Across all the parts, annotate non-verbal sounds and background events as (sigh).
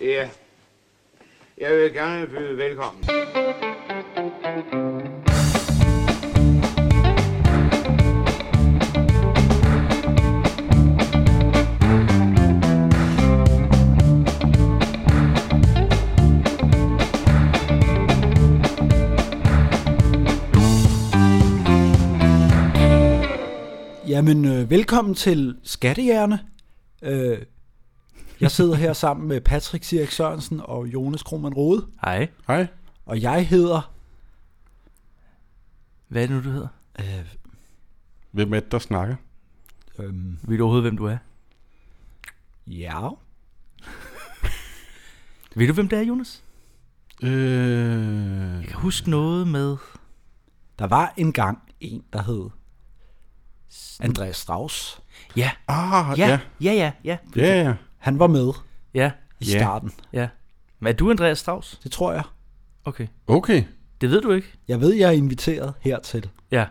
Ja. Jeg vil gerne byde velkommen. Jamen, øh, velkommen til Skattejerne. Øh, jeg sidder her sammen med Patrick Sirik Sørensen og Jonas Krohmann Rode, Hej. Hej. og jeg hedder... Hvad er det nu, du hedder? Øh, Hvem er det, der snakker? øhm, Ved du overhovedet, hvem du er? ja, Ved du, hvem det er, Jonas? Øh, Jeg kan huske noget med... der var engang en, der hed Andreas Strauss. Ja, ah, ja, ja. Ja, ja, ja, ja, ja. ja. Han var med ja, i Ja. starten, ja. Men er du Andreas Strauss? det tror jeg. Okay. Okay, Det ved du ikke? Jeg ved, jeg er inviteret hertil. Ja.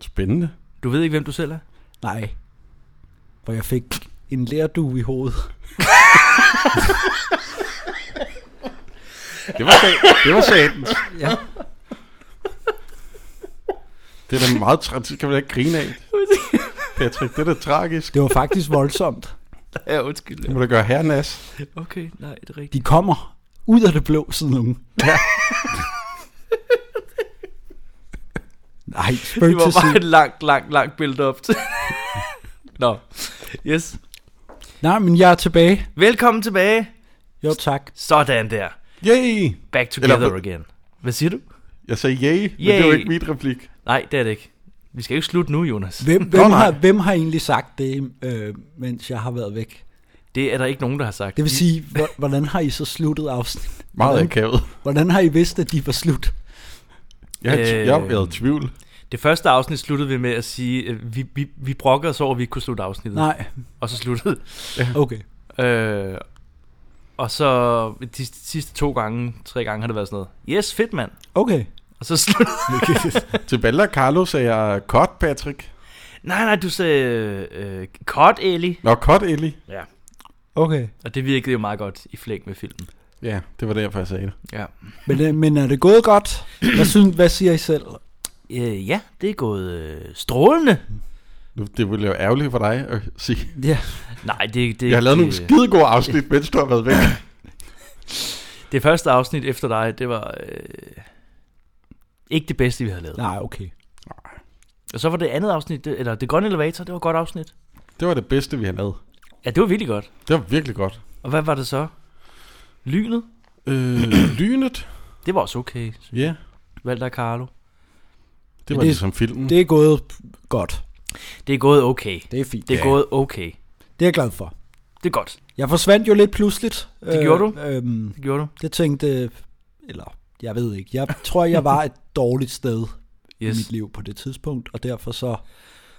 spændende. Du ved ikke, hvem du selv er? Nej, hvor jeg fik en lærdue i hovedet. Det var, sat, det var satens. Ja. Det er da meget tragisk, kan man da ikke grine af. Patrick, det er da tragisk. Det var faktisk voldsomt. Ja, undskyld. Det må da gøre her, Nas. Okay, nej, det er rigtigt. De kommer ud af det blå, sådan nogen. Ja. Nej, spøg til side. et langt, langt, langt (laughs) build-up til... Nå, yes. Nej, men jeg er tilbage. Velkommen tilbage. Jo, tak. Sådan der. Yay! Back together Eller- again. Hvad siger du? Jeg sagde yay, men det var Yay. ikke mit replik. Nej, det er det ikke. Vi skal jo ikke slutte nu, Jonas. Hvem, hvem, nej. har, hvem har egentlig sagt det, øh, mens jeg har været væk? Det er der ikke nogen, der har sagt. Det vil sige, hvor- hvordan har I så sluttet afsnittet? Meget Hvordan? akavet. Hvordan har I vidst, at de var slut? Jeg har, Øh. øh... jeg har været i tvivl. Det første afsnit sluttede vi med at sige, at vi, vi, vi brokkede os over, at vi ikke kunne slutte afsnittet. Nej, Og så sluttede. okay. Øh, og så de, sidste to gange, tre gange har det været sådan noget. Yes, fedt mand. Okay. Og så sluttede Til Bella og Carlo sagde jeg, cut Patrick. (laughs) Nej, nej, du sagde øh, cut, Ellie. Nå, cut Ellie. Ja. Okay. Og det virkede jo meget godt i flæng med filmen. Ja, det var derfor, jeg sagde det. Ja. Men, øh, men er det gået godt? Hvad, synes, hvad siger I selv? Øh, ja, det er gået øh, strålende. Nu- Det ville jo ærgerligt for dig at sige. Ja. Nej, det, det Jeg har lavet nogle det- skide gode afsnit, mens du har været væk. Det første afsnit efter dig, det var øh, ikke det bedste, vi havde lavet. Nej, okay. Og så var det andet afsnit, det, eller det grønne elevator, det var et godt afsnit. Det var det bedste, vi har lavet. Ja, det var virkelig godt. Det var virkelig godt. Og hvad var det så? Lynet? Øh, lynet. Det var også okay. Ja, yeah, Valter og Carlo. det var Det- det, ligesom filmen. Det Det, er gået godt. Det er gået okay. Det er fint. Det er Ja. gået okay. Det er jeg glad for. Det er godt. Jeg forsvandt jo lidt pludseligt. Det gjorde du. Øhm, Det gjorde du. det tænkte, eller jeg ved ikke. Jeg tror, jeg var et dårligt sted yes. Yes. i mit liv på det tidspunkt, og derfor så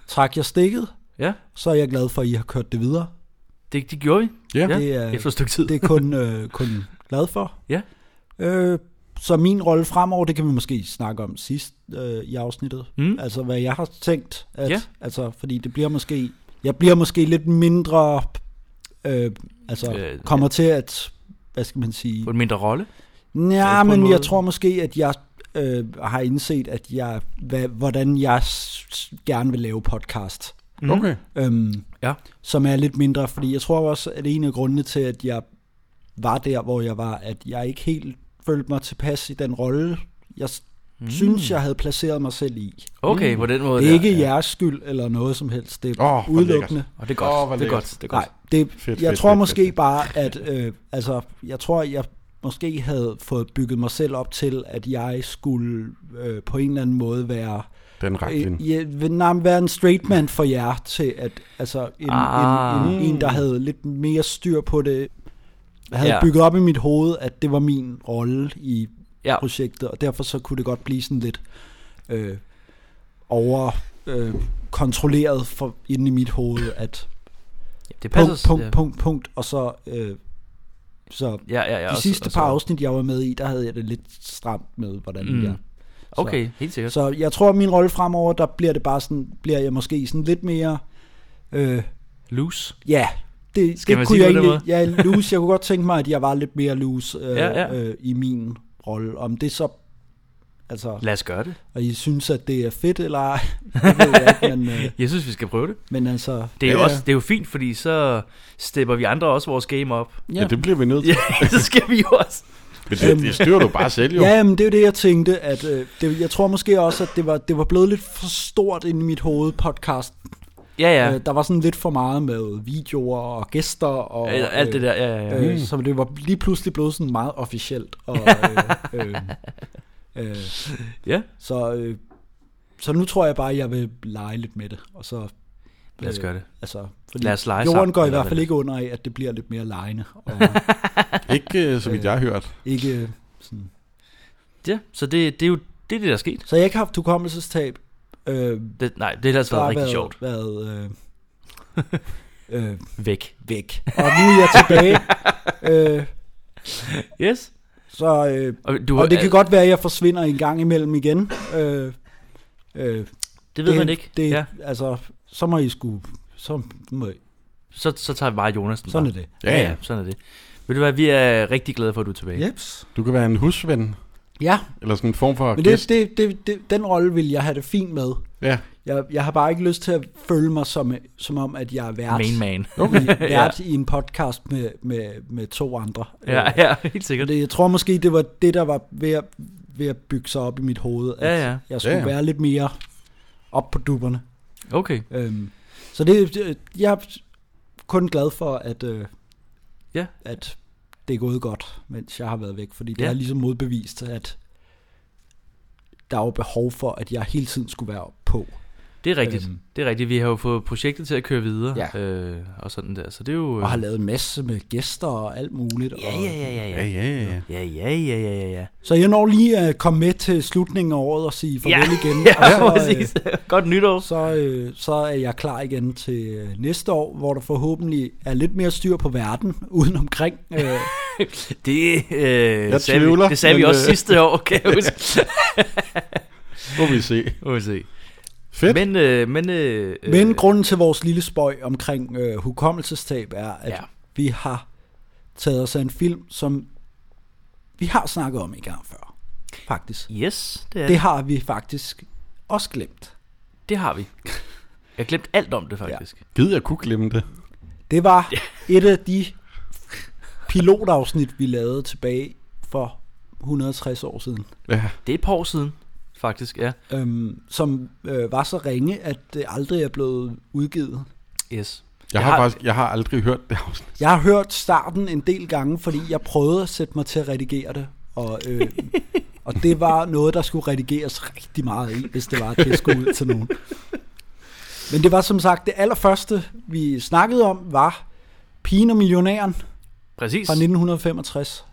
trak jeg stikket. Ja, Så er jeg glad for, at I har kørt det videre. det, det gjorde vi. ja. Ja. ja. Det er, Efter et stykke tid. det er kun, øh, kun glad for. Ja. Øh, så min rolle fremover, det kan vi måske snakke om sidst øh, i afsnittet. Mm. Altså hvad jeg har tænkt, at, Ja. altså, fordi det bliver måske, jeg bliver måske lidt mindre, øh, altså Øh, øh, kommer til at, hvad skal man sige, På en mindre rolle. Ja, på en men måde. jeg tror måske, at jeg øh, har indset, at jeg, hvad, hvordan jeg s- s- gerne vil lave podcast. Mm. Okay. Øhm, Ja. Som er lidt mindre, fordi jeg tror også, at en af grundene til, at jeg var der, hvor jeg var, at jeg ikke helt følte mig tilpas i den rolle, jeg s- Mm. synes, jeg havde placeret mig selv i. Okay, på den måde. Mm. Det er der. ikke ja. jeres skyld eller noget som helst. Det er Åh, oh, hvor lækkert. udelukkende. Og det er Åh, godt. hvor det er lækkert. godt. Det er godt. Nej, det, fedt, Fedt, jeg fedt, tror fedt, måske fedt. bare, at øh, altså, jeg tror, jeg måske havde fået bygget mig selv op til, at jeg skulle øh, på en eller anden måde være, Den rakte øh, øh, ja, nej, men være en straight man for jer, til at altså, en, ah. Ah. en, en, en, der havde lidt mere styr på det, havde Ja. ja. bygget op i mit hoved, at det var min rolle i Ja. projektet, og derfor så kunne det godt blive sådan lidt øh, over øh, kontrolleret for, inde i mit hoved, at Det punkt, passer. punkt, ja. punkt, punkt, og så, øh, så de Ja, ja, ja. og så- sidste og så- par afsnit, jeg var med i, der havde jeg det lidt stramt med, hvordan Mm. mm. jeg... Okay, helt sikkert. Så jeg tror, at min rolle fremover, der bliver det bare sådan, bliver jeg måske sådan lidt mere, øh, Loose. ja, det, Skal det man kunne sige jeg det på den egentlig, ja, (laughs) loose, jeg kunne godt tænke mig, at jeg var lidt mere loose øh, Ja, ja. Øh, i min rolle. Om det så, altså, Lad os gøre det. og I synes, at det er fedt, eller ej, det ved jeg ikke, men, (laughs) øh, Jeg synes, vi skal prøve det. men altså, Det er, ja, Ja, jo ja. også, det er jo fint, fordi så stepper vi andre også vores game op. (laughs) Ja, det bliver vi nødt til. Ja, så skal vi jo også. Men det, det styrer du bare selv, jo. Ja, men det er jo det, jeg tænkte. At, øh, det, jeg tror måske også, at det var, det var blevet lidt for stort inde i mit hoved, podcast. Ja, ja. Ja. Øh, der var sådan lidt for meget med videoer og gæster og... Øh, Alt det der, ja, ja, ja. Mm. Øh, så det var lige pludselig blevet sådan meget officielt. (laughs) Og, øh, øh, øh, Ja, så, øh, så nu tror jeg bare, at jeg vil lege lidt med det. Og så, lad os gøre det. altså, fordi Lad os lege sammen, jorden går i eller hvert fald hvad? ikke under af, at det bliver lidt mere legende. (laughs) Og Ikke øh, så vidt jeg har hørt. ikke, øh, sådan. Ja, så det, det er jo det, er det der er sket. Så jeg har ikke haft hukommelsestab. Øh, Det, nej, det har altså der har været været, rigtig sjovt. (laughs) været øh, øh, Væk. væk. Og nu er jeg (laughs) tilbage. øh, Yes. så, øh, Og, du, og det kan øh, godt være, at jeg forsvinder en gang imellem igen. Øh, øh, det ved man ikke. Det, ja. Altså, så må I sgu... Så må I, så, så tager vi bare Jonasen. sådan er bare. det. Ja, ja, sådan er det. Ved du hvad, vi er rigtig glade for, at du er tilbage. Jeps. Du kan være en husven, Ja, eller sådan en form for men gæst. det, det, det, det, den rolle vil jeg have det fint med. Ja. Jeg, jeg har bare ikke lyst til at føle mig som, som om, at jeg er vært, Main man. (laughs) okay. ja. vært i en podcast med, med, med to andre. ja, Øh, ja, helt sikkert. Det, jeg tror måske, det var det, der var ved at, ved at bygge sig op i mit hoved. At Ja, ja. Jeg skulle Ja, ja. være lidt mere op på dupperne. Okay. Øhm, så det, det- jeg er kun glad for, at, øh, Ja. at det er gået godt, mens jeg har været væk. Fordi det Ja. har ligesom modbevist, at der er jo behov for, at jeg hele tiden skulle være på. Det er rigtigt. Øhm. Det er rigtigt. Vi har jo fået projektet til at køre videre. Ja. Øh, og sådan der. Så det er jo... Og har lavet en masse med gæster og alt muligt. ja, og, ja, ja, ja, Ja, ja. ja, ja. Ja, ja, ja, ja, ja, ja. Så jeg når lige at komme med til slutningen af året og sige farvel Ja, igen. (laughs) ja, og så, øh, præcis. Godt nytår. så, øh, så er jeg klar igen til øh, næste år, hvor der forhåbentlig er lidt mere styr på verden (laughs) uden omkring. Øh, Det, øh, Jeg sagde tvivler, vi, det sagde vi men, også øh, sidste år, kan jeg (laughs) huske. Må vi se. Må vi se. Fedt. Men, øh, men, øh, øh, men grunden til vores lille spøj omkring øh, hukommelsestab er, at Ja. ja. vi har taget os af en film, som vi har snakket om i gang før, faktisk. Yes, det er Det det. har vi faktisk også glemt. Det har vi. Jeg glemte alt om det, faktisk. Ja. Gid jeg kunne glemme det. Det var et af de pilotafsnit, vi lavede tilbage for 160 år siden. Ja. Det er et par år siden, faktisk, ja. øhm, som øh, var så ringe, at det aldrig er blevet udgivet. Yes. Jeg har faktisk, jeg har aldrig hørt det afsnit. Jeg har hørt starten en del gange, fordi jeg prøvede at sætte mig til at redigere det, og, øh, og det var noget, der skulle redigeres rigtig meget i, hvis det var, at det skulle ud til nogen. Men det var som sagt, det allerførste, vi snakkede om, var Pigen og Millionæren Præcis. fra 1965.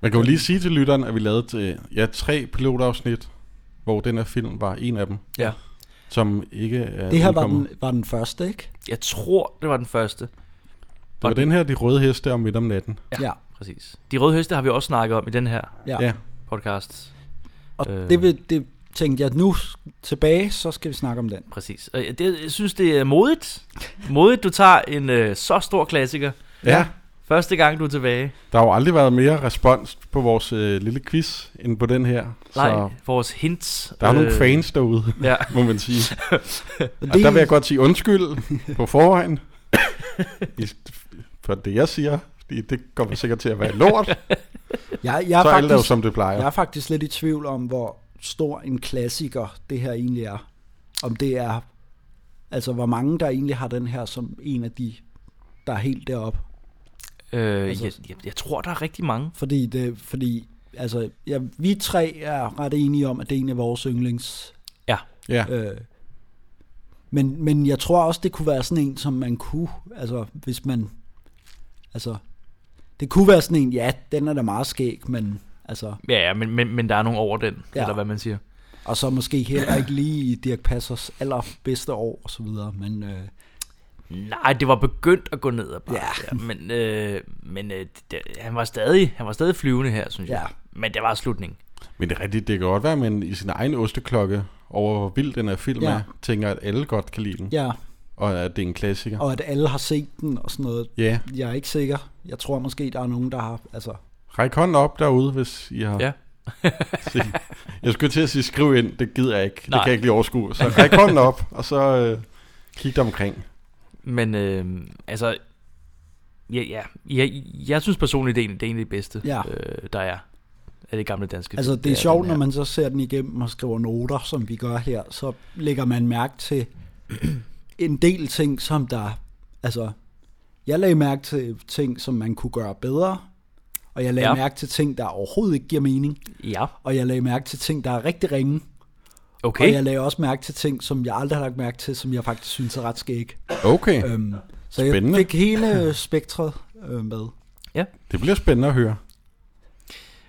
Man kan jo lige sige til lytteren, at vi lavede til, ja, tre pilotafsnit, hvor den her film var en af dem, Ja. som ikke er Det her var udkommet. den, var den første, ikke? Jeg tror, det var den første. Det var den her, De Røde Heste om midt om natten. Ja. Præcis. De røde høste har vi også snakket om i den her ja. Ja. ja. podcast. Og Øh. det, vil, det tænkte jeg, nu tilbage, så skal vi snakke om den. Præcis. Og jeg, det, jeg synes, det er modigt. Modigt, du tager en øh, så stor klassiker. ja. Første gang, du er tilbage. Der har jo aldrig været mere respons på vores øh, lille quiz, end på den her. Nej, Så vores hints. Øh, der er nogle Øh. fans derude, Ja, må man (laughs) sige. Og Og der vil jeg godt sige undskyld på forvejen. (laughs) I- For det jeg siger, fordi det kommer sikkert til at være lort. Jeg, jeg, er så er alle jo, faktisk, som det plejer. jeg er faktisk lidt i tvivl om, hvor stor en klassiker det her egentlig er. Om det er, altså hvor mange der egentlig har den her som en af de, der er helt deroppe. øh, Altså- jeg, jeg, jeg tror, der er rigtig mange. Fordi, det, fordi altså, ja, vi tre er ret enige om, at det er en af vores yndlings. Ja, Ja. Øh, men, men jeg tror også, det kunne være sådan en, som man kunne, altså hvis man, altså, det kunne være sådan en, ja, den er da meget skæg, men Altså, Ja, ja men, men, men der er nogen over den, Ja. ja. eller hvad man siger. og så måske heller ikke lige i Dirk Passers allerbedste år og så videre, men øh, Nej, det var begyndt at gå ned ad bakke, Ja. ja. men, øh, men øh, det, han, var stadig, han var stadig flyvende her, synes ja, jeg. Men det var slutningen. Men det er rigtigt, det kan godt være, men i sin egen osteklokke over, hvor vild den her film Ja. ja. er, tænker, at alle godt kan lide den, ja. ja, og at det er en klassiker. og at alle har set den og sådan noget. Ja, Jeg er ikke sikker. Jeg tror måske, der er nogen, der har, altså, ræk hånden op derude, hvis I har... (laughs) Ja. set- jeg skulle til at sige, skriv ind, det gider jeg ikke, Nej. Nej. det kan jeg ikke lige overskue. Så ræk hånden op, og så øh, kig dig omkring. Men øh, altså, ja, ja, jeg, jeg synes personligt, det er en- det er en af de bedste, Ja. øh, der er af det gamle danske. altså film. det er den sjovt, når her. man så ser den igennem og skriver noter, som vi gør her, så lægger man mærke til (clears throat) en del ting, som der, altså, jeg lagde mærke til ting, som man kunne gøre bedre, og jeg lagde ja. Ja. mærke til ting, der overhovedet ikke giver mening, Ja, og jeg lagde mærke til ting, der er rigtig ringe, Okay. okay. Og jeg lagde også mærke til ting, som jeg aldrig har lagt mærke til, som jeg faktisk synes er ret skæg. Okay, Øhm, så jeg Spændende. fik hele (laughs) spektret øh, med. det bliver spændende at høre.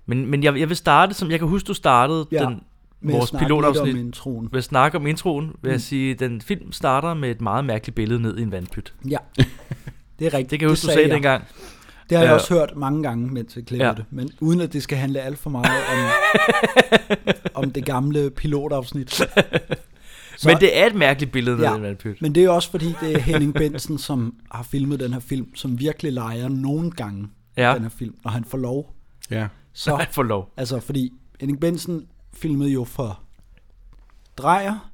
Men, men jeg, jeg vil starte, som jeg kan huske, du startede Ja, ja, den, med vores pilotafsnit Med introen. ved at snakke om introen, vil Mm. jeg sige, den film starter med et meget mærkeligt billede ned i en vandpyt. (laughs) Ja, det er rigtigt. Det kan jeg huske, du sagde sagde jeg. dengang. Det har jeg Ja. også hørt mange gange, mens jeg klippede ja. Ja. det. Men uden at det skal handle alt for meget om, (laughs) om det gamle pilotafsnit. Så- Så... Men det er et mærkeligt billede ja. Ja. ned i en vandpyt. Men det er også fordi, det er Henning Bensen, som har filmet den her film, som virkelig leger nogle gange ja. Ja, den her film, når han får lov. Ja. (laughs) Så for lov. Altså, fordi Henning Bensen filmede jo for Drejer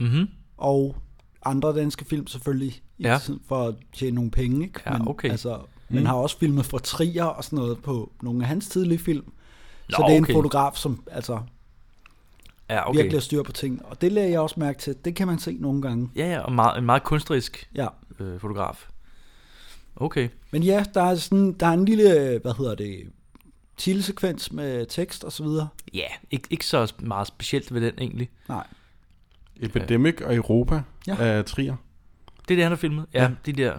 Mm-hmm. og andre danske film selvfølgelig, i Ja. tiden for at tjene nogle penge. Ikke? Ja, okay. Mhm. Altså, mm. Men har også filmet for Trier og sådan noget på nogle af hans tidlige film. Nå, så det er okay. en fotograf, som altså, Ja, okay. okay. virkelig har styr på ting. Og det lagde jeg også mærke til. Det kan man se nogle gange. Ja, ja, og meget, en meget kunstnerisk Ja. øh, fotograf. Okay. Men ja, der er, sådan, der er en lille, hvad hedder det, titelsekvens med tekst og så videre. Ja, ikke, ikke så meget specielt ved den egentlig. Nej. Epidemic og Europa Ja. ja. af Trier. Det er det, han har filmet. Ja, Ja. de der...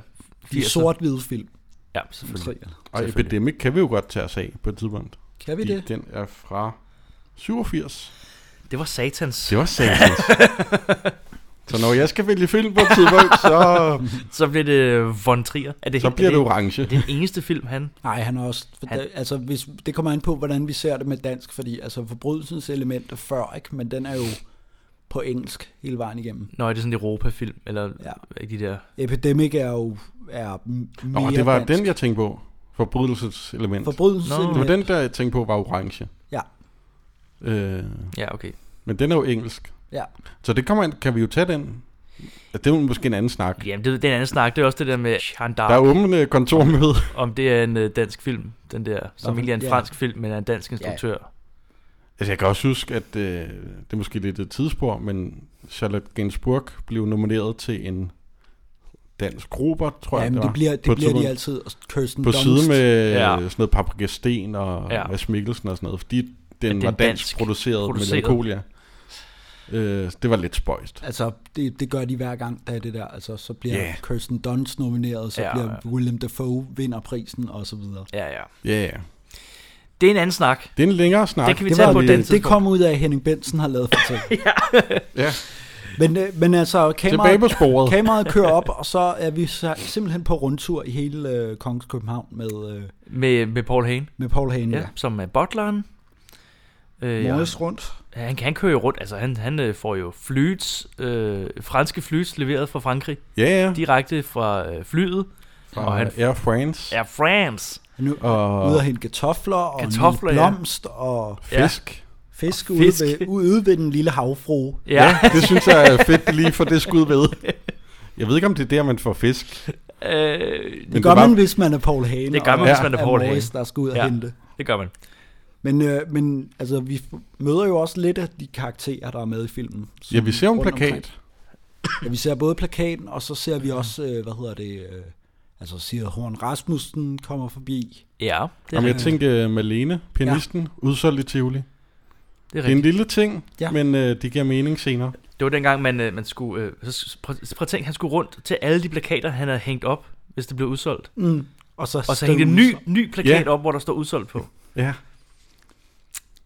De 80'er. sort-hvide film. Ja, selvfølgelig. Trier. Og Selvfølgelig. Epidemic kan vi jo godt tage os af på et tidspunkt. Kan vi Fordi det? den er fra 87. Det var satans. Det var satans. (laughs) så når jeg skal vælge film på et tidspunkt, så, Så blev det øh, Von Trier. Er det, så bliver er det det, orange. er det den eneste film, han... Nej, han har også... For Han- han... Altså, hvis, det kommer an på, hvordan vi ser det med dansk, fordi altså, forbrydelsens element er før, ikke? men den er jo på engelsk hele vejen igennem. Nå, er det sådan en Europa-film, eller Ja. ja. de der... Epidemic er jo er m- Nå, mere det var dansk. den, jeg tænkte på. Forbrydelseselement. Forbrydelsens Nå. det var element. den, der jeg tænkte på, var orange. Ja. Øh, Ja, okay. men den er jo engelsk. Ja. Så det kommer an, kan vi jo tage den. Ja, Det er jo måske en anden snak. Jamen, det, den anden snak, det er også det der med Der er Chandar, åbne kontormøde. (laughs) om det er en øh, dansk film, den der, som Nå, egentlig er en ja. fransk film, men er en dansk instruktør. Altså, jeg kan også huske, at øh, det er måske lidt et tidsspor, men Charlotte Gainsbourg blev nomineret til en dansk gruber, tror jeg, Jamen, var, det bliver, på det et bliver de altid. tidspunkt. Og Kirsten På Dunst. side med ja. Ja. sådan noget Paprika Sten og ja. Ja. Mads Mikkelsen og sådan noget, fordi den den var dansk, dansk produceret, produceret. produceret. Melancholia. Øh, det var lidt spøjst. Altså, det, det gør de hver gang, der er det der. Altså, så bliver Ja. yeah. Kirsten Dunst nomineret, så Ja, ja, bliver William Dafoe vinder prisen, og så videre. Ja, ja. Ja, ja. Det er en anden snak. Det er en længere snak. Det kan vi tage på det, den det tidspunkt. kom ud af, at Henning Bensen har lavet (laughs) for til. Ja. Men, øh, men altså, Tilbage kameraet, på sporet. Kameraet kører op, og så er vi så simpelthen på rundtur i hele øh, Kongens København med, øh, Med, med Paul Hane, med Paul Hane. ja. som er butleren. Øh, ja. Morges rundt. Ja, han, han kører jo rundt, altså han, han øh, får jo flyts, øh, franske flyts leveret fra Frankrig, Ja, ja. direkte fra øh, flyet. Fra Og han- Air France Air France! Han er og ude at hente kartofler og Kartofler, kartofler, ja. blomst og fisk. fisk, Og ude, fisk. ved, ude ved den lille havfru. Ja, ja. Det synes jeg er fedt lige for det skud (laughs) ved. Jeg ved ikke, om det er der, man får fisk. Øh, Men Det gør det var- man, hvis man er Paul Hane. Det gør man, og hvis man er Paul Hane. Morris, der skal ud og Ja. hente. det gør man. Men, øh, men altså, vi f- møder jo også lidt af de karakterer, der er med i filmen. Ja, vi ser jo en rundt omkring. plakat. Ja, vi ser både plakaten, og så ser vi også, øh, hvad hedder det, øh, altså siger Horn Rasmussen kommer forbi. Ja, det er, Jamen, jeg rigtigt. tænkte, øh, Malene, pianisten, ja. udsolgt i Tivoli. Det det er er en rigtigt. lille ting, Ja. ja. men øh, det giver mening senere. Det var dengang, man, øh, man skulle... Øh, så s- prøv, prøv at tænke, han skulle rundt til alle de plakater, han havde hængt op, hvis det blev udsolgt. Mm. Og så, Og så hængte en støvlen- ny, ny plakat Ja. op, hvor der står udsolgt på. Ja.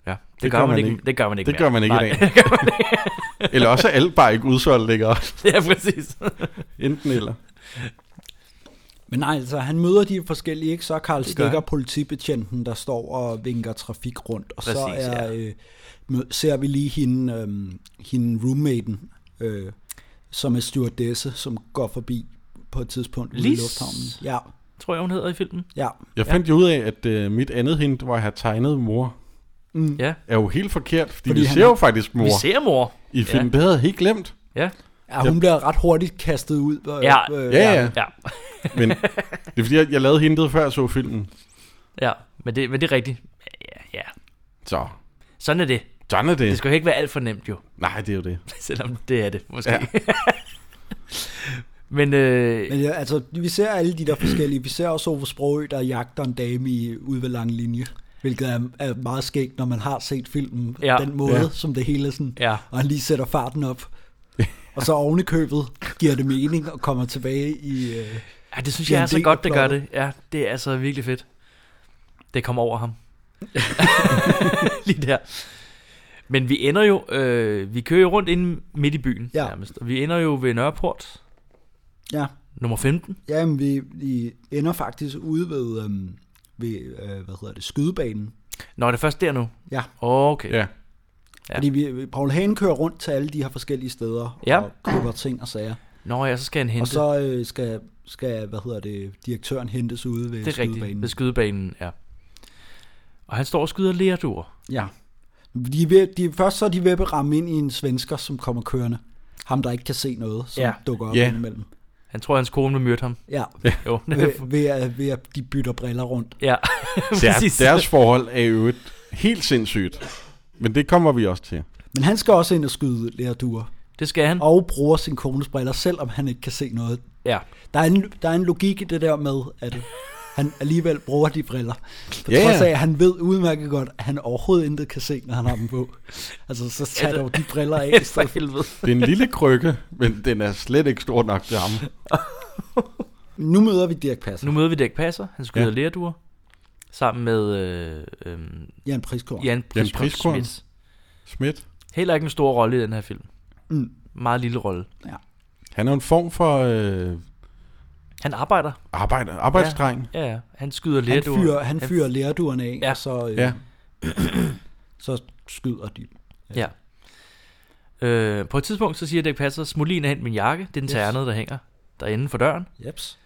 Det, det gør man ikke. Det gør man ikke Det gør man ikke (laughs) i Nej. dag. Eller også er alt bare ikke udsolgt, ikke også? ja, præcis. Enten eller. Men nej, altså, han møder de forskellige, ikke? Så er Karl Det gør Stikker han. politibetjenten, der står og vinker trafik rundt, og så Præcis, er, ja. øh, mø- ser vi lige hende, øh, hende roommaten, øh, som er stewardesse, som går forbi på et tidspunkt ude i Lis? lufthavnen. Ja, Tror jeg, hun hedder i filmen. ja. Jeg Ja. fandt jo ud af, at øh, mit andet hint, hvor jeg har tegnet mor, Mm. Ja. er jo helt forkert, fordi, Fordi vi han ser er- jo faktisk Vi mor ser mor. i filmen. Det havde jeg helt glemt. Ja. ja hun bliver ret hurtigt kastet ud. Øh, Ja. øh, Ja, ja. Ja. Men det er fordi, jeg, jeg lavede hintet før jeg så filmen. Ja. Men det, men det er rigtigt. Ja, ja. Så, Sådan er det. sådan er det. Det skal jo ikke være alt for nemt, jo. (laughs) Nej, det er jo det. Selvom det er det, måske. Ja. Ja. (laughs) men, øh, Men ja, altså, vi ser alle de der forskellige. Vi ser også Ove Sprogø, der jagter en dame i ude ved lang linje. Hvilket er, er meget skægt, når man har set filmen. Ja. Ja. Den måde, Ja. ja. som det hele er sådan. Ja. Og han lige sætter farten (laughs) op. Og så oven i købet giver det mening og kommer tilbage i... Øh, ja, det synes Det er jeg er en så del godt, af det gør plottet. det. Ja, det er altså virkelig fedt. Det kom over (laughs) ham. Lige der. Men vi ender jo, øh, vi kører jo rundt inde midt i byen Ja. nærmest. Og vi ender jo ved Nørreport, ja, nummer 15. jamen, vi, vi ender faktisk ude ved, øh, ved øh, hvad hedder det, skydebanen. Nå, er det først der nu? Ja. Okay. Ja. Ja. Ja. Fordi vi, Paul Hagen kører rundt til alle de her forskellige steder Ja. og køber ting og sager. Nå ja, så skal han hente. Og så øh, skal, skal, hvad hedder det, direktøren hentes ude ved det er rigtigt, skydebanen. ved skydebanen, ja. Og han står og skyder lærduer. Ja. De er ved, de, først så er de ved at ramme ind i en svensker, som kommer kørende. Ham, der ikke kan se noget, som Ja. ja. dukker op Ja. yeah. indimellem. Han tror, hans kone vil myrde ham. (laughs) Ja, Jo, (laughs) ved, ved, at, ved at de bytter briller rundt. ja. (laughs) Deres, deres forhold er jo et helt sindssygt. Men det kommer vi også til. Men han skal også ind og skyde lærduer. Det skal han. Og bruger sin kones briller, selvom han ikke kan se noget. Ja. Der er, en, der er en logik i det der med, at han alligevel bruger de briller. På Ja, yeah. trods ja. af, at han ved udmærket godt, at han overhovedet intet kan se, når han har dem på. Altså, så tager det- dog de briller (laughs) af i For stedet. helvede. Det er en lille krykke, men den er slet ikke stor nok til ham. Nu møder vi Dirk Passer. Nu møder vi Dirk Passer. Han skyder ja. Ja. lærduer. Sammen med øh, øh, Jan Priskorn. Jan Priskorn. Priskorn Schmidt. Schmidt, Heller ikke en stor rolle i den her film. Mm. Meget lille rolle. han er en form for øh, Han arbejder. arbejder, arbejdsdreng. Ja, ja. Han skyder Han lærduer. fyrer, han fyrer lærduerne af, Ja. ja. og så, øh, Ja. ja. (clears throat) så skyder de. Ja. Øh, på et tidspunkt så siger Dirk Passer, Smolin er hent min jakke. Det er den Yes. ternede, der hænger derinde for døren. Jeps.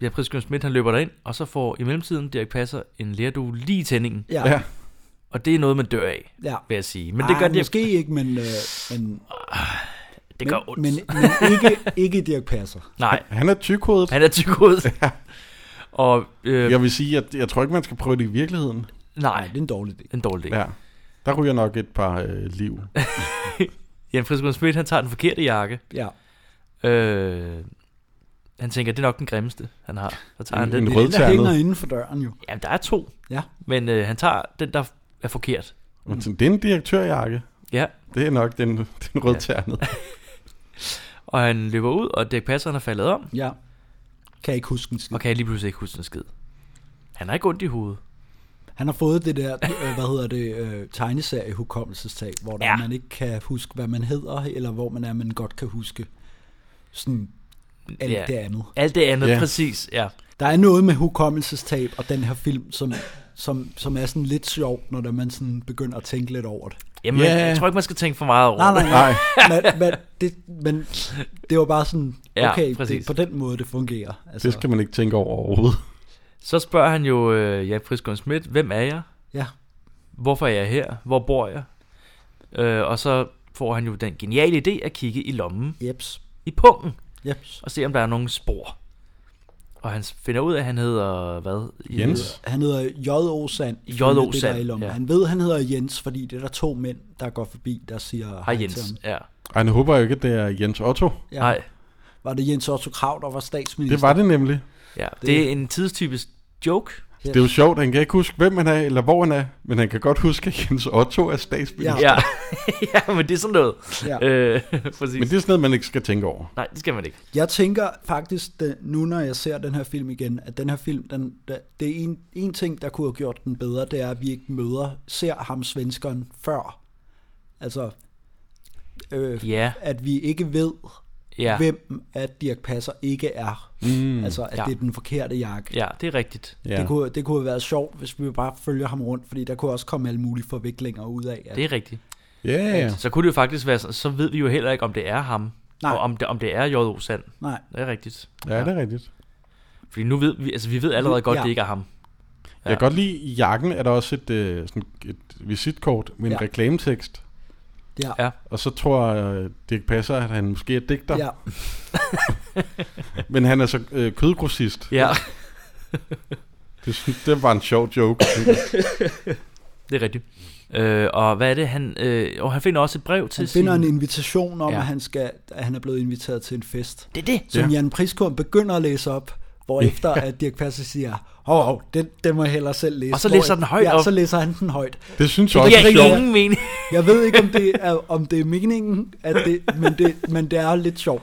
Ja, Prisken Schmidt, han løber derind, og så får i mellemtiden Dirk Passer en lærdue lige i tændingen. Ja, Ja. ja. ja. Og det er noget, man dør af, ja. vil jeg sige. Men det gør Ej, det, måske ikke, men, øh, men, det gør men, ondt. men, men ikke, ikke Dirk Passer. Nej, Han er tykhovedet. han er (laughs) tykhovedet. og øh, Jeg vil sige, at jeg tror ikke, man skal prøve det i virkeligheden. Nej, nej, det er en dårlig idé. en dårlig idé. Ja. Ja. Der ryger nok et par øh, liv. Jan Friskund Schmidt, han tager den forkerte jakke. Ja. Øh, han tænker, det er nok den grimmeste, han har. Så tager han En- den. en Det rød- er den, der Rødternet. hænger inden for døren jo. Jamen, der er to. Ja. Men øh, han tager den, der er forkert. Men sådan, det er en direktørjakke. Ja, Det er nok den, den rødternede. Ja. og han løber ud, og Dirk Passer, han er faldet om, Ja. Kan jeg ikke huske en skid. og Okay. kan lige pludselig ikke huske en skid. Han har ikke ondt i hovedet. Han har fået det der, øh, hvad hedder det, øh, tegneseriehukommelsestab, hvor der Ja. ja. man ikke kan huske, hvad man hedder, eller hvor man er, man godt kan huske sådan alt Ja. ja. det andet. Alt det andet, Ja. præcis, ja. Der er noget med hukommelsestab og den her film, som, som, som er sådan lidt sjov, når det- man sådan begynder at tænke lidt over det. Jamen, Ja. jeg tror ikke, man skal tænke for meget over Nej, nej, det. nej. (laughs) men, men, det, men det var bare sådan, Ja, okay, det, præcis. er på den måde det fungerer. Altså, Det skal man ikke tænke over overhovedet. Så spørger han jo øh, Jan Friskund Schmidt, hvem er jeg? Ja, Hvorfor er jeg her? Hvor bor jeg? Øh, og så får han jo den geniale idé at kigge i lommen, jeps, i pungen, jeps. og se om der er nogle spor. Og han finder ud af, at han hedder, hvad? I- Jens? Han hedder J.O. Sand. J.O. ifølge det, der Sand, er i lommen. ja. Han ved, han hedder Jens, fordi det er der to mænd, der går forbi, der siger Hej til Jens, ham. ja. Ej, nu håber jeg jo ikke, at det er Jens Otto. Ja. Nej, Var det Jens Otto Krav, der var statsminister? Det var det nemlig. ja. Det- Det er en tidstypisk joke, Det er jo sjovt, han kan ikke huske, hvem han er, eller hvor han er, men han kan godt huske, at Jens Otto er statsminister. Ja. Ja. (laughs) ja, men det er sådan noget. Ja. Øh, (laughs) præcis. Men det er sådan noget, man ikke skal tænke over. Nej, det skal man ikke. Jeg tænker faktisk, da- nu når jeg ser den her film igen, at den her film, den, da- det er en, en ting, der kunne have gjort den bedre, det er, at vi ikke møder, ser ham svenskeren før. Altså, øh, Ja. at vi ikke ved, Ja, hvem at Dirk Passer ikke er. Mm, altså, at Ja. ja. det er den forkerte jakke. ja det er rigtigt. Ja. Det, kunne, det kunne have været sjovt, hvis vi bare følger ham rundt, fordi der kunne også komme alle mulige forviklinger ud af. At, Det er rigtigt. Ja, ja. Så kunne det jo faktisk være, sådan- så ved vi jo heller ikke, om det er ham, Nej. og om det, om det er J.O. Sand. Nej, Det er rigtigt. ja, det er rigtigt. Fordi nu ved vi, altså vi ved allerede godt, Ja. det ikke er ham. Jeg kan godt lide, i jakken er der også et, øh, sådan et visitkort med en Ja. ja. reklametekst. ja. Ja. Og så tror øh, Dirk Passer, at han måske er digter, ja. ja. men han er så øh, kødgrossist. Ja, Det, synes- det var en sjov (laughs) joke. (laughs) det er rigtigt. Øh, og hvad er det, han... Øh, og han finder også et brev til Han finder en sin... invitation om, Ja. ja. at, han skal, at han er blevet inviteret til en fest. Det er det. som ja. Ja. Jan Priskorn begynder at læse op, hvor efter at Dirk Passer siger, hov, hov den, den må jeg hellere selv læse. Og så Hvor- læser den højt ja, op. så læser han den højt. Det synes jeg Det også giver er sjovt. ingen mening. (laughs) Jeg ved ikke, om det er, om det er meningen, at det, men, det, men det er lidt sjovt,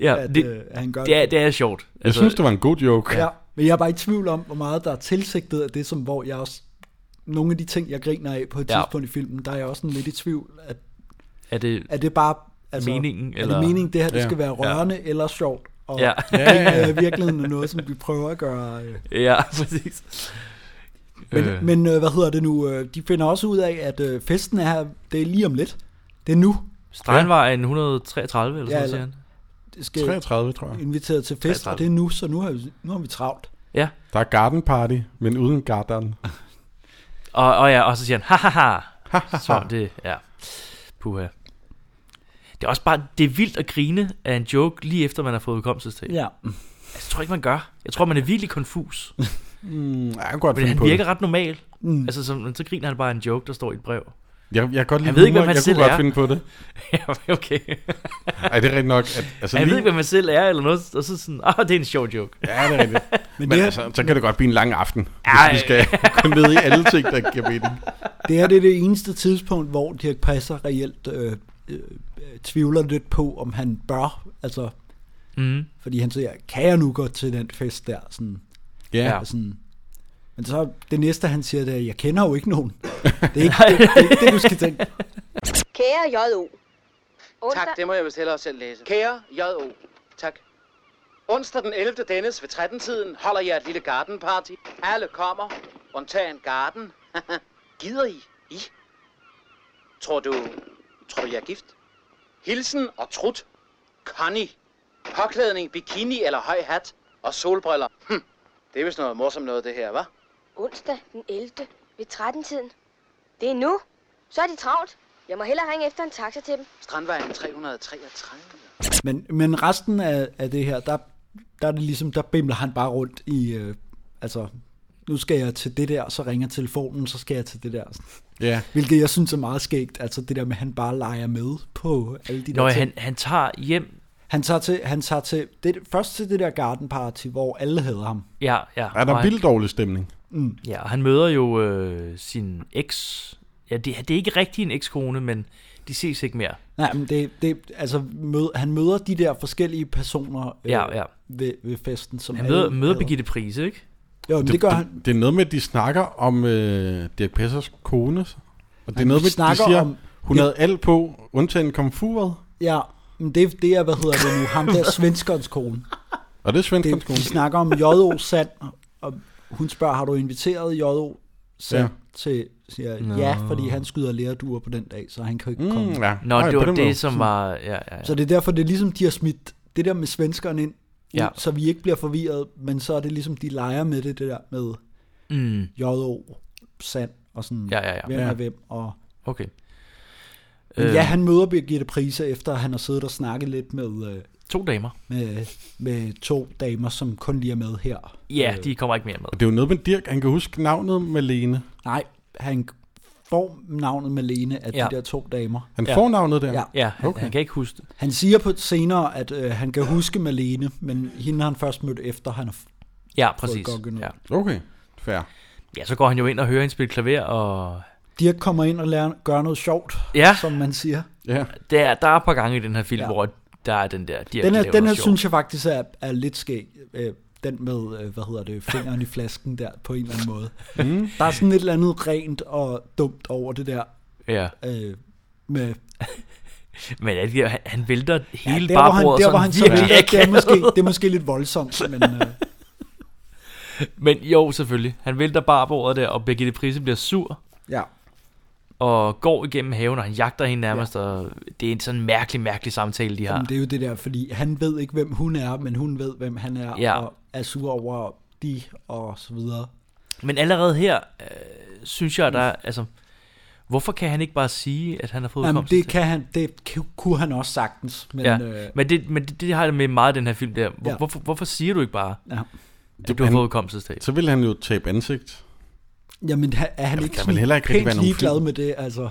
Ja, at, det, øh, at han gør det, er, det er sjovt. Altså, Jeg synes, det var en god joke. Ja. Men jeg er bare i tvivl om, hvor meget der er tilsigtet af det, som hvor jeg også... Nogle af de ting, jeg griner af på et Ja. ja. tidspunkt i filmen, der er jeg også sådan lidt i tvivl, at er det... er det bare... Altså, Meningen, er eller- det meningen, det her det Ja. skal være rørende ja. eller sjovt? Og Ja, Ja, det ja, er ja. i virkeligheden noget, som vi prøver at gøre... Øh, ja, (laughs) præcis. Men, Øh. øh. men øh, hvad hedder det nu? øh, De finder også ud af, at øh, festen er her, det er lige om lidt. Det er nu. Strandvejen 133, eller Ja, sådan noget, eller- siger han. Det (laughs) skal 33, tror jeg. inviteret til fest, 33. og det er nu, så nu har vi, nu har vi travlt. Ja, Der er garden party, men uden garden. og, og, ja, og så siger han, ha ha ha. Så det, ja. Puha. Det er også bare, det er vildt at grine af en joke, lige efter man har fået hukommelsestab. Ja. Ja. Altså, jeg tror ikke, man gør. Jeg tror, man er virkelig konfus. Mm, jeg kan godt Men finde han på virker det. ret normal. Mm. Altså, så, men så griner han bare af en joke, der står i et (laughs) brev. Jeg, jeg kan godt lide ved ikke, humor. hvem han jeg selv kunne godt er. finde på det. ja, okay. Ej, det er rigtigt nok. At, altså, Altså, Jeg lige, ved ikke, hvad man selv er, eller noget. Og så sådan, ah, det er en sjov joke. Ja, det er (laughs) rigtigt. det men det er- altså, så kan det godt blive en lang aften, Ej. hvis (laughs) vi skal gå ned i alle ting, der ikke giver mening. Det her det er det eneste tidspunkt, hvor Dirk Passer reelt øh, øh, øh, tvivler lidt på, om han bør. Altså, Mm. fordi han siger, kan jeg nu gå til den fest der? Sådan, Ja, Ja. ja. sådan. Men så det næste, han siger, det er, jeg kender jo ikke nogen. Det (laughs) er ikke det, det, er ikke det du skal tænke. Kære J.O. Onsdag- Tak, det må jeg vist hellere selv læse. Kære J.O. Tak. Onsdag den 11. dennes ved 13-tiden holder jeg et lille gardenparty. Alle kommer. Undtagen garden. (laughs) Gider I? I? Tror du... Tror du, jeg er gift? Hilsen og trut. Connie. Påklædning, bikini eller høj hat. Og solbriller. Hm. Det er vist noget morsomt noget, det her, hva'? Onsdag den 11. ved 13-tiden. Det er nu. Så er de travlt. Jeg må hellere ringe efter en taxa til dem. Strandvejen 333. Men, men resten af, af det her, der, der er det ligesom, der bimler han bare rundt i, øh, altså, nu skal jeg til det der, så ringer telefonen, så skal jeg til det der. ja. Hvilket jeg synes er meget skægt, altså det der med, at han bare leger med på alle de der Nå, ja, ting. han, han tager hjem. han tager til, han tager til det, først til det der garden party, hvor alle hader ham. Ja, ja. Er og der er han- vildt dårlig stemning? Ja, og han møder jo øh, sin eks. Ja, det, det er ikke rigtig en ekskone, men de ses ikke mere. Nej, men det, det altså, mød, han møder de der forskellige personer øh, Ja, ja. Ved, ved festen. Som Han møder, alle møder hader. Birgitte Prise, ikke? Jo, men det, det gør han. Det, det er noget med, at de snakker om øh, Dirk Pessers kone. Og det er de noget med, at de snakker siger, om- om... hun havde alt på, undtagen komfuret. Ja, men det, det er, hvad hedder det nu, ham (laughs) der svenskerens kone. Og det er svenskens det, kone. vi snakker om J.O. Sand, og hun spørger, har du inviteret J.O. Sand ja. Ja. til, siger no. ja, fordi han skyder læreduer på den dag, så han kan ikke mm, komme. Mm, ja. Nå, Ej, Ej, det på var den måde. det, som var... Ja, ja, ja. Så det er derfor, det er ligesom, de har smidt det der med svenskerne ind, Ja. ja. så vi ikke bliver forvirret, men så er det ligesom, de leger med det, det der med Mm, J.O. Sand, og sådan, Ja, ja, ja. hvem Ja. er hvem, og okay. øh. ja, han møder Birgitte Prise, efter han har siddet og snakket lidt med, øh, To damer. med, med to damer, som kun lige er med her. Ja, de kommer ikke mere med. Og det er jo noget med Dirk, han kan huske navnet Malene. Nej, han får navnet Malene af Ja. ja. de der to damer. Han Ja. ja. får navnet der. Ja. Ja, han, okay. Okay. han kan ikke huske det. Han siger på et senere, at øh, han kan huske Malene, men hende har han først mødt efter, han har f- Ja, præcis. godt gennem. Ja. Okay. Fair. Ja, så går han jo ind og hører hende spille klaver, og Dirk kommer ind og lærer, gør noget sjovt, Ja. som man siger. Ja. der, er- der er et par gange i den her film, Ja. ja. hvor der er den der... De Den her, den her sjov. synes jeg faktisk er, er lidt skæg. Øh, Den med, øh, hvad hedder det, fingeren i flasken der, på en eller anden måde. Mm. Der er sådan et eller andet rent og dumt over det der. Ja. Øh, med, Men er det, der- han, han vælter hele der, ja, hvor han, barbordet der, hvor han så virkelig vælter, det, er akavet. måske, det er måske lidt voldsomt, men øh, (laughs) Men jo, selvfølgelig. Han vælter barbordet der, og Birgitte Prise bliver sur, ja. og går igennem haven, og han jagter hende nærmest, ja. og det er en sådan mærkelig, mærkelig samtale, de har. Jamen, det er jo det der, fordi han ved ikke, hvem hun er, men hun ved, hvem han er, Ja. og er sur over de, og så videre. Men allerede her, øh, synes jeg, der er- altså, hvorfor kan han ikke bare sige, at han har fået Jamen, udkomst? det, kan han, det ku- kunne han også sagtens, men... ja. Øh, men, det, men det, det har jeg med meget i den her film der. Ja. Hvor, ja. hvorfor, hvorfor siger du ikke bare, ja. at du har han- fået udkomstestab? Så vil han jo tabe ansigt. Jamen, ha- er han Jamen, ikke der vil sådan heller ikke rigtig være pænt nogen ligeglad film. med det, altså?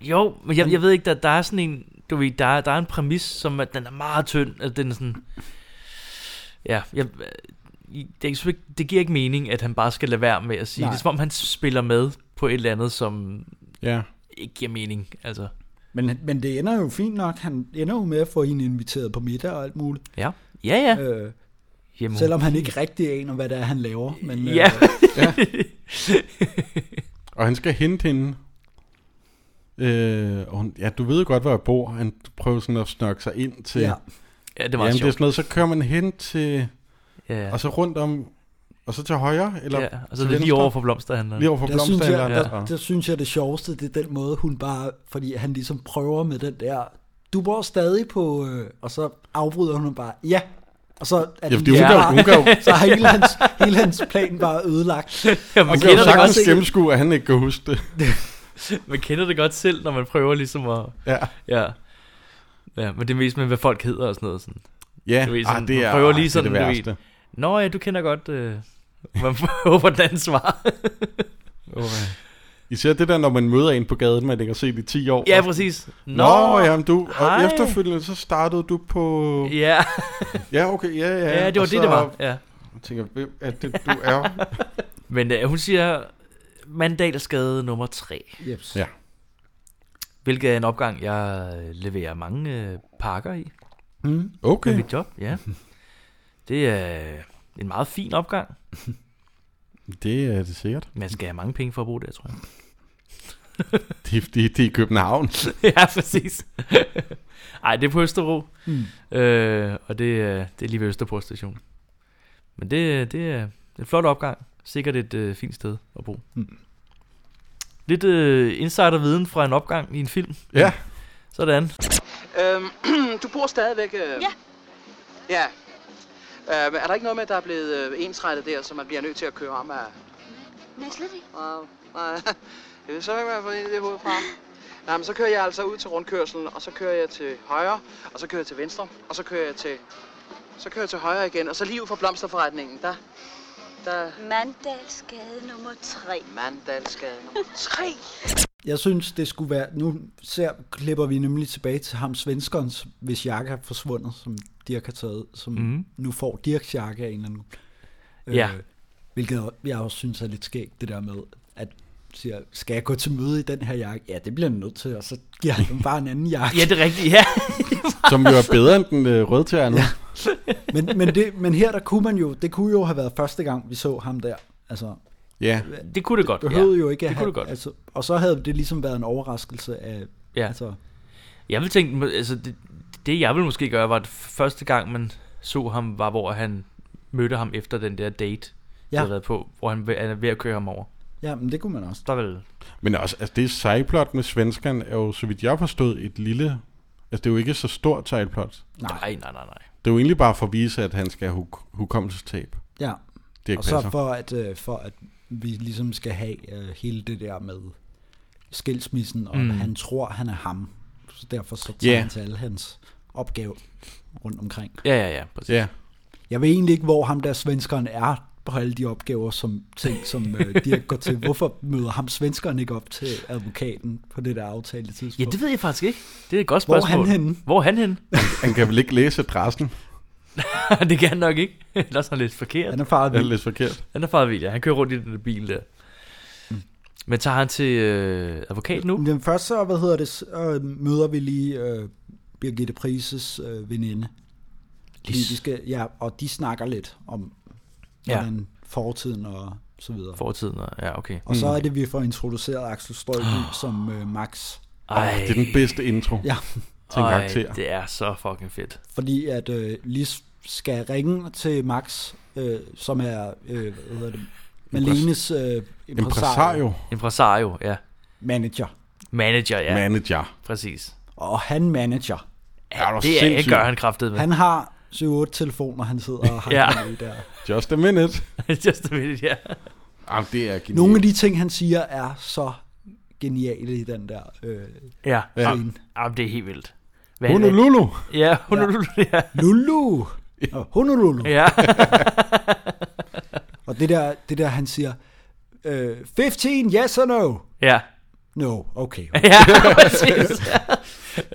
Jo, men jeg, jeg ved ikke, der, der er sådan en, du ved, der, er- der er en præmis, som er, den er meget tynd, altså den er sådan, ja, jeg, øh, det, er ikke- det giver ikke mening, at han bare skal lade være med at sige, Nej. Nej. det er som om han spiller med på et eller andet, som Ja. ikke giver mening, altså, Men, men det ender jo fint nok. Han ender jo med at få hende inviteret på middag og alt muligt. ja, ja, ja, øh, Øh, Jamen, selvom han ikke rigtig aner, hvad det er, han laver. Men, ja, øh, Og han skal hente hende. Øh, og hun, ja, du ved godt, hvor jeg bor. Han prøver sådan at snakke sig ind til... ja. ja, det var Jamen, meget det er sjovt, sådan noget, så kører man hen til... ja, Og så rundt om... Og så til højre, eller... ja, og så til er det lige venstre. over for blomsterhandleren, Lige over for Der synes, jeg, blomsterhandleren. der, og- der synes jeg, det sjoveste, det er den måde, hun bare... Fordi han ligesom prøver med den der... Du bor stadig på... Øh, og så afbryder hun ham bare, ja. Og så er Ja, den fordi hun lige kan jo- bare- hun kan jo- (laughs) Så har hele hans, hele hans plan bare ødelagt. (laughs) ja, man, Og kan jo kender det godt sagtens selv, gennemskue, at han ikke kan huske (laughs) det. man kender det godt selv, når man prøver ligesom at, Ja, ja, ja, men det er mest med, hvad folk hedder og sådan noget, sådan. ja. Du ved, ah, sådan, det man er, prøver ah, lige det, er det sådan, du ved. værste. Nå ja, du kender godt, øh, (laughs) hvor- hvor den anden svar. Okay. Især det der, når man møder en på gaden, man ikke har set i 10 år. ja, Og- præcis. Nå, Nå, jamen du, og hej. efterfølgende så startede du på... Ja, Ja, okay, ja, ja. ja, det var og det, så det var. Ja. Tænker, hvem er det, du er? Men øh, hun siger Mandalsgade nummer 3, Jeps. ja. hvilket er en opgang, jeg øh, leverer mange øh, pakker i Okay. med mit job. (laughs) Ja. Det er en meget fin opgang. Det er det sikkert. (laughs) Man skal have mange penge for at bruge det, tror jeg. Det, det, det er i København. (laughs) ja, præcis. Ej, det er på Østerbro. Mm. Øh, og det, er- det er lige ved Østerbro station. Men det, det er en flot opgang. Sikkert et øh, fint sted at bo. Mm. Lidt øh, insiderviden fra en opgang i en film. Ja. Sådan. Øhm, (clears throat) du bor stadigvæk... Øh... Ja. Ja. Øh, men er der ikke noget med, at der er blevet øh, ensrettet der, så man bliver nødt til at køre om af... Nej, slet ikke. Wow. Nej, (laughs) jeg ved så ikke, hvad jeg får ind i det hoved fra. Nej, men så kører jeg altså ud til rundkørselen, og så kører jeg til højre, og så kører jeg til venstre, og så kører jeg til... Så kører jeg til højre igen, og så lige ud fra blomsterforretningen, der... Der... Mandalsgade nummer 3. Mandalsgade nummer 3. Jeg synes, det skulle være... Nu ser, klipper vi nemlig tilbage til ham svenskerens, hvis jakke er forsvundet, som Dirk har taget, som mm. Mhm. nu får Dirks jakke af en eller anden. Øh, Ja. hvilket jeg også synes er lidt skægt, det der med, at siger, skal jeg gå til møde i den her jakke? Ja, det bliver jeg nødt til, og så giver han dem bare en anden jakke. (laughs) Ja, det er rigtigt. Ja. Som jo er bedre end den øh, rødtærne. Ja. Men, men, det, men her, der kunne man jo, det kunne jo have været første gang, vi så ham der. Altså, ja. Det kunne det godt. behøvede ja. jo ikke at det kunne have, det godt. Altså, og så havde det ligesom været en overraskelse af, Ja. altså, Jeg vil tænke, altså det, det jeg ville måske gøre, var at første gang, man så ham, var hvor han mødte ham efter den der date, Ja. ja. havde været på, hvor han, han er ved at køre ham over. ja, men det kunne man også. Der vil, Men også, altså det sejplot med svenskeren er jo, så vidt jeg har forstået, et lille... Altså det er jo ikke så stort sejplot. nej, nej, nej, nej. Det er jo egentlig bare for at vise, at han skal have huk- hukommelsestab. Ja. Det er Og ikke så passer. for at, øh, for at vi ligesom skal have øh, hele det der med skilsmissen, og mm. Mm. han tror, han er ham. Så derfor så tager Ja. yeah. han til alle hans opgaver rundt omkring. Ja, ja, ja, præcis. Ja. Jeg ved egentlig ikke, hvor ham der svenskeren er på alle de opgaver, som ting, som øh, Dirk går til. Hvorfor møder ham svenskeren ikke op til advokaten på det der aftalte tidspunkt? Ja, det ved jeg faktisk ikke. Det er et godt Hvor er spørgsmål. han henne? Hvor er han henne? Han kan vel ikke læse adressen? (laughs) det kan han nok ikke. (laughs) Ellers er han lidt forkert. Han er faret Det er vild. lidt forkert. Han er faret vild, ja. Han kører rundt i den der bil der. Men tager han til øh, advokat nu? Men først så, hvad hedder det, så øh, møder vi lige øh, Birgitte Prises øh, veninde. Fordi Lis. de skal, ja, og de snakker lidt om, Ja. hvordan fortiden og så videre. Fortiden, og- ja, okay. Og så er det, vi får introduceret Axel Ah. Strøby som øh, Max. Ej, Det er den bedste intro Ja, til en karakter. Ej, det er så fucking fedt. fordi at øh, Lis skal ringe til Max, øh, som er, øh, hvad hedder det, Malenes øh, impresario, Impresario. Impresario, ja. manager. Manager, ja. Man. Manager. Præcis. Og han manager. Er du Det er, sindssyg? gør han kraftet med. Han har 7-8 telefoner, han sidder og har Ja. ja. i der. Just a minute. (laughs) Just a minute, ja. Jamen, det er genialt. Nogle af de ting, han siger, er så geniale i den der øh, Ja, Ja. scene. Jamen, det er helt vildt. Hvad Honolulu. Ja, Honolulu, ja. Lulu! Nå, Honolulu! ja. Og det der, det der han siger, øh, 15, yes or no? Ja, (laughs) No, okay. ja, (laughs) præcis.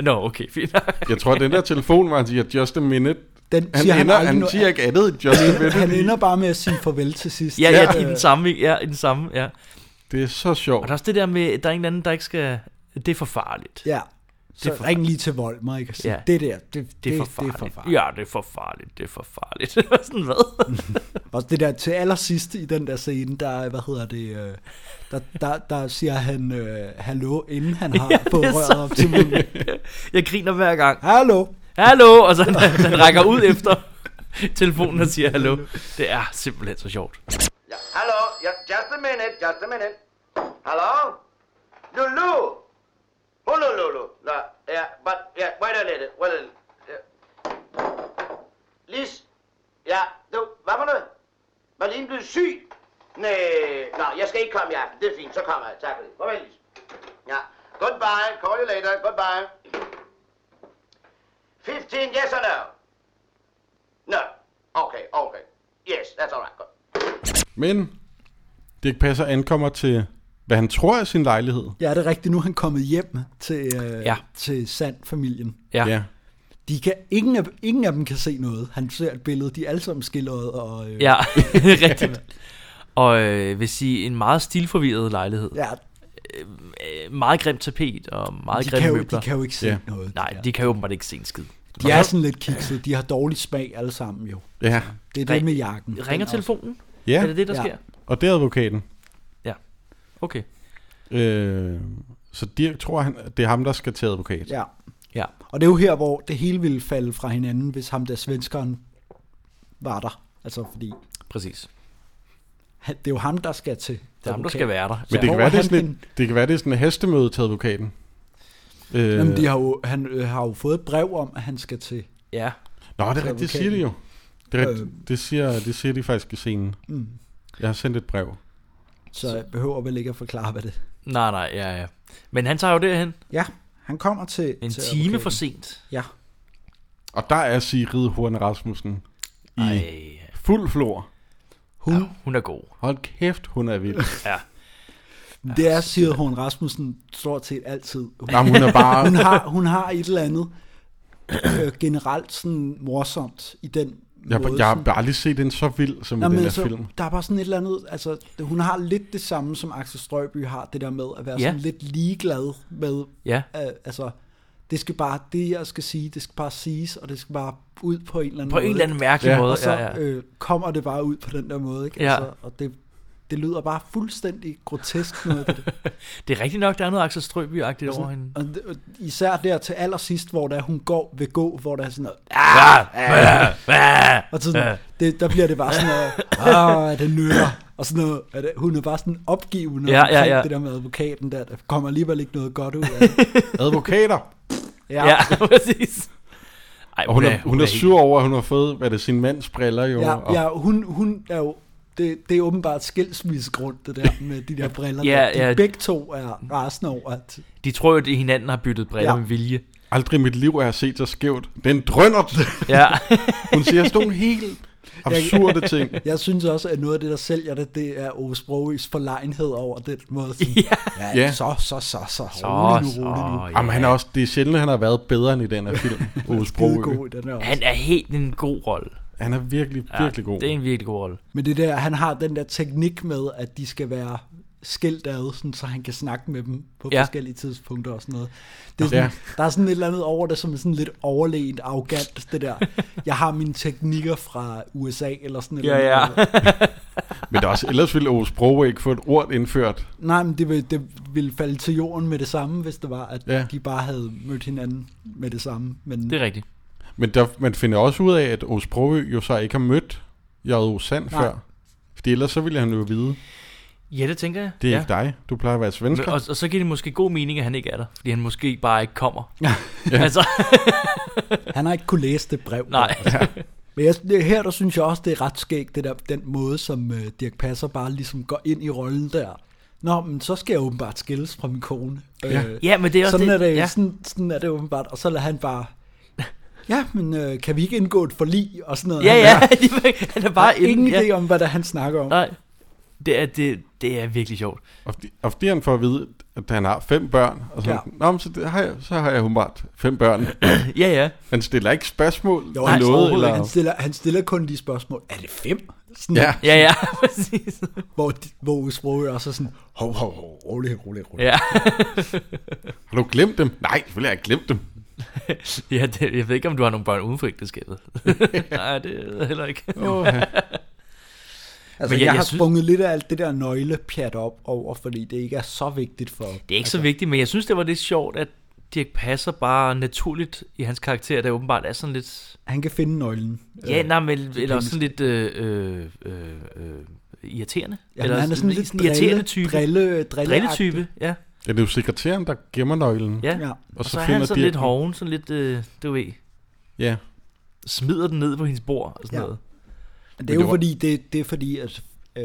Nå, okay, fint. Jeg tror, den der telefon, hvor han siger, just a minute. Den Han, siger ender, han, han, aldrig noget- siger ikke andet, end just a minute. han ender bare med at sige farvel til sidst. Ja, ja, i Øh, den samme, ja, i den samme, ja. Det er så sjovt. Og der er også det der med, der er en anden, der ikke skal... Det er for farligt. ja. Så er for ring lige til Volmer, ikke? Så Ja. ja. det der, det, det, Det er for det er for farligt. farligt. Ja, det er for farligt, det er for farligt. (laughs) Sådan hvad? Og det der til allersidst i den der scene, der, hvad hedder det, øh, der, der, der siger han øh, hallo, inden han har (laughs) Ja, ja, det er fået så røret op til munden. Jeg griner hver gang. Hallo! Hallo! Og så han, han rækker ud efter telefonen og siger hallo. Det er simpelthen så sjovt. Ja, Hallo, ja, just a minute, just a minute. Hello? Lulu! Honolulu. No, yeah, but, yeah, wait a minute, wait a minute. Yeah. Lis, ja, du, hvad for noget? Var lige blevet syg? Nej, nå, jeg skal ikke komme i aften, det er fint, så kommer jeg, tak for det. Farvel, Lis. Ja, goodbye, call you later, goodbye. 15, yes or no? No, okay, okay. Yes, that's all right, good. Men Dirk Passer ankommer til, hvad han tror er sin lejlighed. Ja, det er rigtigt, nu er han kommet hjem til, øh, Ja. ja. til Sand-familien. Ja. ja. De kan, ingen, af, ingen af dem kan se noget. Han ser et billede, de er alle sammen skildret. Og, øh, Ja, (laughs) rigtigt. Og øh, vil sige, en meget stilforvirret lejlighed. ja Øh, meget grimt tapet og meget de, grimme kan jo, møbler. de kan jo ikke se Ja. ja. noget. Nej, de kan jo åbenbart ikke se en skid. De er sådan lidt kikset. De har dårlig smag alle sammen jo. Ja. Det er Ring- det med jakken. Den Ringer er telefonen? ja. Er det det, der Ja. sker? Og det er advokaten. Okay. Øh, så Dirk tror, han, det er ham, der skal til advokat. Også, ja. Ja. Og det er jo her, hvor det hele ville falde fra hinanden, hvis ham der svenskeren var der. Altså fordi, Præcis. han, det er jo ham, der skal til. Det er ham, der skal være der. Men Ja. det kan, Hvor være, er det, er han sådan et, det kan være, det er sådan et hastemøde til advokaten. Øh, Jamen, de har jo, han øh, har jo fået et brev om, at han skal til. Ja. Nå, det er rigtigt, det siger de jo. Det, er, rigtigt, det, siger, det siger de faktisk i scenen. Øh. Mm. Jeg har sendt et brev. Så jeg behøver vel ikke at forklare, hvad det er. Nej, nej, ja, ja. Men han tager jo derhen Ja, han kommer til... en til time for advokaten. sent. Ja, Og der er Sigrid Horne Rasmussen i Ej. Ej, fuld flor. hun, ja, hun er god. Hold kæft, hun er vild. Ja. det er Sigrid Horn Rasmussen stort set altid. Hun Jamen, hun er bare... (laughs) hun har, hun har et eller andet øh, generelt sådan morsomt i den Jeg, måde. jeg har sådan- bare aldrig set den så vild som i den Jamen, her altså, film. Der er bare sådan et eller andet, altså det- hun har lidt det samme som Axel Strøby har, det der med at være Ja. ja. sådan lidt ligeglad med, Ja. øh, altså det skal bare, det jeg skal sige, det skal bare siges, og det skal bare ud på en eller anden På måde. en eller anden mærkelig Ja. måde. Og så ja, ja. øh, kommer det bare ud på den der måde, ikke? Ja. Altså, og det, det lyder bare fuldstændig grotesk noget, det (laughs) Det er rigtigt nok, der er noget Axel Strøby-agtigt over hende. Og det- og især der til allersidst, hvor der hun går, vil gå, hvor der er sådan noget, og sådan, det, der bliver det bare sådan noget, ah, det nytter, og sådan noget, at hun er bare sådan opgivende Ja, ja, omkring ja. det der med advokaten der, der kommer alligevel ikke noget godt (laughs) ud af det. Advokater! Ja, Ja, (laughs) ja præcis. Ej, Og hun er, hun er helt- sur over, at hun har fået, hvad er det sin mands briller jo. ja, og, ja hun, hun er jo, det, det er åbenbart skilsmissegrund, det der med de der briller. Ja, der. De ja. begge to er rasende over, at De tror jo, at hinanden har byttet briller ja. Ja. med (laughs) vilje. Aldrig i mit liv har jeg set så skævt. Den drønner! Ja, Hun siger sådan nogle helt absurde (laughs) ting. jeg synes også, at noget af det, der sælger det, det er Ove Sprogøs forlegenhed over den måde. (laughs) Sådan, ja, Ja. Så, så, så, så, så, rolig så, nu, rolig nu. Jamen, han er (laughs) også, det er sjældent, han har været bedre end i den her film. Ove Skide Sprogøe. god, den er også. han er helt en god rolle. Han er virkelig, virkelig god. Det er en virkelig god rolle. Men det der, han har den der teknik med, at de skal være skilt ad, sådan, så han kan snakke med dem på ja. Ja. forskellige tidspunkter og sådan noget. Det er sådan, ja. Der er sådan et eller andet over det, som er sådan lidt overlegent, arrogant, det der. Jeg har mine teknikker fra USA, eller sådan et Ja, eller ja. andet. Men der er også, ellers ville Aarhus Broge ikke få et ord indført. Nej, men det ville, det ville falde til jorden med det samme, hvis det var, at ja. Ja. de bare havde mødt hinanden med det samme. Men Det er rigtigt. Men der, man finder også ud af, at Aarhus Broge jo så ikke har mødt J.O. Sand Nej. før. Fordi ellers så ville han jo vide, Ja, det tænker jeg. det er ja. ja. ikke dig. Du plejer at være Men- svensker. Og, og så giver det måske god mening, at han ikke er der. Fordi han måske bare ikke kommer. ja. (laughs) (laughs) Altså, han har ikke kunne læse det brev. nej. Men jeg, det, her der synes jeg også, det er ret skægt, det der, den måde, som øh, Dirk Passer bare ligesom går ind i rollen der. Nå, men så skal jeg åbenbart skilles fra min kone. Ja, øh, Ja, men det er også sådan, det. Er det, Ja. sådan, sådan er det åbenbart. Og så lader han (laughs) bare, ja, men øh, kan vi ikke indgå et forlig og sådan noget. Ja, Han ja. har- (laughs) han er bare har ingen inde- idé ja. om, hvad der han snakker om. Nej. Det er, det, det er virkelig sjovt. Og, fordi, og fordi han får at vide, at han har fem børn. Og sådan, Ja. ja. Nå, men så, det har jeg, så har jeg humørt fem børn. Ja, ja. Han stiller ikke spørgsmål Jo, til han, noget. Eller, han, stiller, han stiller kun de spørgsmål. Er det fem? Sådan, Ja. Ja, ja, (laughs) præcis. Hvor, de- hvor Usprogø også er sådan, hov, hov, hov, rolig, rolig, rolig. Ja, Har du glemt dem? Nej, selvfølgelig har jeg glemt dem. ja det, jeg ved ikke, om du har nogle børn uden for ægteskabet. (laughs) Nej, det ved jeg heller ikke. Oh, ja. Altså, Men jeg, jeg jeg- jeg har synes- sprunget lidt af alt det der nøglepjat op over, fordi det ikke er så vigtigt for... Det er ikke så vigtigt, men jeg synes, det var lidt sjovt, at Dirk passer bare naturligt i hans karakter, der åbenbart er sådan lidt... Han kan finde nøglen. Øh, Ja, nej, men eller også sådan lidt øh, øh, øh, øh, irriterende. Ja, eller eller han er sådan lidt en drille, irriterende type. Drille, drille, Drilletype, ja. Ja, det er jo sekretæren, der gemmer nøglen. ja. Ja. ja. Og Og så så, så er finder han sådan lidt Dirk- hoven, sådan lidt, øh, du ved, Ja. smider den ned på hendes bord og sådan Ja. ja. noget. Men det Men er jo det var- fordi, det, det er fordi, at øh,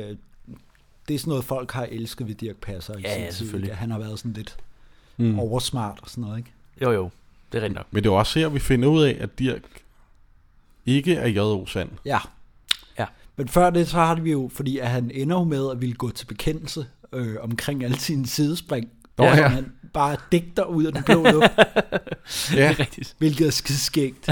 det er sådan noget, folk har elsket ved Dirk Passer i Ja, sin ja, tid, selvfølgelig. ikke? Han har været sådan lidt Mm. oversmart og sådan noget, ikke? Jo, jo, det er rigtigt nok. Men det er jo også her, vi finder ud af, at Dirk ikke er J.O. Sand. Ja. Ja. Men før det, så har vi jo, fordi at han ender jo med at ville gå til bekendelse øh, omkring alle sine sidespring. Nå som ja. han bare digter ud af den blå luft, Ja, (laughs) Det er rigtigt. hvilket er (laughs) skidskægt.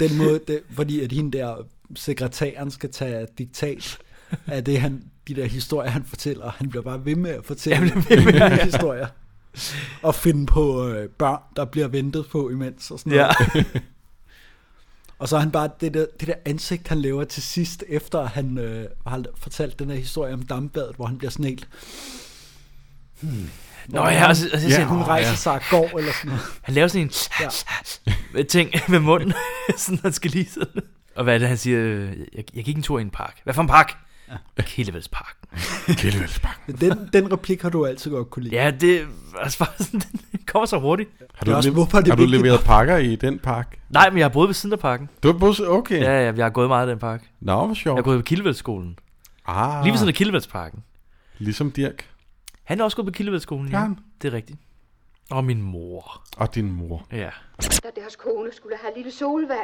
Den måde, det, fordi at hende der sekretæren skal tage diktat af det, han, de der historier, han fortæller. Han bliver bare ved med at fortælle Jamen, det er de (laughs) med, her ja. historier. Og finde på øh, børn, der bliver ventet på imens og sådan noget. Ja. Og så er han bare, det der, det der ansigt, han laver til sidst, efter at han øh, har fortalt den her historie om dampbadet, hvor han bliver snelt. Hmm. Nå ja, og så, og så Ja. siger Hun han, rejser sig og går, eller sådan noget. han laver sådan en ja. ting med munden, (laughs) sådan han skal lige sådan. Og hvad er det, han siger? øh, Jeg, jeg gik en tur i en park. Hvad for en park? Ja. Kildevældspark. Kildevældsbank. Men den, den replik har du altid godt kunne lide. Ja, det er altså bare sådan, den kommer så hurtigt. Har Det er du, også, lev- hvorfor er det har du vigtigt? leveret pakker i den pakke? Nej, men jeg har boet ved siden af parken. Du er busse? Okay. Ja, ja, jeg har gået meget i den park. Nå, hvor Jeg sjovt. har gået på Kildevældsskolen. Ah, Lige ved siden af Kildevældsparken. ligesom Dirk. Han er også gået på Kildevældsskolen, Ja. ja. Det er rigtigt. Og min mor. Og din mor. Ja. Da deres kone skulle have lille Solvej,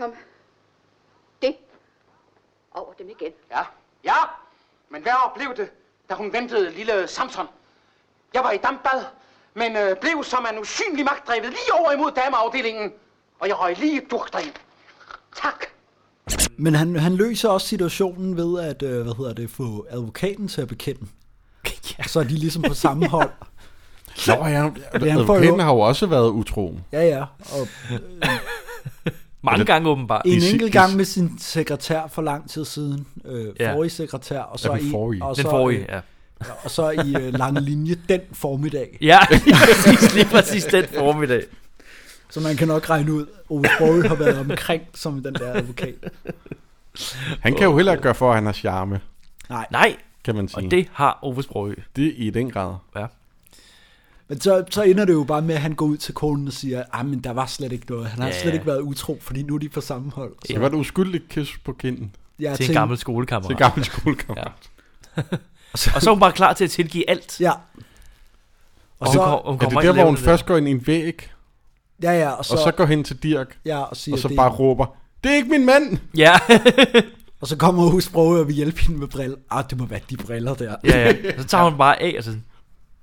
kom det over dem igen. Ja, ja. Men hvad blev det, da hun ventede lille Samson? Jeg var i dampbad, men øh, blev som en usynlig magt drevet lige over imod dameafdelingen. Og jeg røg lige durkdriv. Tak. Men han, han løser også situationen ved at øh, hvad hedder det, få advokaten til at bekende. (laughs) ja. Så er de ligesom på samme hold. Nå, ja, jo- advokaten har jo også været utro. Ja, ja. Og Mange Eller- gange åbenbart. en I si- enkelt i gang si- med sin sekretær for lang tid siden. Øh, Ja. forrige sekretær. Og så Ja, den i- forrige. Og så, Den forrige, øh, ja. Og så i øh, lange linje den formiddag. Ja, (laughs) lige præcis, lige præcis den formiddag. Så man kan nok regne ud, Ole Borg har været omkring som den der advokat. Han kan jo heller ikke gøre for, at han har charme, Nej, kan man og sige. det har Ove Sprogø. det er i den grad. Ja. Men så, så ender det jo bare med, at han går ud til konen og siger, at men der var slet ikke noget. Han har Ja, slet ja. ikke været utro, fordi nu er de på samme hold. Så Det var et uskyldigt kys på kinden jeg Til en tænkte- gammel til skolekammerat. gammel skolekamp. Ja. Og så er hun bare klar til at tilgive alt. Ja. Og Og så, hun, kom, hun kommer Er det ind der, og hvor laver hun det først går ind i en væg, ja, ja, og så, og så går hen til Dirk, ja, og, siger, og så det, bare råber, det er ikke min mand! der. (laughs) Ja, og så kommer husbrød og vil hjælpe hende med briller. Ah, det må være de briller der. ja, ja. Og så tager hun bare af og så sådan,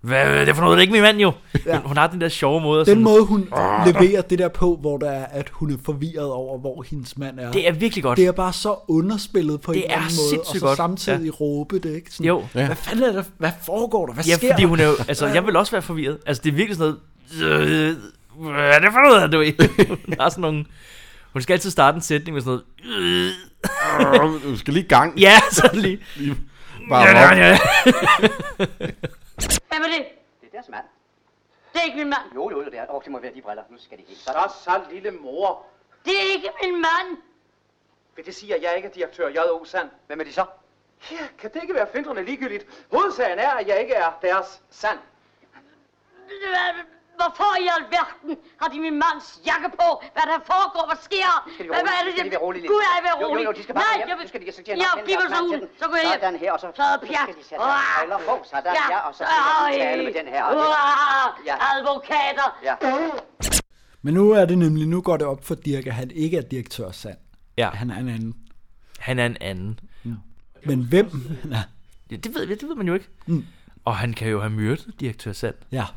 Hvad er det for noget? Det er ikke min mand jo. Ja. Ja. Hun har den der sjove måde. at Den sådan- måde, hun Ah. leverer det der på, hvor der er, at hun er forvirret over, hvor hendes mand er. Det er virkelig godt. det er bare så underspillet på Det en eller er anden måde, og sindssygt så godt. samtidig råbe det, ikke? Sådan, Jo. Ja. Hvad fanden er der? Hvad foregår der? Hvad Ja, sker fordi der? hun er (laughs) jo, altså, jeg vil også være forvirret. Altså, det er virkelig sådan noget, øh, hvad er det for noget, du ved? (laughs) Hun har sådan nogle, hun skal altid starte en sætning med sådan noget, øh, Du skal lige i gang. ja, (laughs) sådan lige. Bare Ja, op. ja, ja. Hvem er det? Det er deres mand. Det er ikke min mand. Jo, jo, jo, det er. Åh, det må være de briller. Nu skal det helt. Så, så lille mor. Det er ikke min mand. Vil det sige, at jeg ikke er direktør J.O. Sand? Hvem er de så? Ja, kan det ikke være findrende ligegyldigt? Hovedsagen er, at jeg ikke er deres sand. Hvad- Hvorfor i alverden har de min mands jakke på? Hvad der foregår? Hvad sker? Skal de være Hvad, hvad rolige? er det? Skal de være rolige lidt? Gud, jeg vil Jo, jo, rolig. jo, de skal bare Nej, hjem. jeg vil... Nu skal de sortere jeg nok den giver der sig mand ud. til den. Så går jeg hjem. Sådan her, og så- Så er nu skal pjat. de sætte deres Ah, briller på. Sådan ja. øh. her, og så skal de Øj. tale med den her, og den. Ah, Ja. Advokater. Ja. Men nu er det nemlig, nu går det op for Dirk, at han ikke er direktør Sand. ja, Han er en anden. han er en anden. Men hvem han er? Ja, det, ved, det ved man jo ikke. Mm. Og han kan jo have myrdet direktør Sand. Ja.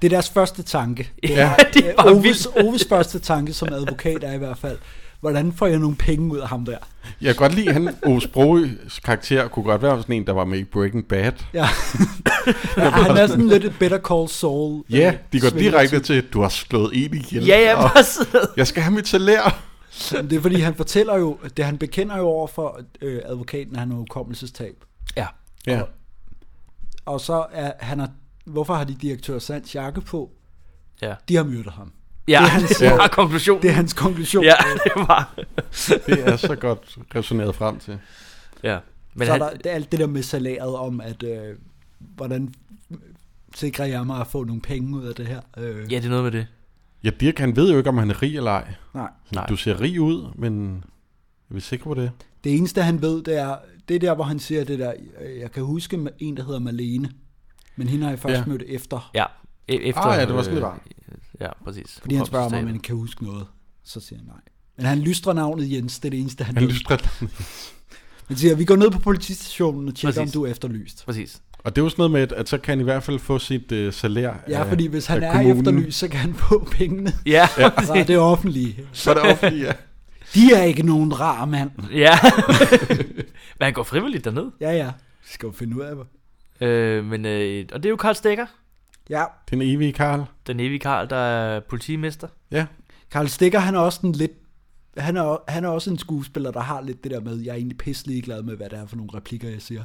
Det er deres første tanke. Det Ja, (laughs) det er bare Oves, vildt. Oves første tanke som advokat er i hvert fald, hvordan får jeg nogle penge ud af ham der? Jeg kan godt lide, at han Ove Sprogøes karakter kunne godt være sådan en, der var med i Breaking Bad. Ja. ja (laughs) han er sådan lidt et Better Call Saul. øh, Ja, de går Svindeltype. direkte til, at du har slået en ihjel. Ja, ja, og bare sidde. Jeg skal have mit salær. Men Det er fordi, han fortæller jo, det han bekender jo over for øh, advokaten, at han har hukommelsestab. Ja, Ja. Og så er han er, hvorfor har de direktør Sands jakke på? ja. De har myrdet ham. Ja, Det er hans- det var konklusionen. Det er hans konklusion. Ja, det var. Det er så godt resoneret frem til. Ja. Men så han, er der det er alt det der med salæret om, at øh, hvordan sikrer jeg mig at få nogle penge ud af det her? Øh, ja, det er noget med det. Ja, Dirk, han ved jo ikke, om han er rig eller ej. Nej. Nej. Du ser rig ud, men er vi sikre på det? Det eneste, han ved, det er, det er der, hvor han siger det der, øh, jeg kan huske ma- en, der hedder Malene, men hende har jeg først ja. Ja. mødt efter, Ja, e- efter... Ah, ja, det var sådan, det var. Ja, præcis. fordi han spørger mig, om han kan huske noget. Så siger han nej. Men han lystrer navnet Jens, det er det eneste, han, Han han ved. lystrer Han siger, vi går ned på politistationen og tjekker, Præcis. om du er efterlyst. Præcis. Og det er jo sådan noget med, at, at så kan han i hvert fald få sit øh, salær Ja, fordi hvis han af er kommunen. efterlyst, så kan han få (laughs) pengene Ja, ja. fra det offentlige. Så er det offentligt, ja. De er ikke nogen rar mand. (laughs) ja. (laughs) men han går frivilligt derned. Ja, ja. Vi skal jo finde ud af det. Øh, men, øh, og det er jo Karl Stikker, Ja, Den evige Karl. den evige Karl, der er politimester. Ja. Karl Stikker, han er også en lidt... Han er, han er også en skuespiller, der har lidt det der med, jeg er egentlig pisselig glad med, hvad det er for nogle replikker, jeg siger.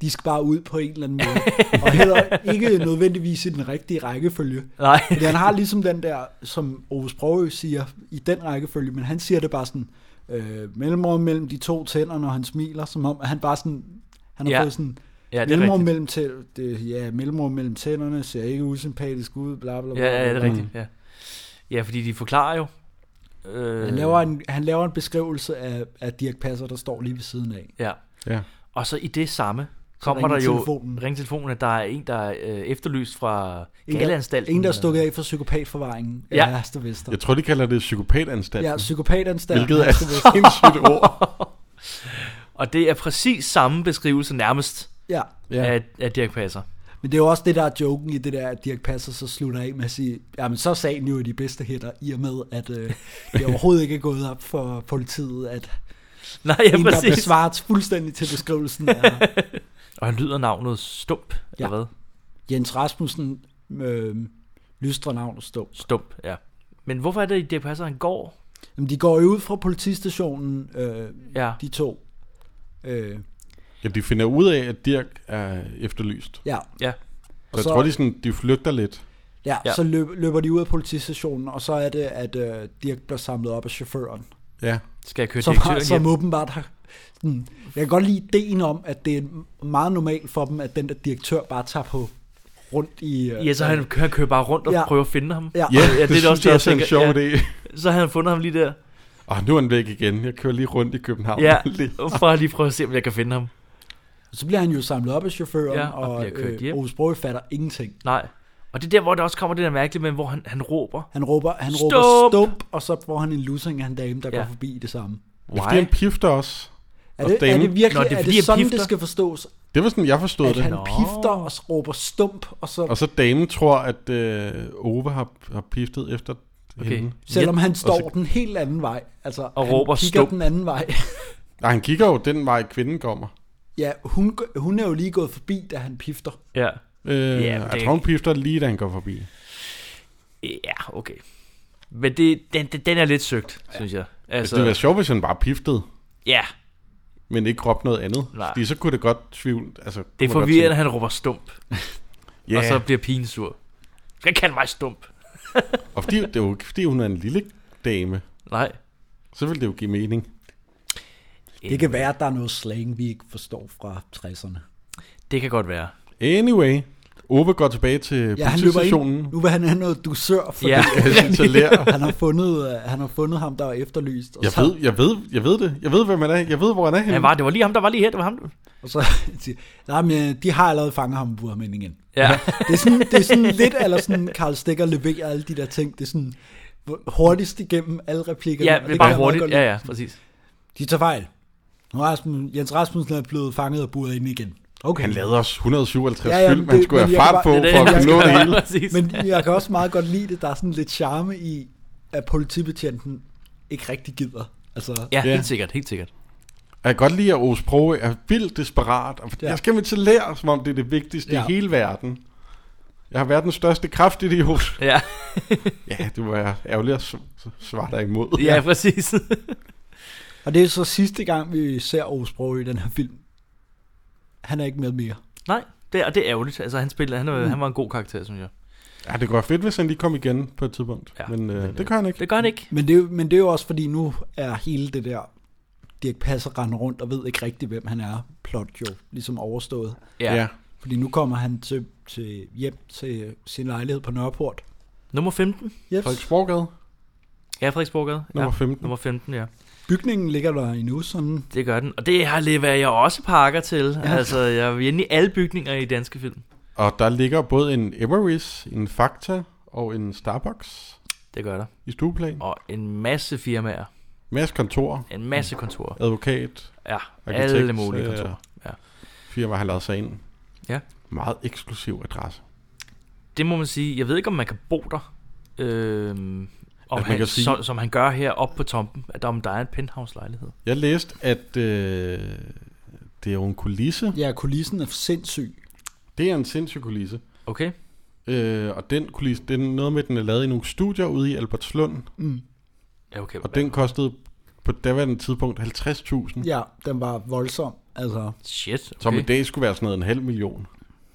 De skal bare ud på en eller anden måde. og heller ikke nødvendigvis i den rigtige rækkefølge. Nej. Fordi han har ligesom den der, som Ove Sprogø siger, i den rækkefølge, men han siger det bare sådan, øh, mellemrum mellem de to tænder, når han smiler, som om at han bare sådan, han har ja. Ja. fået sådan, (laughs) Ja, det er mellemrum rigtigt. mellem, tæ, det, ja, mellemrum mellem tænderne, ser ikke usympatisk ud, bla bla bla. Ja, ja, det bla. er rigtigt. Ja. ja, fordi de forklarer jo. Øh, Han laver en, han laver en beskrivelse af, af Dirk Passer, der står lige ved siden af. Ja. Ja. Og så i det samme kommer ringer der jo telefonen. ring telefonen, at der er en, der er øh, efterlyst fra En, der, galeanstalten. en, der er (laughs) stukket af for psykopatforvaringen ja. Ja. af Herster Vester. Jeg tror, de kalder det psykopatanstalten. Ja, psykopatanstalten. hvilket er et Herster (laughs) Vester. sindssygt ord. Og det er præcis samme beskrivelse nærmest Ja. ja. Ja. af, af Dirk Passer. Men det er jo også det, der er joken i det der, at Dirk Passer så slutter af med at sige, jamen så er sagen jo i de bedste hætter, i og med, at (laughs) øh, det overhovedet ikke er gået op for politiet, at Nej, ja, (laughs) ja, en, der præcis. besvarer fuldstændig til beskrivelsen (laughs) af Og han lyder navnet Stump, ja. eller Ja. hvad? Jens Rasmussen, øh, lystre navn og stå. Stump, ja. Men hvorfor er det, at Dirk Passer, han går? Jamen, de går jo ud fra politistationen, øh, Ja, de to. Øh, Ja, de finder ud af, at Dirk er efterlyst. ja, ja. Så jeg så- tror, de, sådan, de flygter lidt. Ja, ja. Ja. så løb, løber de ud af politistationen, og så er det, at øh, Dirk bliver samlet op af chaufføren, Ja. Skal jeg køre som, har, direktøren som hjem? åbenbart har... Sådan, jeg kan godt lide ideen om, at det er meget normalt for dem, at den der direktør bare tager på rundt i... Øh, Ja, så han, han kører bare rundt og Ja. ja. prøver at finde ham. Ja, Ja, ja. det, det, synes også, jeg også er en tænker, sjov ja. idé. Så havde han fundet ham lige der. Ah, nu er han væk igen. Jeg kører lige rundt i København. Ja, (laughs) Lige. for at lige prøve at se, om jeg kan finde ham. Så bliver han jo samlet op af chaufføren, Ja, ja, og, og og bliver kørt øh, hjem. Ove Sprogøe fatter ingenting. Nej. Og det er der, hvor der også kommer det der mærkelige med, hvor han, han råber. Han råber, han Stump! råber stump, og så får han en lussing af en dame, der ja. Ja. går forbi i det samme. Fordi han pifter også. Er Og det, er damen- det virkelig Nå, det det er er fordi, det han sådan, pifter. det skal forstås? Det Det var sådan, jeg forstod at det. han pifter og s- råber stump, og så, Og så damen tror, at øh, Ove har, har piftet efter okay. Okay. hende. selvom han står så- den helt anden vej, altså Og han råber kigger stump. den anden vej. (laughs) Nej, han kigger jo den vej, kvinden kommer. ja, hun, g- hun er jo lige gået forbi, da han pifter. Ja. Øh, men jeg det- tror, hun pifter lige, da han går forbi. Ja, okay. Men det, den, den, den er lidt søgt, ja. synes jeg. Altså, det ville være Altså, sjovt, hvis han bare piftede, ja, men ikke råbte noget andet. Nej. Fordi så kunne det godt tvivl. Altså, det er kunne man godt forvirrende, at tænke, han råber stump, Ja, og så bliver pigen sur. Du skal ikke kalde mig stump. og fordi, det er jo ikke, fordi hun er en lille dame, Nej. så ville det jo give mening. Det kan være, at der er noget slang, vi ikke forstår fra 60'erne. Det kan godt være. Anyway, Ove går tilbage til Ja, ja, han løber (laughs) politistationen. ind. Nu vil han have noget dusør, fordi (laughs) Ja. ja. Så lærer. han, har fundet, øh, han har fundet ham, der er efterlyst. Og Jeg så, ved, jeg ved, jeg ved det. Jeg ved, hvem han er. Jeg ved, hvor han er henne. Han var, det var lige ham, der var lige her. Det var ham. Og så (laughs) siger nej, men øh, de har allerede fanget ham, burmændingen. Ja. Det er sådan, det er sådan lidt, eller sådan, Karl Stikker leverer alle de der ting. Det er sådan hurtigst igennem alle replikkerne. og (laughs) ja, det bare kan jeg meget hurtigt. godt Ja, lide. ja, præcis. De tager fejl. Og Rasmus, Jens Rasmussen er blevet fanget og buret ind igen. Okay. Han lavede også 157 Ja, ja, ja, ja, men film, man det- skulle men have jeg kan fart på, bare- for Det er det, jeg at kunne (laughs) nå kan det bare- hele. Præcis. Men, Men jeg kan også meget godt lide det. Der er sådan lidt charme i, at politibetjenten ikke rigtig gider. Altså, ja, Ja. helt sikkert, helt sikkert. Jeg kan godt lide, at Aarhus Pro er vildt desperat. Og Ja. Jeg skal med til lære, som om det er det vigtigste Ja. i hele verden. Jeg har været den største (laughs) kraftidiot. Ja, Ja, det var jeg ærgerlig at s- s- svare dig imod. ja (laughs) præcis. Og det er så sidste gang, vi ser Osbro i den her film. Han er ikke med mere. Nej, det, og det er ærgerligt. Altså, han, spillede, han, mm. han var en god karakter, synes jeg. Ja, det kunne være fedt, hvis han lige kom igen på et tidspunkt. Ja, Ja, men øh, men, det gør han ikke. Det gør han ikke. Men det, er jo- men det er jo også, fordi nu er hele det der, Dirk Passer render rundt og ved ikke rigtig, hvem han er, plot jo ligesom overstået. Ja. ja. Fordi nu kommer han til, til hjem til sin lejlighed på Nørreport. Nummer 15. Yes. Frederiksborggade, Ja, Frederiksborggade. nummer ja. 15. Nummer 15, ja. Bygningen ligger der endnu sådan. Det gør den. Og det har leverer jeg også pakker til. Altså, jeg er inde i alle bygninger i danske film. Og der ligger både en Emery's, en Fakta og en Starbucks Det gør der. i stueplan. Og en masse firmaer. Mads kontor, En masse kontorer. advokat, Ja, Arkitekt, alle mulige øh, kontorer. Ja. firma har lavet sig ind. Ja. Meget eksklusiv adresse. Det må man sige. Jeg ved ikke, om man kan bo der. Øhm, om man han, kan sige- så, som han gør her oppe på Tompen. At der, om der er en penthouse-lejlighed. Jeg læste, at øh, det er jo en kulisse. Ja, kulissen er sindssyg. Det er en sindssyg kulisse. Okay? Øh, og den kulisse, det er noget med, at den er lavet i nogle studier ude i Albertslund. Mm. Ja, okay. Og den kostede på daværende tidspunkt 50.000. Ja. Ja, den var voldsom. Altså, Shit, okay. Som i dag skulle være sådan noget en halv million.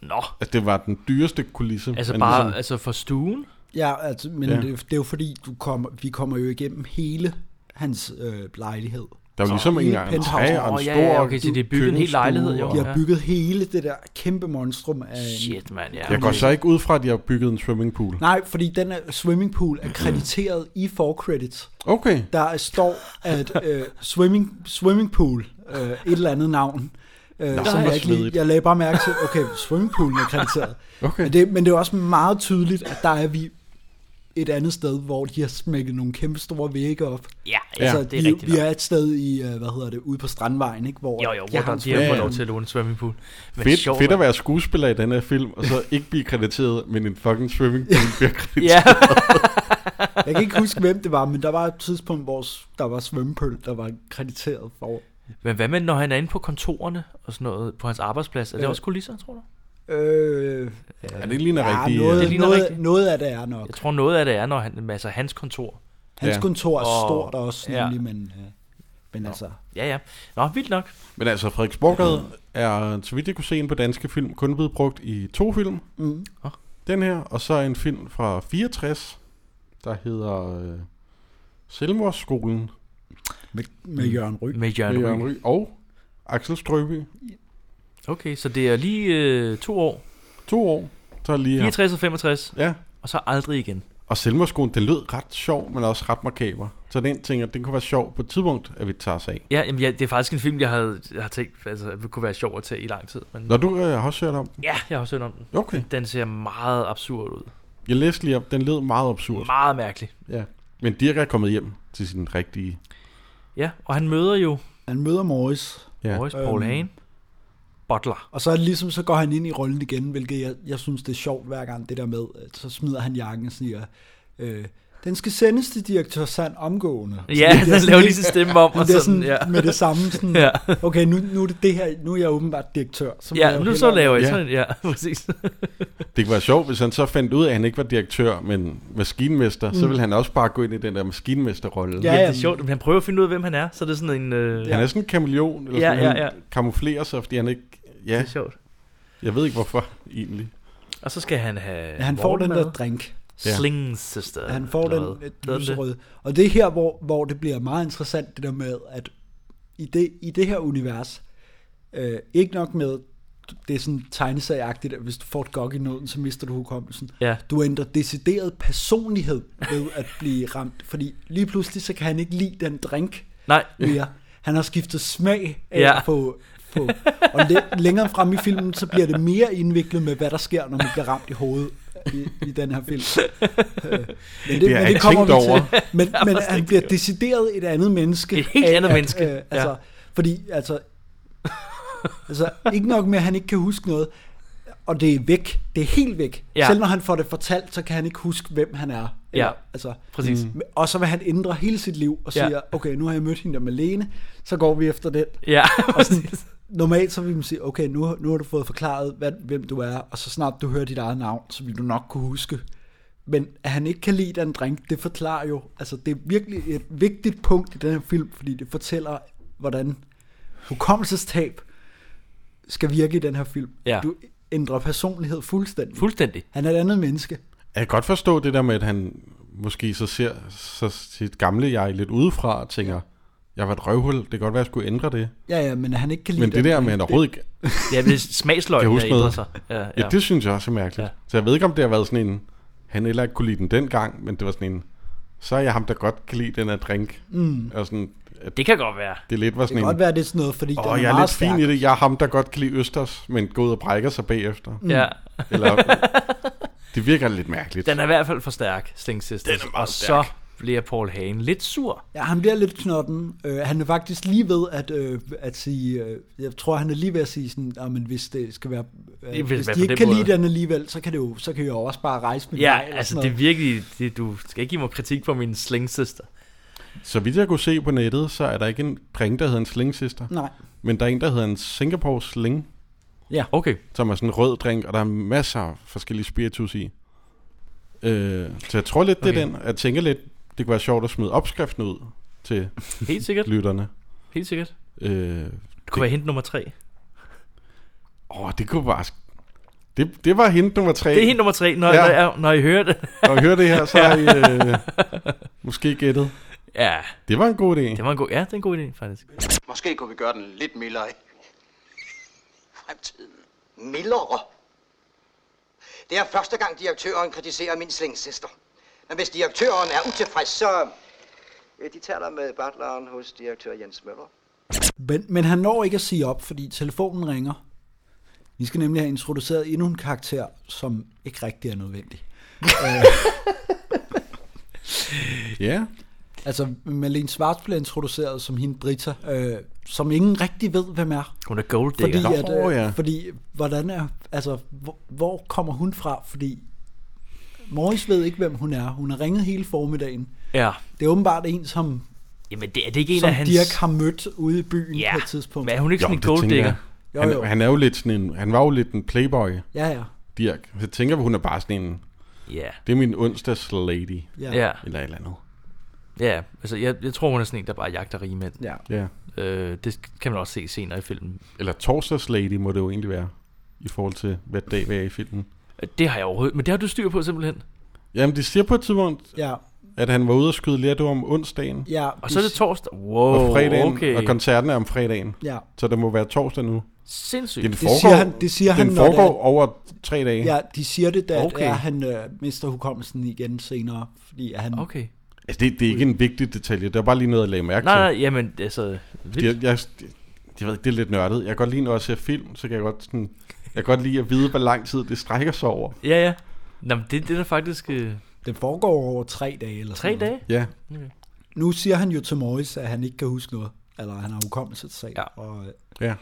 Nå, Altså, det var den dyreste kulisse. altså man bare ligesom- altså for stuen? ja, altså men ja. Ja. Det, det, er jo fordi, du kommer, vi kommer jo igennem hele hans øh, lejlighed. Der var ligesom i en gang en penthouse. træ og en Åh, stor ja, ja, okay, så det er bygget en hel køkkenstue, lejlighed, jo. og- De Ja. har bygget hele det der kæmpe monstrum af en- Shit, mand. Ja. Jeg går så ikke ud fra, at de har bygget en swimmingpool. Nej, fordi den er, swimmingpool er krediteret i for credits. Okay, Der står, (laughs) at øh, swimming, swimmingpool, øh, et eller andet navn, øh, Nå, som hvor jeg ikke lige, svedigt. jeg lagde bare mærke til, okay, swimmingpoolen er krediteret. okay. Men det, men det er også meget tydeligt, at der er vi et andet sted, hvor de har smækket nogle kæmpe store vægge op. Ja, ja, altså, det er vi, rigtigt vi nok. er et sted i, øh, hvad hedder det, ude på Strandvejen, ikke? Hvor Jo, jo, hvor jeg der, har de har fået Ja, lov ja. til at låne en swimmingpool. Men Fedt, sjovt, fedt at mand. være skuespiller i den her film, og så ikke blive krediteret, men en fucking swimmingpool bliver krediteret. Ja, (laughs) Jeg kan ikke huske, hvem det var, men der var et tidspunkt, hvor s- der var svømmepøl, der var krediteret for. men hvad med, når han er inde på kontorerne og sådan noget, på hans arbejdsplads? Er det Ja. også kulisser, tror du? Øh, Ja, det ligner ja, rigtig... øh, noget, det det ligner noget, rigtigt. noget af det er nok. Jeg tror noget af det er, når han, altså hans kontor. Hans Ja. kontor er Åh, stort også, ja. nemlig, men, øh, men altså, Ja, ja. Nå, vildt nok. Men altså, Frederiksborggade er, så vidt jeg kunne se, en på danske film kun blevet brugt i to film. mm, Den her, og så en film fra 64, der hedder øh, Selvmordsskolen med, med Jørgen Ryg. Med Jørgen med Jørgen Ryg. Ryg og Axel Strøby. Okay, så det er lige øh, to år. To år, så lige her. 64 og 65, Ja, og så aldrig igen. og Selvmordsskolen, den lød ret sjov, men også ret makaber. Så den tænker, den kunne være sjov på et tidspunkt, at vi tager os af. Ja, jamen, ja, det er faktisk en film, jeg havde jeg har tænkt, altså, det kunne være sjov at tage i lang tid. Men Når du øh, har også hørt om den? ja, jeg har også hørt om den. Okay. Den ser meget absurd ud. Jeg læste lige op, den lød meget absurd. Meget mærkelig. Ja. Men Dirk er kommet hjem til sin rigtige... Ja, og han møder jo Han møder Morris, Ja. Morris Paul Øhm. Hagen. Butler. Og så ligesom så går han ind i rollen igen, hvilket jeg, jeg synes det er sjovt hver gang det der med, at så smider han jakken og siger, øh, den skal sendes til direktør Sand omgående. (laughs) Ja, (laughs) det er han sådan laver lidt- lige sin stemme om, og det er sådan, sådan, ja. med det samme, sådan, (laughs) Ja. okay, nu, nu er det det her, nu er jeg åbenbart direktør. Så må jeg Ja, jo nu så hellere- laver jeg Ja. sådan, ja, (laughs) præcis. Det kunne være sjovt, hvis han så fandt ud af, at han ikke var direktør, men maskinmester, mm. så ville han også bare gå ind i den der maskinmesterrolle. Ja, Ja, det jamen. er sjovt, men han prøver at finde ud af, hvem han er, så er det er sådan en... Øh, ja. Han er sådan en kameleon, eller Ja, sådan, ja, han ja. kamuflerer sig, fordi han ikke... Det Ja, er sjovt. jeg ved ikke hvorfor egentlig. Og så skal han have... Ja, han får den morgenmad. der drink. Ja. Sling Sister. Han får eller den øh, hvad? Hedder den det? lyserøde. Og det er her, hvor, hvor det bliver meget interessant, det der med, at i det, i det her univers, øh, ikke nok med, det er sådan tegnesagagtigt, at hvis du får et gok i nåden, så mister du hukommelsen. Ja. Du ændrer decideret personlighed ved at blive ramt, fordi lige pludselig, så kan han ikke lide den drink Nej, mere. Han har skiftet smag af ja. Ja. at få, få. Og læ- længere frem i filmen, så bliver det mere indviklet med, hvad der sker, når man bliver ramt i hovedet i, i den her film. Øh, Men Det har jeg ikke tænkt over. til. (laughs) Men, men han bliver decideret et andet menneske. Et helt af andet at, menneske, Øh, altså, ja. Fordi, altså, altså, ikke nok med, at han ikke kan huske noget, og det er væk. Det er helt væk. Ja. Ja. Selv når han får det fortalt, så kan han ikke huske, hvem han er. Eller, Ja. altså, Præcis. Mm. Og så vil han ændre hele sit liv og Ja. siger, okay, nu har jeg mødt hende der Malene, så går vi efter den. ja, Og sådan, præcis. normalt så vil man sige, okay, nu, nu har du fået forklaret, hvad, hvem du er, og så snart du hører dit eget navn, så vil du nok kunne huske. Men at han ikke kan lide den drink, det forklarer jo, altså det er virkelig et vigtigt punkt i den her film, fordi det fortæller, hvordan hukommelsestab skal virke i den her film. Ja. Du ændrer personlighed fuldstændig. Fuldstændig. han er et andet menneske. Jeg kan godt forstå det der med, at han måske så ser så sit gamle jeg lidt udefra og tænker, jeg var et røvhul, det kan godt være, jeg skulle ændre det. Ja, ja, men han ikke kan lide Men det den der drink, med, at han overhovedet ikke... Ja, det er smagsløg, Kan jeg der huske ændrer noget? sig. Ja, ja. Ja, det synes jeg også er mærkeligt. Ja. Ja. Så jeg ved ikke, om det har været sådan en... Han heller ikke kunne lide den dengang, men det var sådan en... Så er jeg ham, der godt kan lide den her drink. Mm. Og sådan, at det kan godt være. det lidt var Det sådan kan en... godt være, det er sådan noget, fordi Åh, den er jeg er meget lidt stærk. fin i det. Jeg er ham, der godt kan lide Østers, men går ud og brækker sig bagefter. Mm. Ja. (laughs) Eller, det virker lidt mærkeligt. Den er i hvert fald for stærk, Sling Sister. Den er meget og stærk. så bliver Paul Hagen lidt sur. Ja, han bliver lidt knotten. Øh, han er faktisk lige ved at, øh, at sige, øh, jeg tror, han er lige ved at sige sådan, "Nå, men hvis det skal være, Det vil øh, hvis være de på ikke den kan måde." lide den alligevel, så kan, det jo, så kan jeg jo også bare rejse med Ja, mig. eller altså sådan det er noget. virkelig... Det, du skal ikke give mig kritik for min Sling Sister. Så vidt jeg kunne se på nettet, så er der ikke en drink, der hedder en Sling Sister. Nej, Men der er en, der hedder en Singapore Sling, Okay. som er sådan en rød drink, og der er masser af forskellige spiritus i. Øh, så jeg tror lidt, det er Okay. den. Jeg tænker lidt, det kunne være sjovt at smide opskriften ud til Helt sikkert. lytterne. Helt sikkert. Øh, Det kunne være hint nummer tre. åh, det kunne bare... Det, det var hint nummer tre. Det er hint nummer tre, når, Ja. ja. når, når I hører det. Og hør det her, så har I øh, måske gættet. Ja, Det var en god idé. det var en god, ja, det er en god idé, faktisk. Måske kunne vi gøre den lidt mildere i fremtiden. Mildere? Det er første gang, direktøren kritiserer min slingsister. Men hvis direktøren er utilfreds, så... De taler med butleren hos direktør Jens Møller. men, men han når ikke at sige op, fordi telefonen ringer. Vi skal nemlig have introduceret endnu en karakter, som ikke rigtig er nødvendig. Ja. Altså, Malene Schwartz bliver introduceret som hende Britta, øh, som ingen rigtig ved, hvem er. Hun er gold digger. Fordi, Nå, at, øh, ja. fordi hvordan er, altså, hvor, hvor kommer hun fra? Fordi Morris ved ikke, hvem hun er. Hun har ringet hele formiddagen. Ja. Det er åbenbart en, som, Jamen, det, er det ikke en som af hans... Dirk har mødt ude i byen Ja, på et tidspunkt. men er hun ikke sådan en det gold tænker digger? jeg. Han, Jo, jo. han, er jo lidt sådan en, han var jo lidt en playboy, Ja, ja. Dirk. Så tænker vi, hun er bare sådan en, Ja. det er min onsdags lady, Ja. Ja, eller et eller andet. ja. Altså, jeg, jeg tror, hun er sådan en, der bare jagter rige mænd. ja. Ja. Øh, det kan man også se senere i filmen. Eller torsdags lady må det jo egentlig være, i forhold til, hvad dag vi er i filmen. Øh, Det har jeg overhovedet... Men det har du styr på, simpelthen. Jamen, de siger på et tidspunkt, Ja, at han var ude og skyde lærte om onsdagen ja. Og så er det torsdag. Wow, og fredagen, okay. og koncerten er om fredagen. Ja, Så det må være torsdag nu. Sindssygt. Den det foregår, siger han, det siger han den når det foregår er, over tre dage. ja, de siger det, da okay. Okay. er, han øh, mister hukommelsen igen senere, fordi at han... Okay. Altså, det, det er ikke en vigtig detalje, det er bare lige noget, jeg lagde mærke Nej, til. nej, jamen, altså... Det, Vildt. jeg, jeg, det, jeg ved ikke, det er lidt nørdet. Jeg kan godt lide, når jeg ser film, så kan jeg godt, sådan, jeg kan godt lide at vide, hvor lang tid det strækker sig over. Ja, ja. Nå, men det, det er da faktisk øh, Det foregår over tre dage eller tre Mm. sådan noget. dage. Ja, Nu siger han jo til Morris, at han ikke kan huske noget, eller han har hukommelsestab, Ja. og, ja. øh,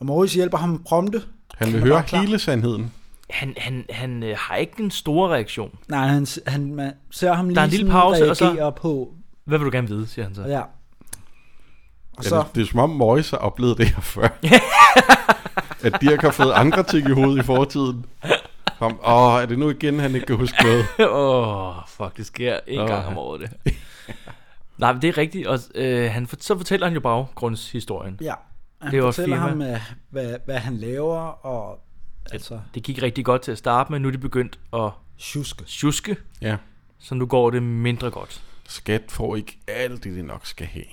Og Morris hjælper ham prompte. Han vil er høre bare klar. hele sandheden. Han, han, han øh, har ikke den store reaktion. Nej, han, han man ser ham lige Der er en lille sådan pause, og så- reagere på. Hvad vil du gerne vide, siger han så. Ja. Og Ja, så, det, det er som om Morris har oplevet det her (laughs) før. at Dirk har fået andre ting i hovedet i fortiden. Som, åh, er det nu igen, han ikke kan huske noget? (laughs) Åh, oh, fuck, det sker en oh. Åh. gang om året, det. (laughs) Nej, men det er rigtigt, og øh, han, for- så fortæller han jo baggrundshistorien. ja. Han Det var fortæller firma. ham, øh, hvad, hvad han laver, og altså, Det gik rigtig godt til at starte med, nu er de begyndt at tjuske. tjuske, Ja. så nu går det mindre godt. Skat får ikke alt det, de nok skal have.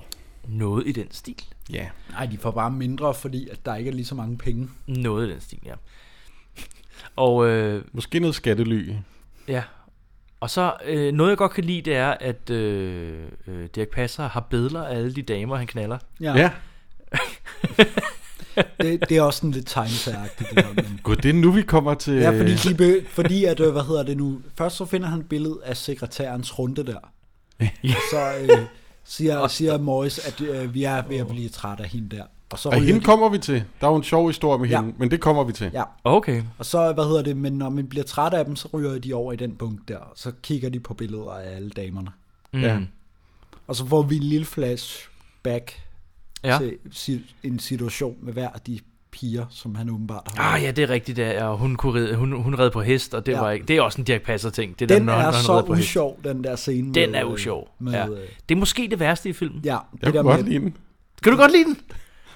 Noget i den stil. Ja. Nej, de får bare mindre, fordi at der ikke er lige så mange penge. Noget i den stil, ja. Og øh, Måske noget skattely. Ja. Og så øh, noget, jeg godt kan lide, det er, at øh, øh, Dirk Passer har billeder af alle de damer, han knaller. Ja, Ja. ja. Det, det er også sådan lidt tegnesagtigt. Det der, (laughs) men. Gud, det er nu, vi kommer til... Ja, fordi, de be, fordi at, øh, hvad hedder det nu, først så finder han et billede af sekretærens runde der. Og så øh, siger, siger Morris, at øh, vi er ved at blive træt af hende der. Og så Og ryger hende de- kommer vi til. Der er jo en sjov historie med Ja. hende, men det kommer vi til. Ja, Okay. og så, hvad hedder det, men når man bliver træt af dem, så ryger de over i den bunk der, og så kigger de på billeder af alle damerne. Mm. Ja. Og så får vi en lille flashback Ja. ja. til si- en situation med hver af de piger, som han åbenbart har. Ah ja, det er rigtigt, det er. Og hun, kunne ride, hun, hun red på hest, og det, ja. Ja. var ikke, det er også en Dirk Passer-ting. Det der, den når, er han- når han så rider på hest. usjov, den der scene. Den med, er øh, usjov. Med, ja. øh, Det er måske det værste i filmen. ja, Jeg kunne godt lide den. Kan du godt lide den?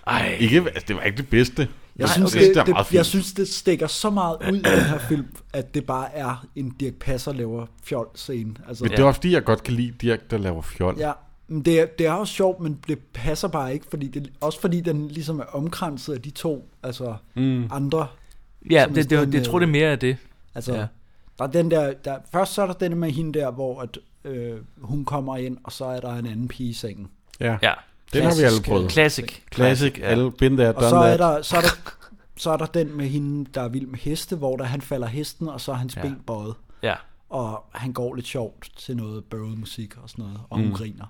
Ej, Ikke, altså, det var ikke det bedste. Jeg, Nej, synes, okay. det, Det er det, meget fint. jeg synes, det stikker så meget ud i den her film, at det bare er en Dirk Passer laver fjol scene. Altså, Men det er også fordi, jeg godt kan lide Dirk, der laver fjol. ja. Men det, er, det er også sjovt, men det passer bare ikke, fordi det, også fordi den ligesom er omkranset af de to altså mm. andre. ja, som øh, er det, det, sådan, det, jeg tror, det er mere af det. Altså, Ja. ja. der er den der, der, først så er der den med hende der, hvor at, øh, hun kommer ind, og så er der en anden pige i sengen. ja. Ja. Den har vi alle Klassisk, prøvet. Classic. Classic, ja. alle been there, Og done så er, that. der, så, er der, så er der den med hende, der er vild med heste, hvor der han falder hesten, og så er hans Ja. ja. ben bøjet. Ja. og han går lidt sjovt til noget bøvet musik og sådan noget, og hun mm. griner.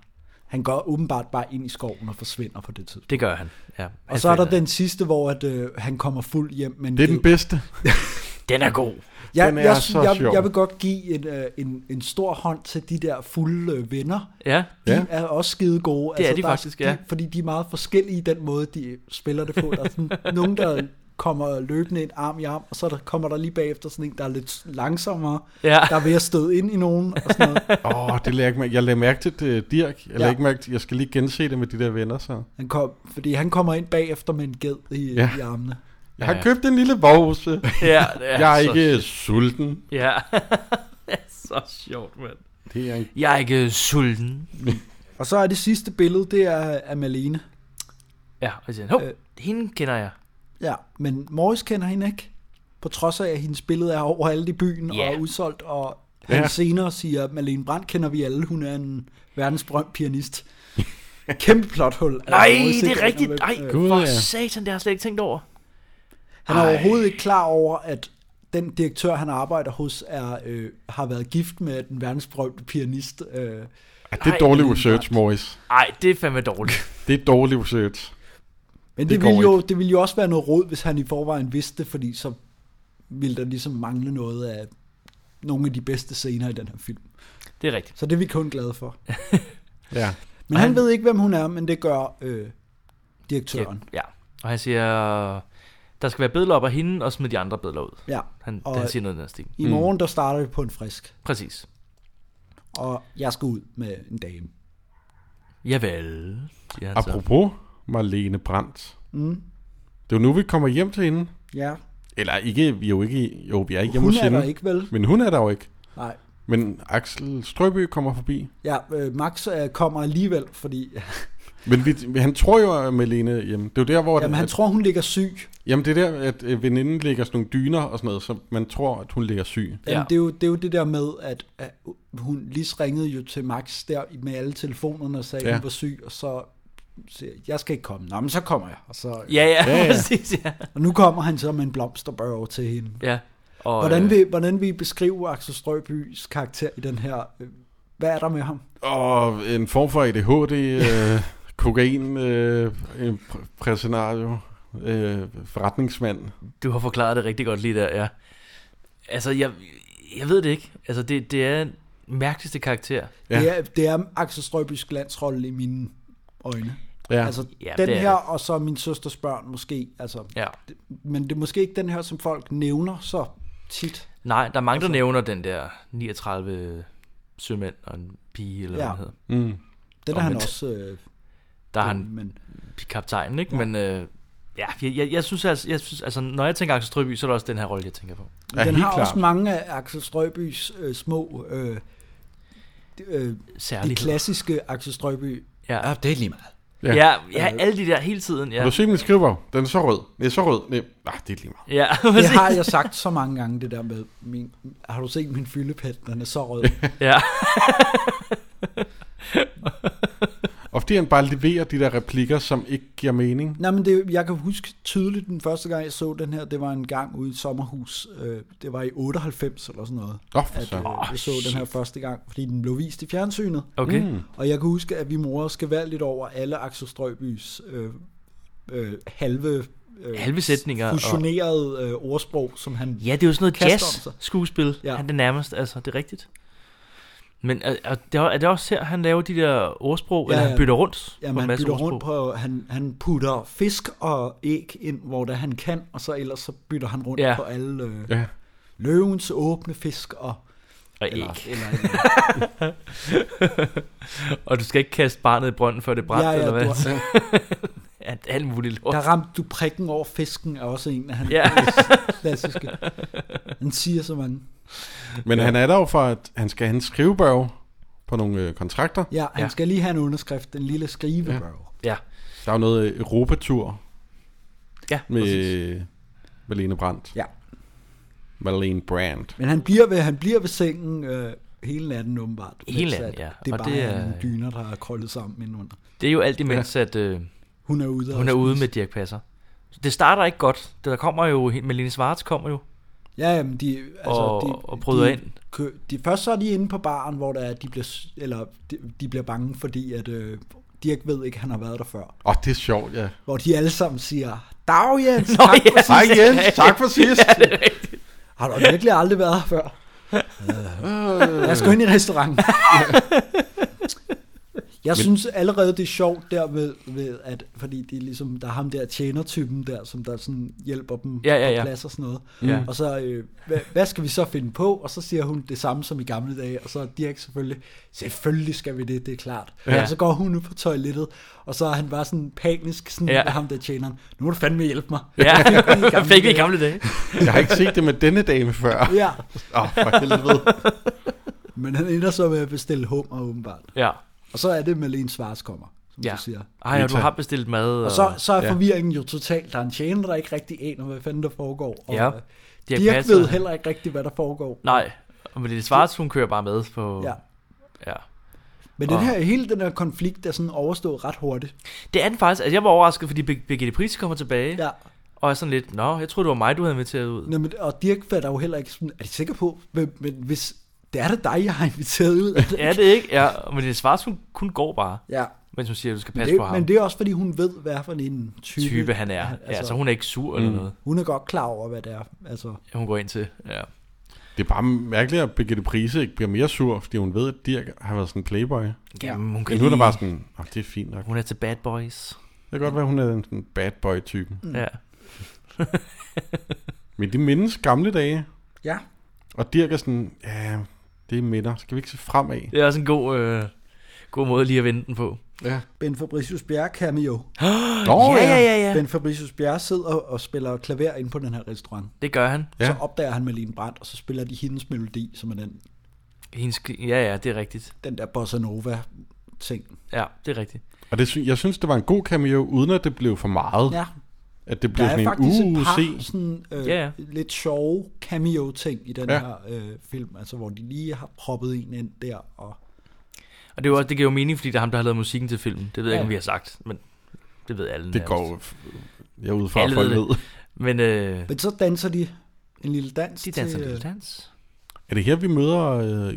Han går åbenbart bare ind i skoven og forsvinder på det tidspunkt. Det gør han. Ja. Og så er der den sidste, hvor at, øh, han kommer fuld hjem. Men Altså, Det er den bedste. Den er god. jeg, den er jeg, så jeg, sjov. jeg vil godt give en, øh, en, en stor hånd til de der fulde øh, venner. Ja. De Ja. ja. er også skide gode. Altså, Det er de der faktisk, ja. De, fordi de er meget forskellige i den måde, de spiller det på. Der er (laughs) sådan, nogen, der kommer løbende en arm i arm, og så der, kommer der lige bagefter sådan en, der er lidt langsommere, Ja. der er ved at støde ind i nogen. Og sådan noget. Åh, oh, det lagde jeg ikke mærke. Jeg lagde mærke til det, Dirk. Jeg, ja. Ja. ikke mærke til, jeg skal lige gense det med de der venner, så. Han kom, fordi han kommer ind bagefter med en ged i, Ja. ja. i armene. Jeg har købt en lille vovse. (laughs) Ja, det er Jeg er så ikke sulten. Ja, (laughs) det er så sjovt, mand. Det er en... Jeg er ikke sulten. Og så er det sidste billede, det er af Malene. Ja, og jeg siger, hov, øh. Øh. hende kender jeg. Ja, men Morris kender hende ikke. På trods af, at hendes billede er overalt i byen Ja. yeah. og er udsolgt, og han Ja. senere siger, at Malene Brandt kender vi alle. Hun er en verdensberømt pianist. Kæmpe plothul. at (laughs) Nej, Morris det ikke er rigtigt. aner, Nej, hvem- øh, Gud, for ja. satan, det har jeg slet ikke tænkt over. Han er overhovedet ikke klar over, at den direktør, han arbejder hos, er, øh, har været gift med den verdensberømte pianist. Øh, Ej, det er Ej, dårlig det er research, klart. Morris. Ej, det er fandme dårligt. Det er dårlig research. Men Det det, går det, ville jo, det ville jo også være noget råd, hvis han i forvejen vidste det, fordi så ville der ligesom mangle noget af nogle af de bedste scener i den her film. Det er rigtigt. Så det er vi kun glade for. Ja. Men han ved ikke, hvem hun er, men det gør øh, direktøren. Ja, og han siger, der skal være billeder op af hende, og smid de andre billeder ud. Ja. Han, Og- han siger Mm. noget i den stil. I morgen, der starter vi på en frisk, Præcis. og jeg skal ud med en dame. Javel, siger Altså. han så. Apropos Marlene Brandt. Mm. Det er jo nu, vi kommer hjem til hende. Ja, Eller ikke, vi er jo ikke, i- jo, vi er ikke hjemme hun hos er hende. der ikke, vel? Men hun er der jo ikke. Nej. Men Axel Strøby kommer forbi. Ja, øh, Max øh, kommer alligevel, (laughs) fordi Men vi, han tror jo, at Malene er hjemme. Det er jo der, hvor... jamen, han at, tror, hun ligger syg. jamen, det er der, at øh, veninden ligger sådan nogle dyner og sådan noget, så man tror, at hun ligger syg. Jamen, Ja. ja. det, er jo, det er jo det der med, at, at hun lige ringede jo til Max der med alle telefonerne og sagde, Ja. ja. hun var syg, og så siger jeg, jeg skal ikke komme. Nå, men så kommer jeg. Og, så, Ja, ja, Ja, (laughs) ja. præcis, ja. og nu kommer han så med en blomsterbørge til hende. ja. Og, Hvordan øh, vil, hvordan vil I beskrive Axel Strøbys karakter i den her... øh, Hvad er der med ham? Og (laughs) en form for ADHD, øh, kokain, øh, en pr- præscenario. øh, forretningsmand. Du har forklaret det rigtig godt lige der, ja. Altså, jeg, jeg ved det ikke. Altså, det, det er den mærkeligste karakter. Ja. Ja. Det, er, det er Axel Strøbys glansrolle i mine øjne. Ja, Altså, Ja, ja, den det er her, det. og så min søsters børn måske. Altså, Ja. Men det er måske ikke den her, som folk nævner så tit. Nej, der er mange, der nævner den der 39 sømænd og en pige, eller ja. Ja. hvad den hedder. mm. Den er han Omvendt. også... Øh, Der er ah, han Men, kaptajnen, ikke? Ja. Men øh, ja, jeg, jeg, jeg, synes, altså, jeg synes, altså, når jeg tænker Axel Strøby, så er det også den her rolle, jeg tænker på. ja den helt har klart. også mange af Axel Strøbys øh, små... Øh, de- øh, de Særligt. klassiske Axel Strøby. Ja. det er lige meget. Ja, Ja. ja, ja alle de der hele tiden, ja. Har du set min skriver? Den er så rød. Den er så rød. Nej, ah, det er lige meget. Ja, (laughs) Det præcis. har jeg sagt så mange gange, det der med, min, har du set min fyldepæt, den er så (laughs) rød. Ja. Og fordi han bare leverer de der replikker, som ikke giver mening. Nej, men det, jeg kan huske tydeligt den første gang, jeg så den her, det var en gang ude i et sommerhus. Øh, det var i 98 eller sådan noget, Åh, for at øh, så. jeg så den her første gang, fordi den blev vist i fjernsynet. Okay. Mm. Og jeg kan huske, at vi morer skal være lidt over alle Axel Strøbys øh, øh, halve, øh, Halve sætninger og- fusionerede øh, ordsprog, som han... Ja, det er jo sådan noget Kaster jazz om sig. skuespil. Ja. Ja. Han er det nærmest, altså, det er rigtigt. Men er, er, det, er det også her, han laver de der ordsprog, ja, Ja, eller ja. han bytter rundt Jamen, han masse bytter ordsprog? rundt på, han, han putter fisk og æg ind, hvor det han kan, og så ellers så bytter han rundt Ja. ja. på alle øh, Ja. løvens åbne fisk og... Og, Eller, æg. eller, eller, (laughs) og du skal ikke kaste barnet i brønden, før det brænder, ja, ja, eller hvad? du har- (laughs) Ja, alt muligt lort. Der ramte du prikken over fisken, er også en af hans Ja. ja. (laughs) klassiske. Han siger så mange. Men han er der jo for, at han skal have en skrivebørg på nogle øh, kontrakter. Ja, han Ja. ja. skal lige have en underskrift, den lille skrivebørg. Ja, Der er jo noget øh, Europatur ja med præcis. øh, Malene Brandt. Ja. Malene Brandt. Men han bliver ved, han bliver ved sengen øh, hele natten åbenbart. Hele mens natten, at ja. Det er Og bare det det er- er... nogle dyner, der er krøllet sammen indenunder. Det er jo alt imens, ja. at øh, Hun er ude. og hun er ude med spise. Dirk Passer. Det starter ikke godt. Der kommer jo, Melanie Svarts kommer jo. Ja, jamen de... Altså, Og- de, og bryder de, ind. kø- De, først så er de inde på baren, hvor der er, de bliver, s- eller de, de bliver bange, fordi at øh, Dirk ved ikke, han har været der før. Åh, oh, det er sjovt, ja. Hvor de alle sammen siger, Dag Jens, (laughs) Nå, tak for ja. Hej Jens, (laughs) tak for sidst. Har du virkelig aldrig været her før? Øh, lad os gå ind i restauranten. Jeg synes allerede, det er sjovt der med, ved at, fordi det er ligesom, der er ham der tjenertypen der, som der sådan hjælper dem Ja, ja, ja. på plads og sådan noget. Ja. Og så, øh, hvad, hvad skal vi så finde på? Og så siger hun det samme som i gamle dage, og så er Dirk selvfølgelig, selvfølgelig skal vi det, det er klart. Ja. Ja. Og så går hun ud på toilettet, og så er han bare sådan panisk, sådan Ja. ja. ham der tjeneren, nu må du fandme hjælpe mig. (laughs) Ja, i gamle fik vi dage. i gamle (laughs) dage. Jeg har ikke set det med denne dame før. Åh, Ja, oh, for helvede. men han ender så med at bestille hummer åbenbart. Ja. Og så er det Malene Svars kommer, som Ja. ja. du siger. Ej, og du Meta. har bestilt mad. Og så, så er Ja. forvirringen jo totalt. Der er en tjener, der ikke rigtig aner, hvad fanden der foregår. Og Ja. øh, Dirch Dirk Passer. ved heller ikke rigtig, hvad der foregår. Nej, og Melanie Svarts, hun kører bare med på... Ja. ja. Men Og- den her, hele den her konflikt er sådan overstået ret hurtigt. Det er den faktisk. Altså, jeg var overrasket, fordi Birg- Birgitte Pris kommer tilbage. Ja. Og er sådan lidt, nå, jeg troede, det var mig, du havde inviteret ud. Nå, men, og Dirk fatter jo heller ikke sådan, er de sikre på, men, men hvis det er det dig, jeg har inviteret ud? Er det- (laughs) Ja, det er ikke. Ja, og Melanie Svarts, hun, hun går bare. ja. Mens hun siger, at du skal Men passe det, på ham. men det er også, fordi hun ved, hvad for en type, type, han er. Altså, ja, så hun er ikke sur eller noget. hun er godt klar over, hvad det er. Altså, Hun går ind til. Ja. Det er bare mærkeligt, at Birgitte Prise ikke bliver mere sur, fordi hun ved, at Dirk har været sådan en playboy. Jamen, hun kan Men nu er der lide- bare sådan, oh, det er fint nok. Hun er til bad boys. Det kan godt være, hun er den sådan bad boy-typen. Mm. Ja. Men det mindes gamle dage, ja. og Dirk er sådan, ja, det er minder. Skal vi ikke se fremad? Det er også en god, øh, god måde lige at vende den på. Ja. Ben Fabricius Bjerre cameo. Nå, ja, ja, ja, Ja. ja. Ben Fabricius Bjerre sidder og spiller klaver inde på den her restaurant. Det gør han. Ja. Ja. Så opdager han Malene Brandt, og så spiller de hendes melodi, som er den, Hendes, ja, ja, det er rigtigt. den der bossa nova ting. Ja, det er rigtigt. Og det, sy- jeg synes, det var en god cameo, uden at det blev for meget. Ja, At det der blev er sådan faktisk en et uh, par se. sådan, øh, Ja, ja. yeah. lidt sjove cameo-ting i den Ja. ja. her øh, film, altså hvor de lige har proppet en ind der. Og, Og det, er jo også, det giver jo mening, fordi det er ham, der har lavet musikken til filmen. Det ved jeg ikke, om vi har sagt, men det ved alle. Det nærmest. går jo f- jeg er ude fra, at Alle folk ved det. ved. Men øh, men så danser de en lille dans. de danser en til, øh, lille dans. Er det her, vi møder øh,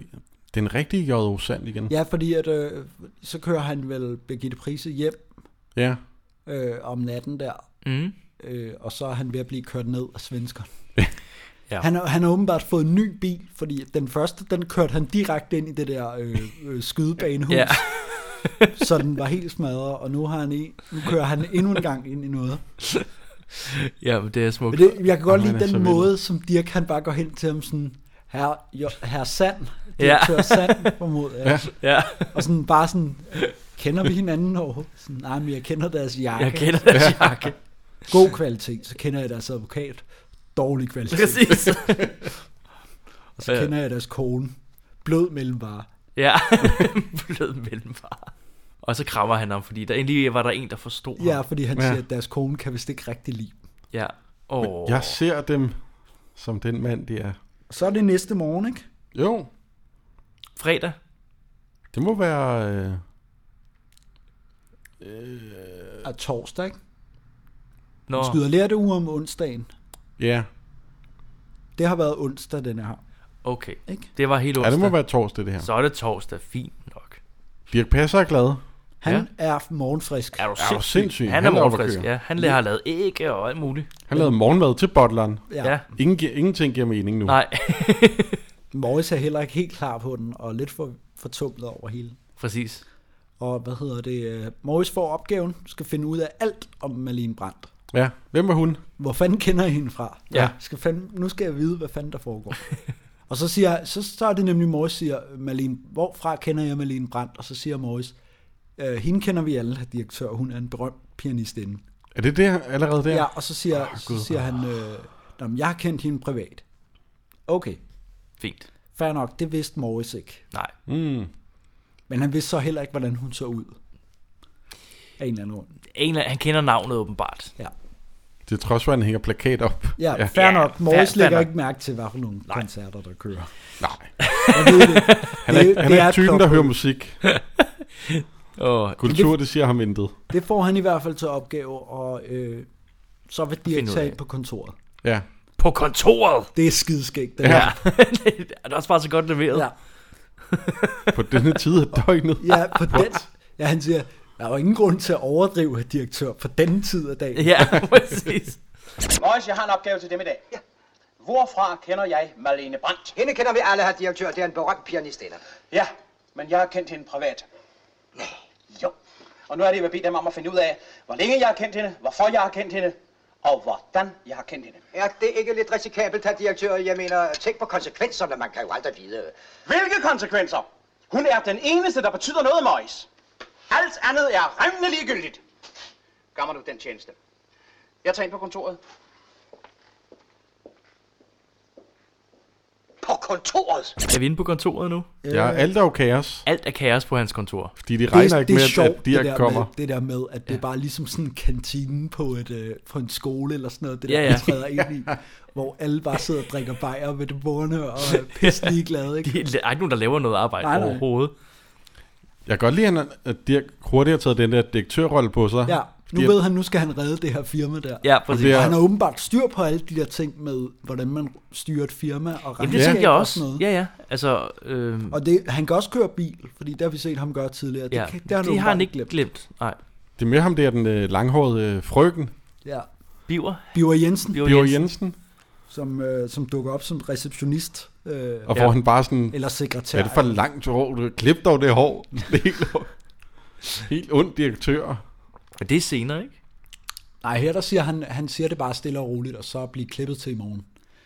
den rigtige J.O. Sand igen? Ja, fordi at, øh, så kører han vel Birgitte Prise hjem ja. øh, om natten der, Mm. øh, og så er han ved at blive kørt ned af svenskerne. Ja. Ja. Han, har- han har åbenbart fået en ny bil, fordi den første, den kørte han direkte ind i det der øh, øh, skydebanehus, Ja. (laughs) ja. så den var helt smadret, og nu, har han en, nu kører han endnu en gang ind i noget. ja, men det er smukt. Men det, jeg kan godt Jamen, lide han er så den vild. måde, som Dirk han bare går hen til ham sådan, herre, jo, herre Sand, Ja. direktør ja. Sand, formoder jeg. Ja. Ja, Og sådan bare sådan, kender vi hinanden overhovedet? Sådan, nej, men jeg kender deres jakke. jeg kender deres jakke. God kvalitet, så kender jeg deres advokat. Dårlig kvalitet. Præcis. Og så kender jeg deres kone. Blød mellemvare. Ja, (laughs) blød mellemfar. Og så krammer han ham, fordi der endelig var der en, der forstod Ja, ham. fordi han Ja. ja. siger, at deres kone kan vist ikke rigtig lide. dem. Ja. Oh. Jeg ser dem som den mand, de er. Så er det næste morgen, ikke? Jo, Fredag. det må være... Øh, Og torsdag, ikke? Nå. Vi skyder lærte uge om onsdagen. ja, Det har været onsdag, denne her. Okay. Ikke? Det var helt onsdag. ja, det må være torsdag, det her. Så er det torsdag. Fint nok. Dirk Passer er glad. Han Ja. ja. er morgenfrisk. Er du Er du sindssyg? sindssyg? Han er Han er oppe at morgenfrisk. køre. Ja, han har lavet ægge og alt muligt. Han lavede morgenmad til bottleren. Ja. ja. Ingen, gi- ingenting giver mening nu. Nej, (laughs) Morris er heller ikke helt klar på den, og lidt for, for tumlet over hele. præcis. Og hvad hedder det? øh, Morris får opgaven, skal finde ud af alt om Malene Brandt. Ja, hvem var hun? hvor fanden kender jeg hende fra? Ja. Skal fanden, nu skal jeg vide, hvad fanden der foregår. og så siger så, så er det nemlig Morris siger, Malene, hvorfra kender jeg Malene Brandt? Og så siger Morris, øh, hende kender vi alle, herr direktør, hun er en berømt pianistinde. Er det der allerede der? Ja, og så siger, oh, så siger han, øh, "Nå, men jeg har kendt hende privat. Okay, Fint. fair nok, det vidste Morris ikke. Nej. Mm. Men han vidste så heller ikke, hvordan hun så ud. Af en eller anden grund. En, eller- han kender navnet åbenbart. Ja, Det er trods for, at han hænger plakat op. ja, ja fair Ja, nok. Morris fair- fair lægger nok. ikke mærke til, hvad for nogle koncerter, der kører. (laughs) Nej. Jeg ved det. Han er, Det- han det er, er er et typen, der plot hører musik. Åh, Kultur, det siger ham intet. Det får han i hvert fald til opgave, og øh, så vil de ikke ud tage af. ind på kontoret. Ja. på kontoret! Det er skideskægt, det Ja. (laughs) ja. Ja. det er også bare så godt leveret. ja. På denne tid af døgnet. Ja, på den, ja, han siger, der er jo ingen grund til at overdrive, herr direktør, på denne tid af dagen. ja (laughs) præcis. Morris, jeg har en opgave til dem i dag. Ja. Hvorfra kender jeg Marlene Brandt? (laughs) Hende kender vi alle, herr direktør. Det er en berømt pianistinde. Ja, men jeg har kendt hende privat. Nej. Jo. Og nu er det, jeg vil bede dem om at finde ud af, hvor længe jeg har kendt hende, hvorfor jeg har kendt hende, og hvordan jeg har kendt hende. Er det ikke lidt risikabelt, herr direktør? Jeg mener, tænk på konsekvenserne. Man kan jo aldrig vide. Hvilke konsekvenser? Hun er den eneste, der betyder noget, Morris. Alt andet er revnende ligegyldigt. Gør mig nu den tjeneste. Jeg tager ind på kontoret. På kontoret? Er vi inde på kontoret nu? Ja, alt er jo kaos. Alt er kaos på hans kontor. Fordi de regner ikke det med, er at- sjovt, at det, Dirk der kommer. med, det der med, at det er bare ligesom sådan en kantine på, et, øh, på en skole eller sådan noget, det der, Ja, ja, ja. ja. man træder (laughs) ind i, hvor alle bare sidder og drikker bajer ved det bordene og er pisse ligeglade. Ikke? Det- Der er ikke nogen, der laver noget arbejde Nej, nej. overhovedet. Jeg kan godt lide, at han- at Dirk hurtigt har taget den der direktørrolle på sig. Ja, nu Fordi at- ved han, nu skal han redde det her firma der. Ja, præcis. bliver- Og han har åbenbart styr på alle de der ting med, hvordan man styrer et firma og Jamen, det regnskab tænker jeg og også. sådan noget. Ja, ja. Altså, øh, Og det, han kan også køre bil, fordi det har vi set ham gøre tidligere. ja. Det, kan, det har det, han, har han åbenbart ikke glemt. glemt. Nej. Det er mere ham der, den øh, langhårede øh, frøken, Ja. Biver. Biver Jensen, Biver Bjørn Jensen. Jensen. som, øh, som dukker op som receptionist, øh, Og hvor Ja. han bare sådan, eller hvad sekretær. er det for langt hår? Du klip dog det hår. Det er helt, helt ondt direktør. Men det er senere, ikke? Nej, her der siger han, han siger det bare stille og roligt, og så bliver klippet til i morgen.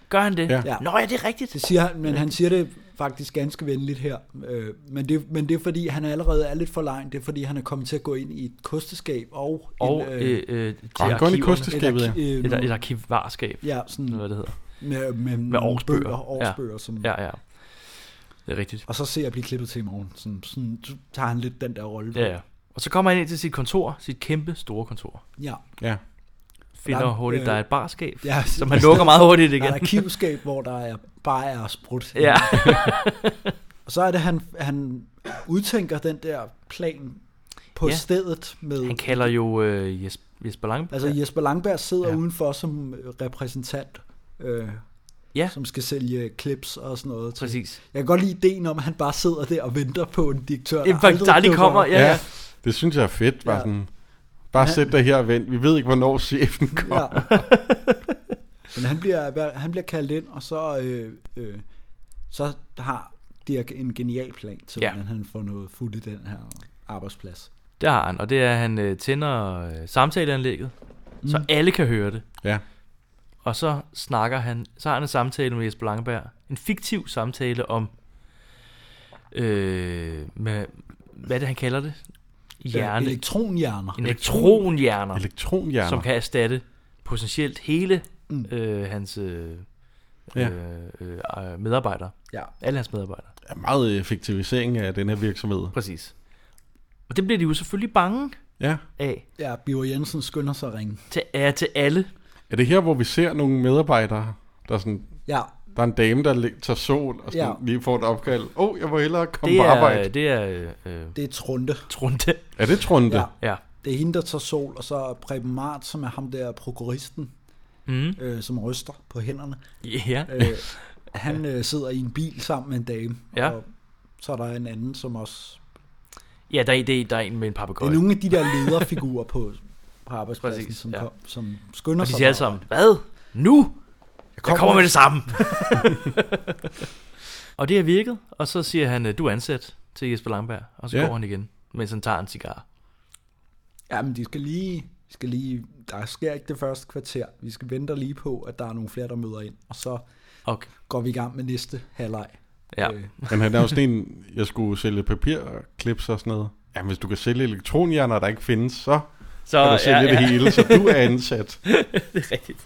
Gør han det? Ja. Ja. Nå, ja, det er rigtigt. Det siger han, men han siger det faktisk ganske venligt her. Øh, men, det, men det er fordi, han allerede er lidt for lejen. Det er fordi, han er kommet til at gå ind i et kosteskab og, Og en, øh, øh, til Og han går ind arkiverne. i et, kosteskabet. ja. arki- øh, Et, nogle- et arkivarskab. Ja, Eller sådan Hvad det hedder. med, med, Med årsbøger. Bøger, årsbøger ja. som, Ja, ja. Det er rigtigt. Og så ser jeg blive klippet til i morgen. Sådan, sådan, så tager han lidt den der rolle. Ja, ja. Og så kommer han ind til sit kontor, sit kæmpe store kontor. ja. Ja. Finder Der er- hurtigt, øh, der er et barskab, ja. som han lukker meget hurtigt Der er igen. et arkivskab, hvor der er bare er sprudt. (laughs) Ja, Og så er det, han, han udtænker den der plan på Ja. ja. stedet med... han kalder jo øh, Jes- Jesper Lange. Altså Jesper Langberg sidder Ja. ja. udenfor som repræsentant, øh, Ja. som skal sælge clips og sådan noget. til- Præcis. Jeg kan godt lide ideen om, at han bare sidder der og venter på en direktør, En bank, der aldrig dukker kommer. op. Ja, ja. Det synes jeg er fedt. Bare Ja. sådan, Bare sæt dig her og vent. Vi ved ikke, hvornår chefen kommer. Ja. (laughs) Men han bliver, han bliver kaldt ind, og så, øh, øh, så har Dirk en genial plan til, Ja. hvordan han får noget fuldt i den her arbejdsplads. Det har han, og det er, at han øh, tænder øh, samtaleanlægget, mm. så alle kan høre det. Ja. Og så snakker han, så har han en samtale med Jesper Langberg. En fiktiv samtale om, øh, med, hvad er det, han kalder det? Hjerne. Øh, Elektronhjerner. en elektronhjerner, Elektronhjerner. som kan erstatte potentielt hele øh, hans øh, Ja. øh, øh, medarbejdere. Ja. Alle hans medarbejdere. Ja, meget effektivisering af den her virksomhed. Præcis. Og det bliver de jo selvfølgelig bange Ja. af. ja, Biver Jensen skynder sig at ringe. Til, ja, til alle. Er det her, hvor vi ser nogle medarbejdere, der er sådan... Ja, Der er en dame, der lig- tager sol og sådan, Ja. ja. lige får et opkald. Åh, oh, jeg må hellere komme Det på er, arbejde. det er øh, øh, det er Trunte. Trunte. Er det Trunte? Ja. Ja. Ja. Det er hende, der tager sol, og så er Preben Mart, som er ham der prokuristen, Mm. øh, som ryster på hænderne. Ja. Øh, han øh, sidder i en bil sammen med en dame, Ja. og så er der en anden, som også... ja, der er, det, der er en med en Det er papegøje. nogle af de der lederfigurer på, på arbejdspladsen, Præcis, som, ja. kom, som skynder Og de sig. siger alle sammen, hvad? Nu? Jeg kommer, jeg kommer med det (laughs) samme. og det har virket, og så siger han, øh, du er ansat til Jesper Langberg, og så Ja. går han igen, mens han tager en cigar. Ja, men de skal lige, skal lige... Der sker ikke det første kvarter. Vi skal vente lige på, at der er nogle flere, der møder ind, og så Okay. går vi i gang med næste halvleg. Ja. Øh, Men han er jo sådan en, jeg skulle sælge papir og klips og sådan noget. Jamen, hvis du kan sælge elektronhjerner, der ikke findes, så Så, kan du sælge det hele, så du er ansat. det er rigtigt.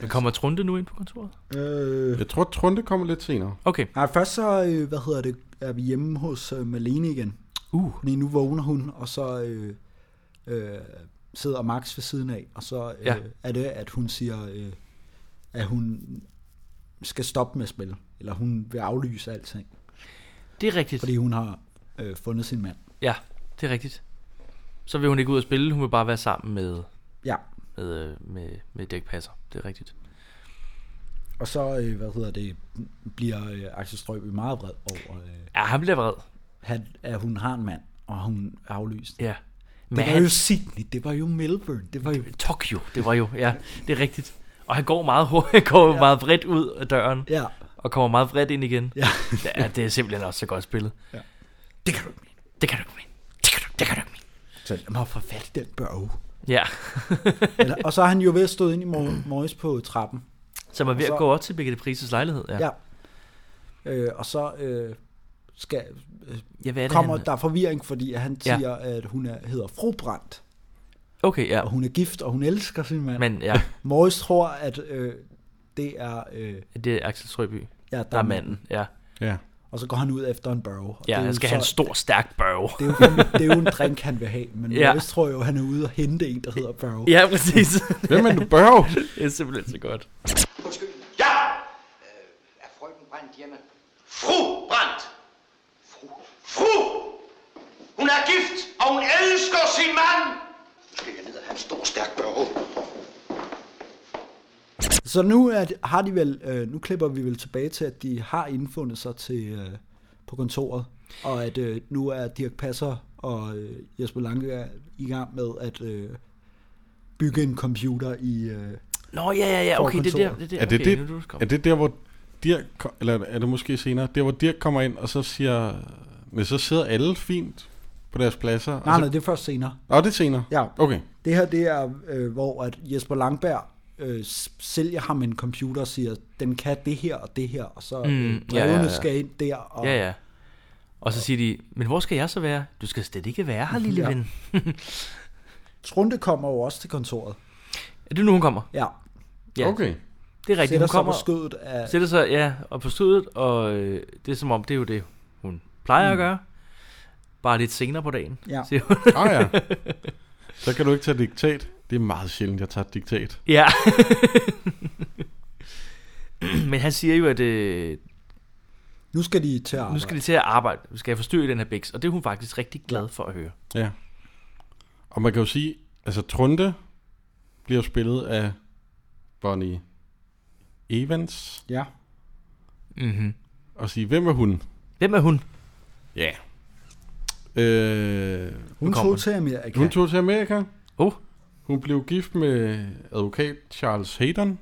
Men kommer Trunte nu ind på kontoret? øh, Jeg tror, Trunte kommer lidt senere. Okay. nej, først så, øh, hvad hedder det, er vi hjemme hos øh, Malene igen. Uh. Fordi nu vågner hun, og så øh, øh, sidder Max ved siden af, og så øh, ja. Ja. er det, at hun siger, øh, at hun skal stoppe med at spille, eller hun vil aflyse alting, Det er rigtigt. fordi hun har øh, fundet sin mand. Ja, det er rigtigt. Så vil hun ikke ud og spille, hun vil bare være sammen med, Ja, med, øh, med, med dækpasser. Det er rigtigt. og så, øh, hvad hedder det, bliver øh, Axel Strøby meget vred over, øh, Ja, han bliver vred. at, at hun har en mand, og hun er aflyst. Ja. Det var jo Sydney, det var jo Melbourne, det var jo... Tokyo, det var jo, ja, det er rigtigt. Og han går meget hurtigt, han går ja. meget bredt ud af døren, Ja, og kommer meget bredt ind igen. ja. Ja, det er simpelthen også så godt spillet. det kan du ikke mene. Det kan du ikke mene. Det kan du, det kan du ikke mene. Så lad mig få fat i den børge. Ja, Eller, og så har han jo ved at stå ind i (clears throat) mor- Morris på trappen. så man er ved Og så- at gå op til Birgitte Prises lejlighed. Ja. Ja. Øh, og så øh, skal, ja hvad er det, kommer han... der forvirring, fordi han Ja. siger, at hun er, hedder Frobrandt, Okay, ja. og hun er gift, og hun elsker sin mand. Men... Men ja, Morris tror, at øh, det er, øh, det er Axel Strøby, ja, der er manden. Ja, Ja. Og så går han ud efter en børge. og det ja er jo han skal så- have en stor, stærk (laughs) børge. Det er, jo, det er jo en drink, han vil have, men ja. (laughs) Ja. Morris tror jo, han er ude og hente en, der hedder børge. Ja, præcis. Hvem er du, Børge? (laughs) det er simpelthen så godt. Undskyld, Øh, Ja! er frøken brændt hjemme? Fru Brandt! Fru! Fru! Hun er gift, og hun elsker sin mand! Skal jeg ned og have en stor, stærk børge? Så nu er, det- har de vel, øh, nu klipper vi vel tilbage til, at de har indfundet sig til øh, på kontoret, og at øh, nu er Dirk Passer og øh, Jesper Lange er i gang med at øh, bygge en computer i... Øh, Nå, ja, ja, ja, okay, det er der. Det er, der. Er det, okay, det, nu du kommer. er det der, hvor Dirk, ko- eller er det måske senere, der hvor Dirk kommer ind, og så siger, men så sidder alle fint på deres pladser. og nej, så, nej, det er først senere. Nå, det er senere. Ja. Okay. Det her, det er, øh, hvor at Jesper Langberg øh, s- sælger ham en computer og siger, den kan det her og det her, og så Mm, ja, øh, ja, brevene ja, ja, ja. ja. skal ind der. Og, Ja, ja. Og så siger de, men hvor skal jeg så være? Du skal slet ikke være her, lille Ja. ja. ven. Trunte kommer jo også til kontoret. Er det nu, hun kommer? Ja, Ja, Okay. det er rigtigt. sætter sig Hun på kommer, skødet af... sætter sig ja, og på stødet, og øh, det er som om, det er jo det, hun plejer mm. at gøre. Bare lidt senere på dagen, Ja. siger hun. (laughs) Åh oh, ja. Så kan du ikke tage diktat. Det er meget sjældent, jeg tager diktat. ja. (laughs) men han siger jo, at øh, Nu skal de til at nu arbejde. skal de til at arbejde. Nu skal jeg forstyrre den her bæks. Og det er hun faktisk rigtig glad for at høre. Ja. Og man kan jo sige, altså Trunte bliver spillet af Bonnie Evans. Ja. Mm-hmm. Og sige, hvem er hun? Hvem er hun? Ja. Øh, Hun kommer tog den. til Amerika. Hun tog til Amerika. Oh. Hun blev gift med advokat Charles Hayden,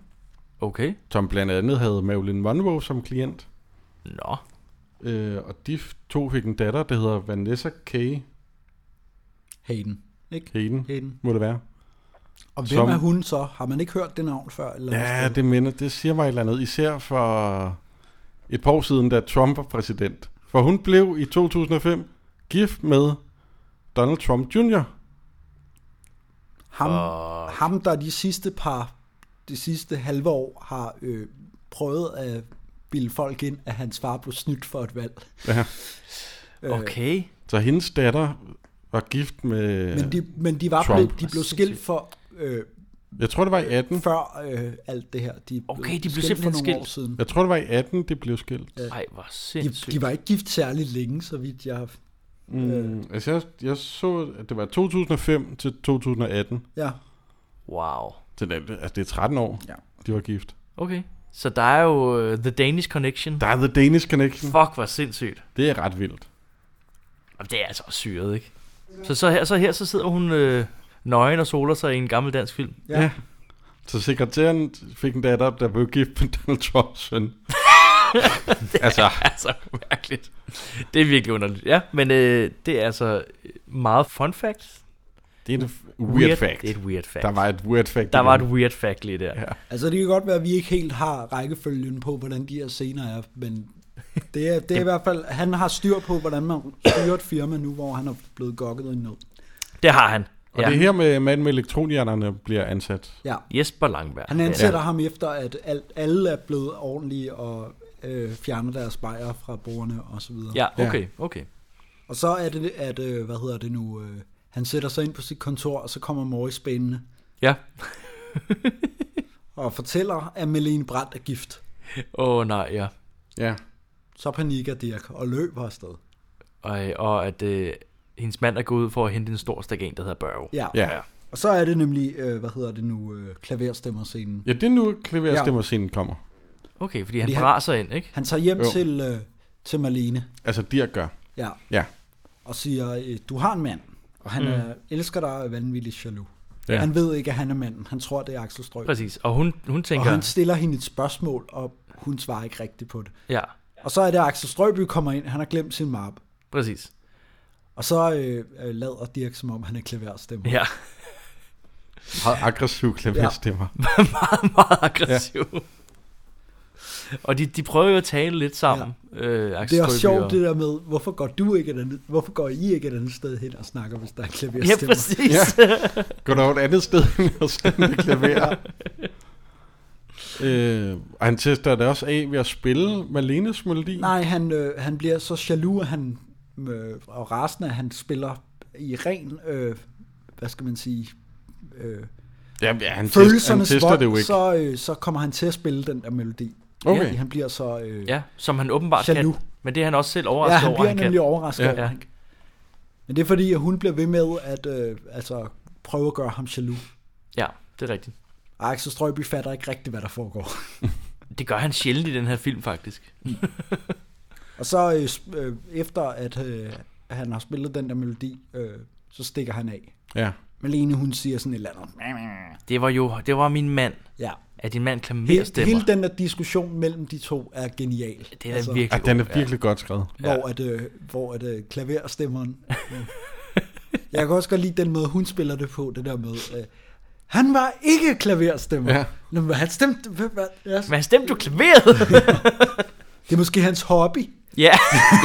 Okay. som blandt andet havde Marilyn Monroe som klient. Nå. Øh, og de f- to fik en datter, der hedder Vanessa K. Hayden. Ikke? Hayden, Hayden. må det være. Og hvem Som- er hun så? Har man ikke hørt det navn før? Eller Ja, det, minder, det siger mig et eller andet. Især for et par år siden, da Trump var præsident. For hun blev i 2005 gift med Donald Trump Jr. Ham, uh... ham, der de sidste par, de sidste halve år har øh, prøvet at bilde folk ind, at hans far blev snydt for et valg. Ja. Øh, Okay. Så hendes datter var gift med... Men de, men de var Trump. blevet, de blev skilt for øh, Jeg tror, det var i 18. før øh, alt det her. De Okay, de blev for simpelthen nogle skilt. år siden. Jeg tror, det var i 18, det blev skilt. Ej, hvor De, sindssygt. de var ikke gift særlig længe, så vidt jeg har... Mm, altså, jeg, jeg så, at det var 2005 til 2018. Ja, Wow. Så det, er- altså, det er 13 år, Ja. de var gift. Okay. Så der er jo uh, The Danish Connection. Der er The Danish Connection. Fuck, hvor sindssygt. Det er ret vildt. Jamen, det er altså også syret, ikke? Så, så, her, så her så sidder hun øh, nøgen og soler sig i en gammel dansk film. (laughs) ja. ja. Så sekretæren fik en datter, der blev gift med Donald Trumps søn. altså, Altså, mærkeligt. Det er virkelig underligt. Ja, men øh, det er altså meget fun fact. det er et weird, fact. Det er et weird fact. Der var et weird fact. der igen. var et weird fact lige der. Mm-hmm. Ja. Altså, det kan godt være, at vi ikke helt har rækkefølgen på, hvordan de her scener er, men (laughs) det er, det er i hvert fald... Han har styr på, hvordan man styrer et firma nu, hvor han er blevet gokket i noget. Det har han. Og det er her med manden med elektronhjernerne bliver ansat. Ja. Jesper Langberg. Han ansætter ja. ham efter, at alt, alle er blevet ordentlige og øh, fjerner deres bajere fra brugerne og så videre. Ja, ja okay, okay. Og så er det, at, øh, hvad hedder det nu, øh, han sætter sig ind på sit kontor, og så kommer Morris banende Ja. og fortæller, at Melene Brandt er gift. Åh oh, nej, ja. Ja. Så panikker Dirk og løber afsted. Og, øh, og at øh, hendes mand er gået ud for at hente en stor stagan, der hedder Børge. Ja. Ja. ja. Og så er det nemlig, øh, hvad hedder det nu, øh, klaverstemmerscenen. Ja, det er nu, klaverstemmerscenen kommer. Okay, fordi han Fordi han- braser ind, ikke? Han tager hjem Jo. til, øh, til Marlene Altså, Dirk gør. ja, Ja. og siger, øh, du har en mand, og han mm. er, elsker dig og er vanvittigt jaloux. Ja. Ja. Han ved ikke, at han er manden. Han tror, det er Axel Strøg. Præcis. Og hun, hun Og tænker... han stiller hende et spørgsmål, og hun svarer ikke rigtigt på det. Ja, Og så er det, at Axel Strøby kommer ind, han har glemt sin mappe. præcis. Og så øh, øh, lader Dirk, som om han er klaverstemmer. Ja, (laughs) Meget aggressiv klaverstemmer. Ja. meget aggressiv. Ja. Og de, de prøver jo at tale lidt sammen. Ja. Øh, Axel Det er også Strøbye sjovt det der med, hvorfor går, du ikke et andet, hvorfor går I ikke et andet sted hen og snakker, hvis der er Ja, klaverstemmer? præcis. Ja. Ja. Gå dog et andet sted end at stemme med klaver. øh, og han tester det også af ved at spille Malenes melodi. Nej, han, øh, han bliver så jaloux, at han, øh, og rasende, at han spiller i ren, øh, hvad skal man sige, øh, Ja, ja han, test, han følelsernes tester vold, det jo ikke. så, øh, så kommer han til at spille den der melodi. Okay. Fordi han bliver så... Øh, (laughs) ja, som han åbenbart Jaloux. kan. Men det er han også selv ja, overrasket han over, bliver han kan. nemlig overrasket. Ja. over, at han kan. Men det er fordi, at hun bliver ved med at øh, altså, prøve at gøre ham jaloux. Ja, det er rigtigt. Og Axel Strøby fatter ikke rigtigt, hvad der foregår. (laughs) Det gør han sjældent i den her film, faktisk. Og så øh, sp- øh, efter, at øh, han har spillet den der melodi, øh, så stikker han af. Ja. Malene, hun siger sådan et eller andet. Det var jo, det var min mand. Ja. At din mand klamerer Hele, stemmer. hele den Altså. der diskussion mellem de to er genial. Det er da virkelig Ja, den er god, virkelig godt skrevet. Hvor at, øh, hvor at øh, klaverstemmeren... Øh, jeg kan også godt lide den måde, hun spiller det på, det der med... Øh, han var ikke klaverstemmer. Ja. Ja. Nå, men han stemte... Hvad, hvad, ja, Men han stemte jo (laughs) klaveret. det er måske hans hobby. ja. (laughs)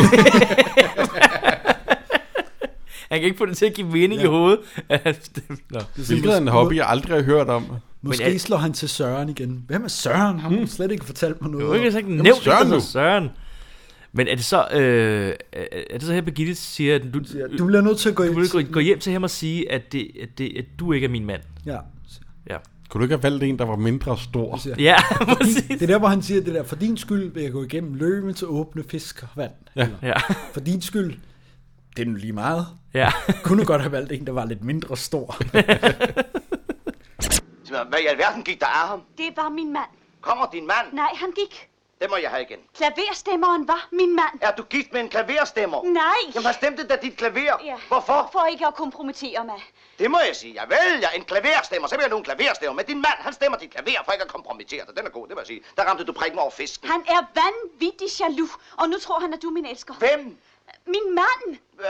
han kan ikke få det til at give mening ja. i hovedet. at han stemte. Nå. Hvilket er en hobby, jeg aldrig har hørt om. Måske Men jeg- Hmm. slår han til Søren igen. Hvem er Søren? Han har slet ikke fortalt mig Du noget. har om. ikke sagt nævnt Søren Søren nu. nu. Søren. Men er det så, øh, er er det så her, Birgitte siger, at du, Ja, Du bliver nødt til at gå du ind. vil gå, gå hjem til ham og sige, at, det, at, det, at du ikke er min mand? Ja. Ja, Kunne du ikke have valgt en, der var mindre stor? siger- ja (laughs) præcis. Det er der, hvor han siger det der, for din skyld vil jeg gå igennem løbe til åbne fisk og vand. Ja. Ja, For din skyld, det er nu lige meget. ja. Kunne godt have valgt en, der var lidt mindre stor. Sig mig, Hvad i alverden gik der af ham? Det var min mand. Kommer din mand? Nej, han gik. Det må jeg have igen. Klaverstemmeren var min mand. Er du gift med en klaverstemmer? Nej. Jamen, hvad stemte da dit klaver? Ja. Hvorfor? For ikke at kompromittere mig. Det må jeg sige. Jeg vælger en klaverstemmer. Så vil jeg nu en klaverstemmer. Men din mand, han stemmer dit klaver for ikke at kompromittere dig. Den er god, det må jeg sige. Der ramte du prikken over fisken. Han er vanvittig jaloux, og nu tror han, at du er min elsker. Hvem? Min mand!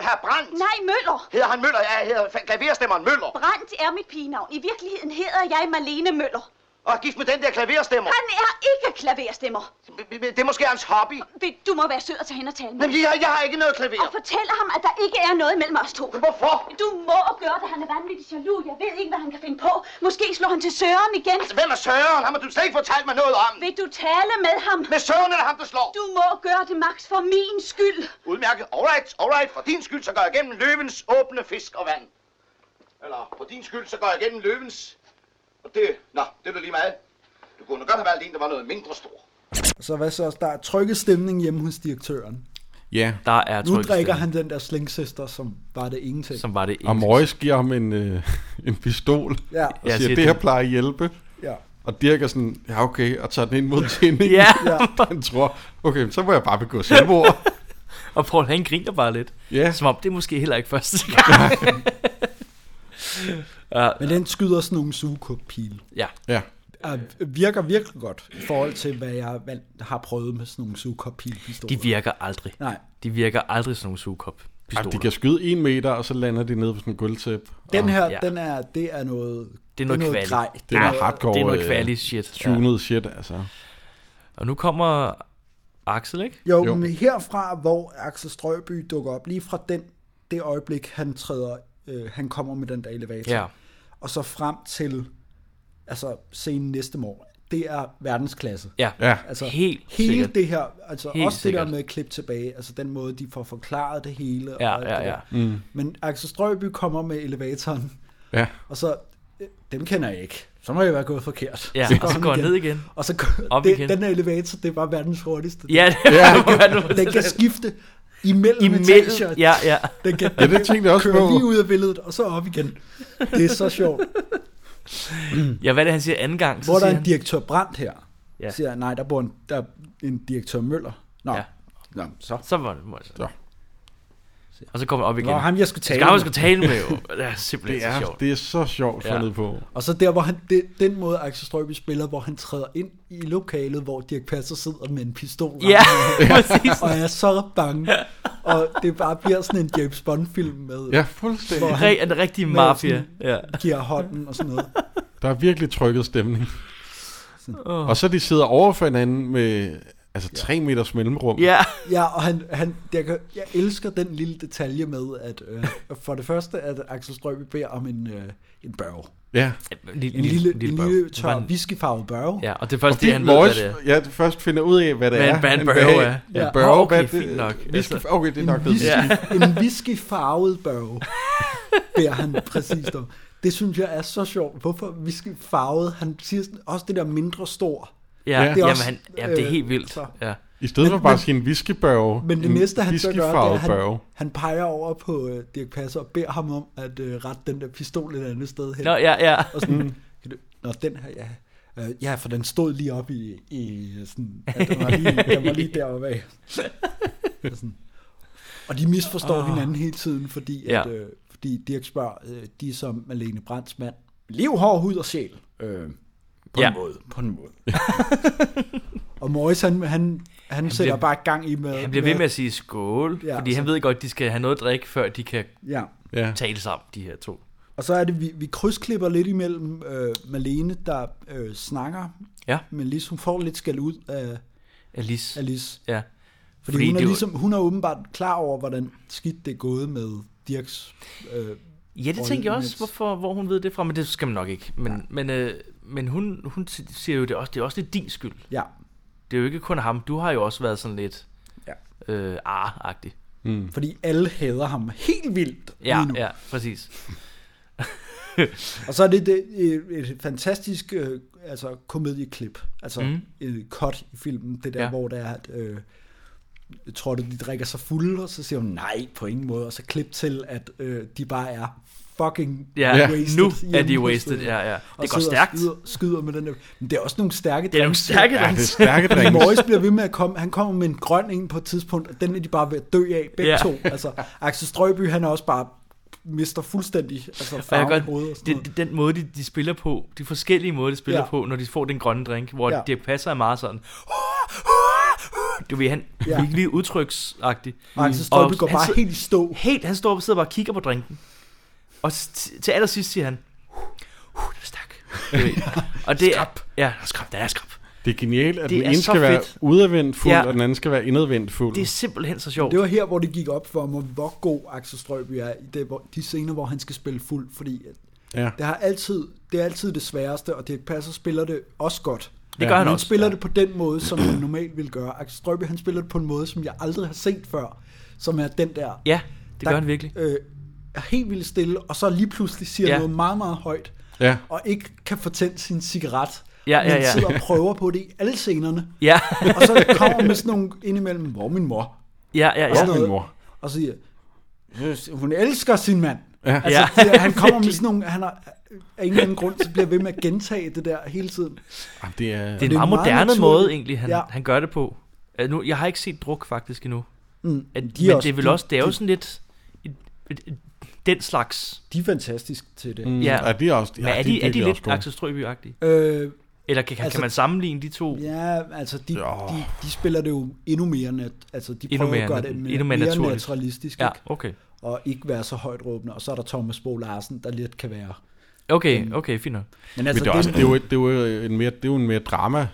Herr Brandt? Nej, Møller! Hedder han Møller? Ja, hedder fa- klaverstemmeren Møller. Brandt er mit pigenavn. I virkeligheden hedder jeg Malene Møller. Og er gift med den der klaverstemmer. Han er ikke klaverstemmer. B- b- Det er måske hans hobby. Vil- Du må være sød og tage hende og tale med. Men jeg, jeg har ikke noget klaver. Og fortæller ham, at der ikke er noget mellem os to. Hvorfor? Du må gøre det. Han er vanvittig jaloux. Jeg ved ikke, hvad han kan finde på. Måske slår han til søren igen. Hvem er Søren? Ham har du slet ikke fortalt mig noget om. Vil du tale med ham? Med Søren eller ham, der slår? Du må gøre det, Max, for min skyld. Udmærket. Alright, alright. For din skyld, så går jeg gennem løvens åbne fisk og vand. Eller, for din skyld, så går jeg gennem løvens... Og det... Nå, det er da lige meget. Du kunne godt have valgt en, der var noget mindre stor. (laughs) Så hvad så? Der er trykket stemning hjemme hos direktøren. Ja, Der er Nu trykket drikker stemning, han den der slingsister, som var det ingenting. Som var det eneste. og Morris giver ham en, øh, en pistol Ja, og Jeg siger, siger, det her det- plejer at hjælpe. ja. Og Dirk er sådan, ja okay, og tager den ind mod tændingen. Ja, Han tror, okay, så må jeg bare begå selvmord. (laughs) og Paul han griner bare lidt. ja, Som om det er måske heller ikke første gang. Men den skyder sådan nogle sugekop-pile. ja, ja. Og virker virkelig godt i forhold til, hvad jeg vant- har prøvet med sådan nogle sugekop-pile-pistoler. de virker aldrig. Nej, De virker aldrig sådan nogle sugekop. Ej, de kan skyde en meter, og så lander de nede på sådan en gulvtæp. den her, ja. ja. den er, det er noget... Det er noget kvali. grej. Det er noget hardcore, Det er noget øh, kvalig shit. Ja. tunet shit, altså. Og nu kommer Axel, ikke? Jo, Jo. jo, men herfra, hvor Axel Strøby dukker op, lige fra den, det øjeblik, han træder, øh, han kommer med den der elevator, Ja. og så frem til altså scenen næste morgen, det er verdensklasse. Ja. Ja. Altså, Helt hele sikkert. det her, altså Helt også sikkert. det der med klip tilbage, altså den måde, de får forklaret det hele. Ja, alt ja, det ja. der. Men Axel Strøby kommer med elevatoren, Ja. og så, øh, dem kender jeg ikke. Så må jeg være gået forkert. Ja, og så går han ned igen. Og så Op går, det, igen. den her elevator, det var verdens hurtigste. Ja, det ja, (laughs) (laughs) var Den kan skifte imellem, etager. Imellem, ja, ja. Den kan, Ja, det tænkte jeg også kører lige på. ud af billedet, og så op igen. Det er så sjovt. Ja, hvad er det, han siger anden gang? (laughs) Så Hvor der siger er en han, direktør Brandt her, Ja. ja. siger, nej, der bor en, der er en direktør Møller. Nå, Ja. ja. Nå så. så var det Morris. Så. Og så kommer han op igen. Nå, ham jeg skulle Det tale skal man med. skulle tale med, jo. Det er simpelthen det Det er, så er, sjovt. Det... det er så sjovt Ja. fundet på. Og så der, hvor han, det, den måde, Axel Strøby spiller, hvor han træder ind i lokalet, hvor Dirk Passer sidder med en pistol. Ja, (laughs) præcis. Og er så bange. Og det bare bliver sådan en James Bond-film med, Ja, Hvor fuldstændig. han- Re- en rigtig mafia. Ja. giver hånden og sådan noget. Der er virkelig trykket stemning. Og så de sidder over for hinanden med altså tre meters mellemrum. ja, Ja, og han, han, jeg, kan, jeg elsker den lille detalje med, at øh, for det første, at Axel Strøby beder om en, øh, en børge. ja. en lille, En lille, en lille, børn. tør Hvordan- whiskyfarvet børge. Ja, og det er først det, Fordi han ved, hvad Morris, det er. ja, først finder ud af, hvad det Hvad en er. band Han børge bag- er. Ja, Ja. børge, Nå, okay, hvad det- fint nok. Vi skal, Altså- okay, det er nok en, det. whisky, (laughs) Ja. en whiskyfarvet børge beder han præcis om. Det synes jeg er så sjovt. Hvorfor whiskyfarvet? Han siger sådan, også det der mindre stor. Ja, Ja. ja. Det er Jamen, også, han, jamen, det er øh, helt vildt. så. Ja. I stedet for Men- bare at men- sige en whiskybørge. Men det en næste, han så gør, det er, whiskyfarvet at børge. han, han peger over på øh, Dirk Passer og beder ham om at øh, rette den der pistol et andet sted hen. Nå, ja, ja. Og sådan, mm. kan du, Nå, den her, ja. Øh, ja, for den stod lige op i, i sådan, ja, den var lige, den var lige deroppe af. Og sådan. Og de misforstår oh. hinanden hele tiden, fordi, at, Ah. Ja. øh, fordi Dirk spørger, øh, de er som Malene Brands mand. Liv, hår, hud og sjæl. Øh, på Ja. en måde, på en måde. (laughs) og Morris, han, han, han, han sætter bliver- bare gang i med... Han bliver ved med at sige skål, Ja, ja, fordi han ved godt, de skal have noget at drikke, før de kan Ja. Ja. tale sammen, de her to. Og så er det, vi, vi krydsklipper lidt imellem øh, Malene, der øh, snakker Ja. med Lis. Hun får lidt skal ud af Alice. Alice. Ja. Fordi, Fordi hun, er det er jo- ligesom, hun er åbenbart klar over, hvordan skidt det er gået med Dirks... Øh, Ja, det Og tænkte jeg også, imens- hvorfor, hvor hun ved det fra, men det skal man nok ikke. Men, men, øh, men hun, hun si- siger jo, det er, også, det er også lidt din skyld. ja, Det er jo ikke kun ham. Du har jo også været sådan lidt Ja. øh, ar-agtig. fordi alle hader ham helt vildt Mm. Ja, lige nu. ja, præcis. Og så er det, det et, et fantastisk øh, altså, komedieklip, altså mm. et cut i filmen, det der, Ja. ja. hvor der er, at øh, tror du, de drikker sig fulde? Og så siger hun, nej, på ingen måde. Og så klip til, at øh, de bare er fucking Ja, Ja. wasted. nu er hjemme de på wasted. stedet. Ja, ja. Og Det sidder går og stærkt. Skyder, skyder med den der. Men det er også nogle stærke Det er nogle drinks, jo. (laughs) stærke Ja, det drinks. er (laughs) stærke drinks. Morris bliver ved med at komme, han kommer med en grøn en på et tidspunkt, og den er de bare ved at dø af, begge Ja. to. Altså, Axel Strøby, han er også bare mister fuldstændig altså, Og jeg farven kan i hovedet. Og godt, sådan det, noget. det, den måde, de, de spiller på, de forskellige måder, de spiller Ja. ja. på, når de får den grønne drink, hvor Ja. ja. det passer er meget sådan, du ved, han Ja. ja. virkelig udtryksagtig. Og Axel Strøby går han bare sidder- helt i stå. Helt, han står og sidder bare og kigger på drinken. Og s- t- til allersidst siger han, uh, den er stærk. Du ved. (laughs) og det er, ja, den er skrab, den er skrab. Det er genialt, at Det den er ene så skal være fedt. udadvendt fuld, Ja. og den anden skal være indadvendt fuld. Det er simpelthen så sjovt. Det var her, hvor det gik op for mig, hvor god Axel Strøby er i det, hvor, de scener, hvor han skal spille fuld, fordi at Ja. det, har altid, det er altid det sværeste, og Dirk Passer spiller det også godt. Det gør Ja, han Han også. spiller det på den måde, som han normalt ville gøre. Axel Strøby, han spiller det på en måde, som jeg aldrig har set før, som er den der... Ja, det der, gør han virkelig. Øh, er helt vildt stille, og så lige pludselig siger ja. Ja. noget meget, meget højt, Ja. og ikke kan få tændt sin cigaret. Ja, ja, Men ja. sidder og prøver på det i alle scenerne. Ja, (laughs) Og så kommer med sådan nogle indimellem, hvor er min mor, ja, ja. sådan ja. Hvor er noget. min mor? og siger, "Yes, hun elsker sin mand. Ja. Altså, Ja. det, han kommer med sådan nogle, han har, af en eller anden grund, så bliver ved med at gentage det der hele tiden. Jamen, det er... Det er en det er meget meget moderne naturligt. måde egentlig, han, Ja. ja. han gør det på. Øh, Nu, jeg har ikke set druk faktisk endnu. Mm, At, de de er men også- det er vel de- også, det er jo de- sådan lidt et, et, et, den slags. De er fantastiske til det. Mm. Mm, Ja. Er de også... Ja, Men er de, er de virkelig også lidt gode. Axel Strøby-agtige? Øh, Eller kan, kan, Altså- kan man sammenligne de to? ja, altså, de, Ja. de, de spiller det jo endnu mere, nat, altså, de Endnu prøver mere at gøre nat- det mere, endnu mere, mere mere naturligt. naturalistisk, Ja, ikke? okay. og ikke være så højt råbende. Og så er der Thomas Bo Larsen, der lidt kan være. Mm. Okay, okay, fint nok. Men Men altså, det er, også, det, er jo, det, er jo en mere, det er jo en mere drama,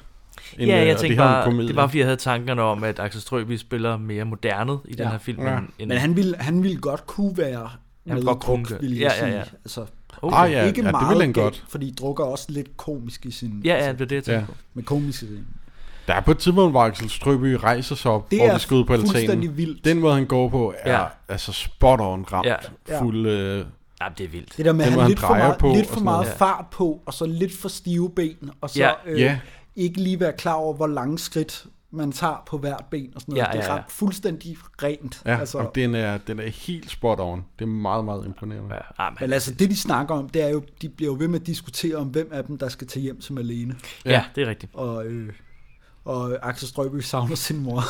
end ja, øh, jeg og det tænkte her er jo en bare, komedie. det var fordi, jeg havde tankerne om, at Axel Strøby spiller mere moderne i den Ja. her film. Ja. end- end- men han ville, han ville godt kunne være med godt kunne druk, gøre- ville jeg ja, ja, ja. sige. Altså, okay. Ah, ja, ikke ja, meget det vil han galt, godt. Fordi drukker er også lidt komisk i sin... ja, ja, det var det, jeg tænkte Ja. på. Med komisk i sin. Der er på et tidspunkt, hvor Axel Strøby rejser sig op, Det det hvor er vi skal ud på altanen. fuldstændig vildt. Den måde, han går på, er ja. Ja. altså spot on ramt. Ja. Ja. Ja. Fuld, øh, Ja, det er vildt. Det der med at Den, have hvor han lidt for drejer meget, på lidt og for sådan meget noget. fart på, og så lidt for stive ben, og så Ja. øh, Ja. ikke lige være klar over, hvor lange skridt man tager på hvert ben og sådan noget. Ja, det er ja, ja. ret fuldstændig rent. ja, altså, altså, og den er, den er helt spot on. Det er meget, meget imponerende. Ja. Ja, ah, men, Men altså, det de snakker om, det er jo, de bliver jo ved med at diskutere om, hvem af dem, der skal tage hjem som alene. ja, det er rigtigt. Og, øh, og Axel Strøby savner sin (laughs) mor.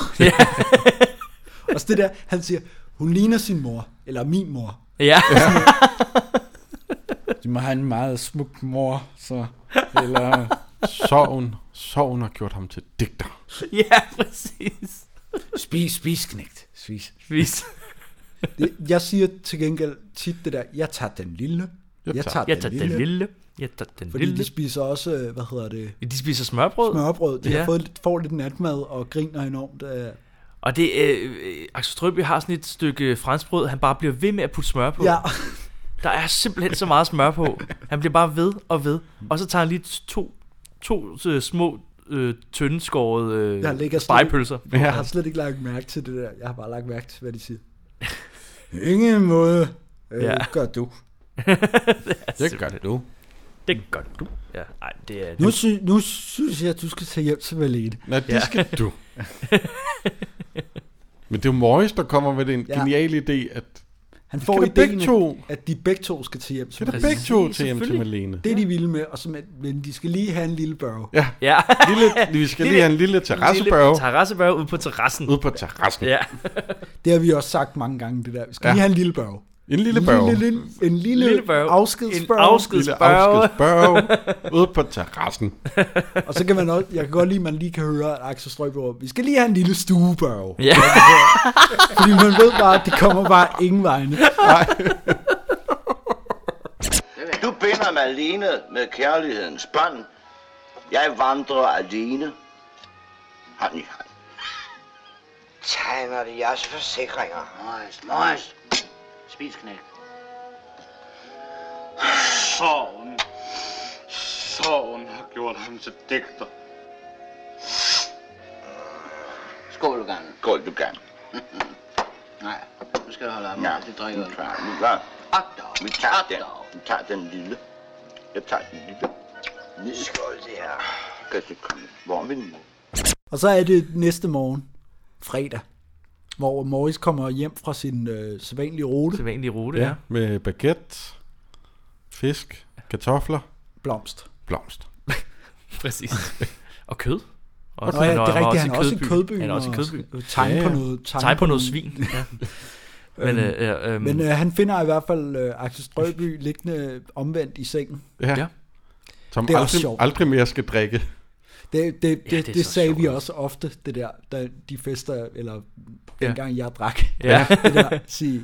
og så det der, han siger, hun ligner sin mor, eller min mor. Ja, De må have en meget smuk mor, så... Eller... Sorgen, sorgen har gjort ham til digter. (laughs) ja, præcis. Spis, spis, knægt. Spis. Vis. Det, jeg siger til gengæld tit det der, jeg tager den lille, jeg, tager- tager, Jeg tager den lille. Jeg tager den Fordi lille. de spiser også, øh, hvad hedder det, De spiser smørbrød. smørbrød. De ja. har Ja. fået lidt, får lidt natmad og griner enormt. Øh. Og det, øh, øh, Axel Strøby har sådan et stykke franskbrød, han bare bliver ved med at putte smør på. Ja, Der er simpelthen så meget smør på. Han bliver bare ved og ved. Og så tager han lige to, to øh, små øh, tyndskårede Jeg lægger øh, slet ikke- spejpølser. jeg har slet ikke lagt mærke til det der. Jeg har bare lagt mærke til, hvad de siger. Ingen måde øh, ja. Ja. gør du. Det gør det du. Det gør du. Ja, ej, det er... Nu, det- sy- nu synes jeg, at du skal tage hjem til Valene. Nå, det Ja. skal du. Men det er jo Morris, der kommer med den Ja. geniale idé, at Han Skal får der begge ideen, to? at, at de begge to skal tage hjem til det er Valene. da begge to til hjem til selvfølgelig. Malene. Det er de vilde med, og så, men, men de skal lige have en lille børge. Ja, Ja, lille, vi skal lige have en lille terrassebørge (laughs) Terrassebørge ude på terrassen. ude på terrassen. Ja, Det har vi også sagt mange gange, det der. Vi skal ja. Ja. lige have en lille børge. En lille børge. En lille, en lille, Lille børge. afskedsbørge. En afsked- lille Spørge. afskedsbørge ude på terrassen. Og så kan man også, jeg kan godt lide, at man lige kan høre, at Axel Strøby råber, vi skal lige have en lille stuebørge. Ja. Fordi man ved bare, at det kommer bare ingen vegne. Du binder mig alene med kærlighedens bånd. Jeg vandrer alene. Hånd i hånd. Tegner de jeres forsikringer? Møjs, møjs. Spis knæk. Sorgen. Sorgen har gjort ham til digter. Skål, gangen. Skål, du kan. (laughs) Nej, nu skal du holde op. Ja, Ja. Det drikker nu du. klar, nu klar. Hot dog. Vi tager hot den. dog. Vi tager den lille. Jeg tager den lille. Ned. Skål, det her. Kan det komme? Hvor er min mor? Og så er det næste morgen, fredag. hvor Morris kommer hjem fra sin øh, sædvanlige rute. Sædvanlige rute, Ja, med baguette, fisk, kartofler. Blomst. Blomst. Præcis. Og kød. Og Nå ja, det er rigtigt, han er også i Kødbyen. Han er også i og- Kødbyen. og tegn på noget- tegn tegn på på noget noget- svin. (laughs) Ja. Men, øh, øh, øh, Men øh, han finder i hvert fald øh, Axel Strøby liggende omvendt i sengen. Ja. Som Det er også aldrig, sjovt. aldrig mere skal drikke. Det, det, det, Ja, ja, det er det, det så sagde sjovt vi også ofte, det der, da de fester, eller Ja. dengang jeg drak, Ja. (laughs) det der, sige,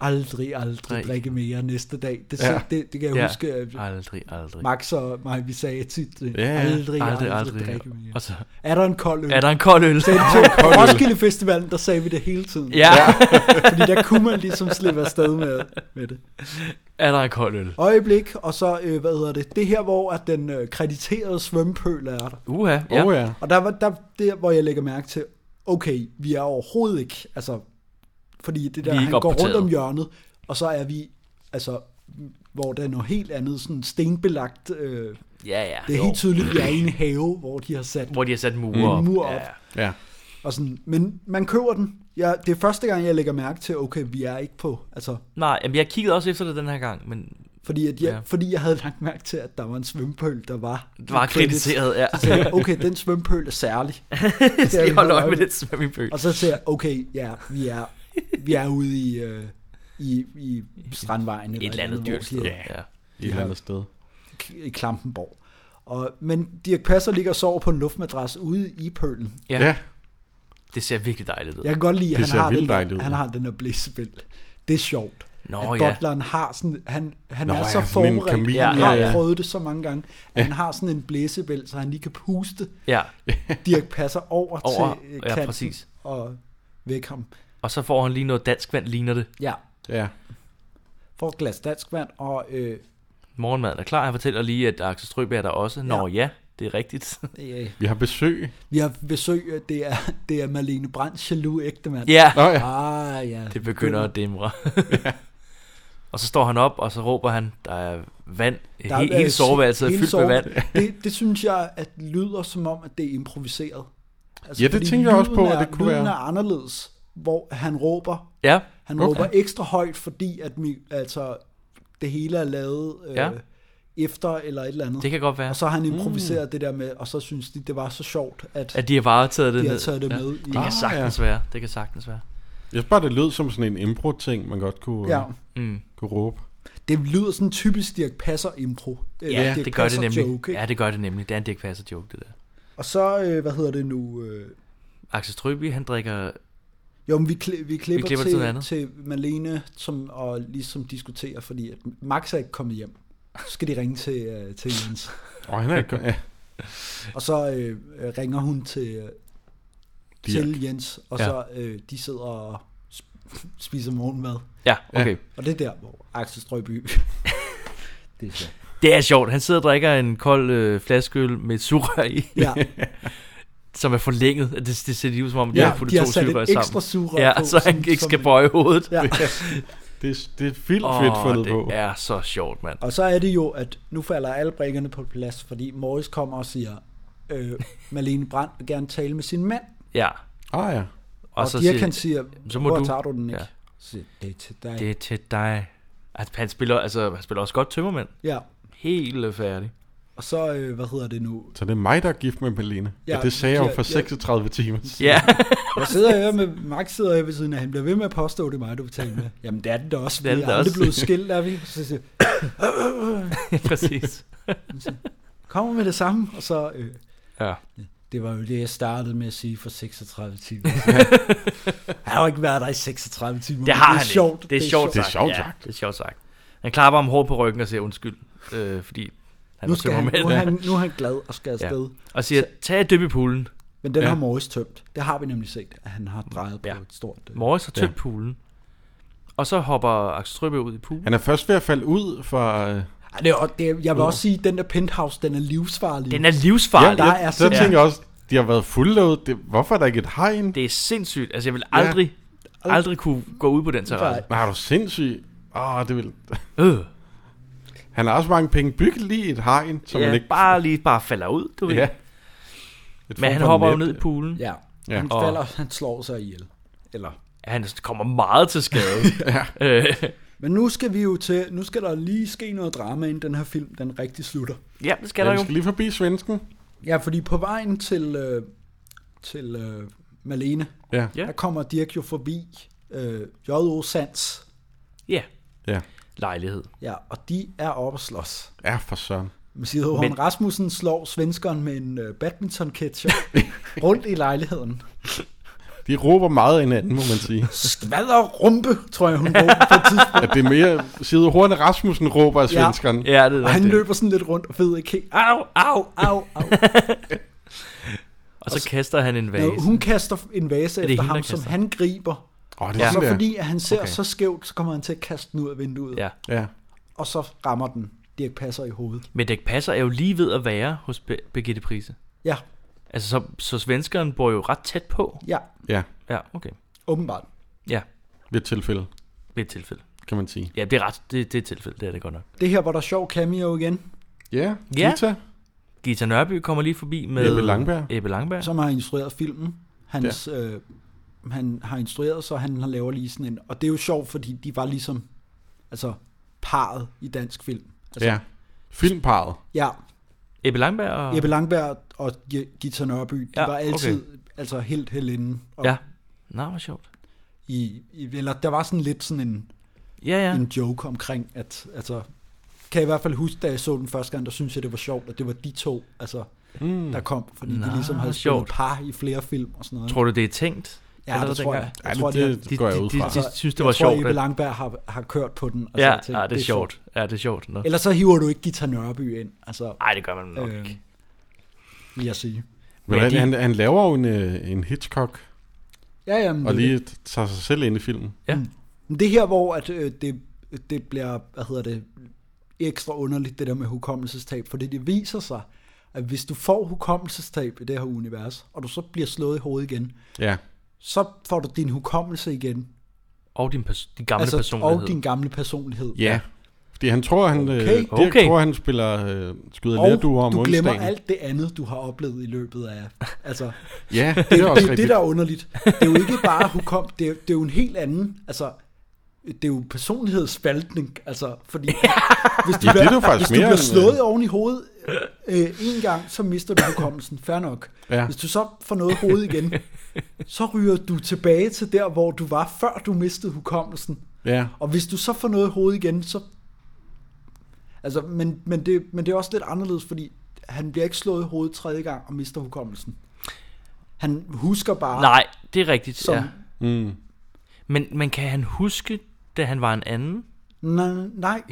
aldrig, aldrig Drik. drikke mere næste dag. Det, Ja. ja. det, det kan jeg Ja. huske, at Aldrig, aldrig. Max og mig, vi sagde tit, øh, Ja, ja. aldrig, aldrig, aldrig, aldrig. aldrig drikke mere. Og så- er der en kold øl? Er der en kold øl? Så Er der en til kold øl? Roskilde Festivalen, der sagde vi det hele tiden. (laughs) Ja. (laughs) Fordi der kunne man ligesom slippe afsted med, med det. Er der en kold øl? Øjeblik, og så, øh, hvad hedder det, det her, hvor at den øh, krediterede svømmepøl er der. Uha, ja. Åh, ja. Og der var der, der, hvor jeg lægger mærke til, okay, vi er overhovedet ikke, altså, fordi det Vi er der, ikke han går rundt opdateret. om hjørnet, og så er vi, altså, hvor der er noget helt andet, sådan stenbelagt, øh, Ja, ja. det er Jo. helt tydeligt, at vi er i en have, hvor de har sat, Hvor de har sat mure en op. mur Ja, op. Ja. Og sådan, men man køber den. Jeg, det er første gang, jeg lægger mærke til, okay, vi er ikke på, altså, Nej, jamen, jeg kiggede også efter det den her gang, men Fordi, at jeg, Ja. ja. fordi jeg havde lagt mærke til, at der var en svømpøl, der var... Var krediteret, (laughs) ja. Så sagde jeg, okay, den svømpøl er (laughs) særlig. Jeg skal Det holde øje er- med den svømmepøl. Og så siger jeg, okay, ja, vi er, vi er ude i, øh, i, i Strandvejen. Et eller andet hvor dyrt sted, de- ja. Ja. Et eller andet sted. K- I Klampenborg. Og, men Dirk Passer ligger og sover på en luftmadras ude i pølen. Ja. ja. Det ser virkelig dejligt ud. Jeg kan godt lide, at han, har den, der, han har... har den der blæsespil. Det er sjovt. Nå, at ja. butleren har sådan, han, han Nå, er ja, så sådan en forberedt, kamin, han ja, har ja. prøvet det så mange gange, at Ja. han har sådan en blæsebæl, så han lige kan puste. Ja. Dirk passer over, Over, til øh, ja, kanten præcis. og væk ham. Og så får han lige noget dansk vand, ligner det. Ja. Ja. Får et glas dansk vand, og øh, Morgenmaden er klar. Han fortæller lige, at Axel Strøby er der også. Nå ja, det er rigtigt. (laughs) Ja. Vi har besøg. vi har besøg, øh, det er, det er Marlene Brandt, jaloux ægtemand. Ja. Ah, ja. Det begynder at (laughs) dæmre. og så står han op, og så råber han, der er vand. Der, hele, øh, hele soveværelset er hele fyldt med vand. soveværelset- Det, det synes jeg at lyder som om, at det er improviseret. Altså, Ja, det fordi tænker jeg også på, lyden at er- det kunne lyden være. er anderledes, hvor han råber. Ja, Han okay. råber ekstra højt, fordi at mi, altså, det hele er lavet øh, Ja. ja. efter eller et eller andet. Det kan godt være. Og så har han Mm. improviseret mm. det der med, og så synes de, det var så sjovt, at, At de har bare taget det, de har ned. taget det Ja. med. Det kan sagtens være. Det kan sagtens være. Jeg synes bare, det lød som sådan en impro-ting, man godt kunne, Ja. ja. mm. kunne råbe. Det lyder sådan typisk Dirk Passer impro. eller Ja, Dirch det gør det Passer nemlig. Joke, ikke? ja, det gør det nemlig. Det er en Dirk Passer joke, det der. Og så, øh, hvad hedder det nu? Øh, Axel Strøby, han drikker... Jo, men vi, kli- vi klipper, klipper til, til noget andet. til, til Malene, som, og ligesom diskuterer, fordi at Max er ikke kommet hjem. Så skal de ringe til, øh, til Jens. Åh, han er ikke- ja. Og så øh, øh, ringer hun til, øh, til Jens, og Ja. ja. så øh, de sidder og sp- spiser morgenmad. Ja, okay. Ja. Og det er der, hvor Axel Strøby... det er sjovt. (laughs) Det er sjovt. Han sidder og drikker en kold øh, flaskeøl med et surrør (laughs) i. Ja. som er forlænget. Det, det ser lige ud som om, de Ja, har puttet de har to sat et surrør sammen. ekstra surrør ja, på, så han sådan- ikke som skal en- bøje hovedet. Ja. Det, er- det er vildt oh, fedt fundet det på. Det er så sjovt, mand. Og så er det jo, at nu falder alle brækkerne på plads, fordi Morris kommer og siger, øh, Malene Brandt vil gerne tale med sin mand. Ja. Ah, ja. Og, og så Dirk han siger, så må hvor du... tager du den ikke? Ja. Ja. Siger, det er til dig. Det er til dig. At han spiller, altså, han spiller også godt tømmermænd. Ja. Helt øh, færdig. Og så, øh, hvad hedder det nu? Så det er mig, der er gift med Malene. Ja, Ja, og det sagde jeg jo ja, ja. for 36 timer siden. (laughs) Jeg sidder her med, Max sidder her ved siden af, han bliver ved med at påstå, det er mig, du betaler med. Jamen det er den da også, Det det er vi er den da er aldrig også. (laughs) blevet skilt, er vi? Så siger, Præcis. Han siger, Kommer med det samme, og så... Øh, (laughs) Ja. Det var jo det, jeg startede med at sige for 36 timer. (laughs) han har jo ikke været der i 36 timer. Det har men han det er sjovt. Ikke. Det er sjovt sagt. sjovt ja, sagt. Det er sjovt sagt. Han klapper ham hårdt på ryggen og siger undskyld, øh, fordi han Nu, var skal han, nu, er tømmermand. han, nu er han glad og skal afsted. Ja. Og siger, tag et dyb i poolen. Men den Ja. ja. har Morris tømt. Det har vi nemlig set, at han har drejet på ja. et stort... øh, Morris har tømt ja. poolen. Og så hopper Axel Strøbø ud i poolen. Han er først ved at falde ud fra... Øh, Ej, det er, jo- det er, jeg vil også sige, at den der penthouse, den er livsfarlig. Den er livsfarlig. Ja, der er jeg, så tænker simpelthen... jeg også, de har været fulde derude. Det, hvorfor er der ikke et hegn? Det er sindssygt. Altså, jeg vil Ja. aldrig, aldrig kunne gå ud på den terrasse. Men har du sindssyg? Åh, oh, det vil... Øh. Han har også mange penge. Byg lige et hegn, som ja, man ikke... bare lige bare falder ud, du ved. Ja. Men han hopper jo ned i poolen. Ja. Ja. Han Og- falder, han slår sig ihjel. Eller at han kommer meget til skade. ja. øh, Men nu skal vi jo til, nu skal der lige ske noget drama, inden den her film, den rigtig slutter. Ja, det skal Ja, der vi jo. skal lige forbi svensken. Ja, fordi på vejen til, øh, til øh, Malene, Ja. Ja. der kommer Dirk jo forbi øh, J.O. Sands. Ja. Ja. Lejlighed. Ja, og de er oppe at slås. Ja, for søren. Sidder Men... Rasmussen slår svenskeren med en øh, badminton-ketcher (laughs) rundt i (laughs) lejligheden. De råber meget af hinanden, må man sige. Skvaller rumpe, tror jeg, hun råber på et tidspunkt. At det er mere Side Horne Rasmussen råber af svenskeren. og han løber sådan lidt rundt og ved ikke helt, au, au, au, (laughs) au. Og så kaster han en vase. Nå, Altså, hun kaster en vase Er det efter hende, ham, der som kaster? han griber. Åh, og det er sådan så der. fordi at han ser Okay. okay. så skævt, så kommer han til at kaste den ud af vinduet. Ja. Ja. Og så rammer den. Dirk passer i hovedet. Men det passer er jo lige ved at være hos Be- Birgitte Prise. Ja. Altså, så, så svenskeren bor jo ret tæt på. Ja. Ja. Ja, okay. Åbenbart. Ja. Ved et tilfælde. Ved et tilfælde. Kan man sige. Ja, det er ret. Det, det er et tilfælde. Det er det godt nok. Det her, hvor der er sjov cameo igen. Ja, Ja. Gita Nørby kommer lige forbi med... Ebbe Langberg. Ebbe Langberg. Som har instrueret filmen. Hans, øh, han har instrueret, så han laver lige sådan en... Og det er jo sjovt, fordi de var ligesom altså, parret i dansk film. Altså, Ja. Filmparet. Ja. Ebbe Langberg og... Jeppe Langberg og Je- Gita Nørby, de Ja, ja, var altid okay. altså helt helinde. Og Ja. Nå, hvor sjovt. I, i, eller der var sådan lidt sådan en, ja, ja. en joke omkring, at altså, kan jeg i hvert fald huske, da jeg så den første gang, der synes jeg, det var sjovt, at det var de to, altså, Mm. mm. der kom, fordi Nå, Nå, de ligesom havde spillet sjovt. par i flere film og sådan noget. Mm. Tror du, det er tænkt? Ja, Allerede det tror jeg. dengang? jeg tror, de har- De, de, de synes, det jeg tror, var sjovt. Ebbe at- Langberg har, har kørt på den. Ja, jeg tænkte, ja, det er sjovt. Ja, det er sjovt. Nå. Ellers så hiver du ikke Gita Nørby ind. Altså, Nej, det gør man nok ikke. Vil jeg sige. Men han, de- han, han laver jo en, øh, en Hitchcock. Ja, ja, men Og det- lige tager sig selv ind i filmen. Ja. Men det her, hvor at, øh, det, det bliver, hvad hedder det, ekstra underligt, det der med hukommelsestab, fordi det viser sig, at hvis du får hukommelsestab i det her univers, og du så bliver slået i hovedet igen, Ja. så får du din hukommelse igen. Og din, pers- din gamle altså, personlighed. Og din gamle personlighed. Ja. Fordi han tror, han, okay. Okay. Dirk Okay. tror, han spiller øh, skyder Og lærduer om du glemmer onsdagen. alt det andet, du har oplevet i løbet af... Altså, Ja, det er det, også det, det, rigtigt. der er underligt. Det er jo ikke bare hukom, det, er, det er jo en helt anden... Altså, det er jo personlighedsspaltning, altså, fordi hvis du, Ja, det er bliver- det jo faktisk hvis du mere bliver end- slået oven i hovedet øh, en gang, så mister du hukommelsen, fair nok. Ja. Hvis du så får noget i hovedet igen, (laughs) så ryger du tilbage til der, hvor du var, før du mistede hukommelsen. Ja. Og hvis du så får noget i hovedet igen, så... Altså, men, men, det, men det er også lidt anderledes, fordi han bliver ikke slået i hovedet tredje gang og mister hukommelsen. Han husker bare... Nej, det er rigtigt, Som, ja. Mm. Men, men kan han huske, da han var en anden? Nej, nej.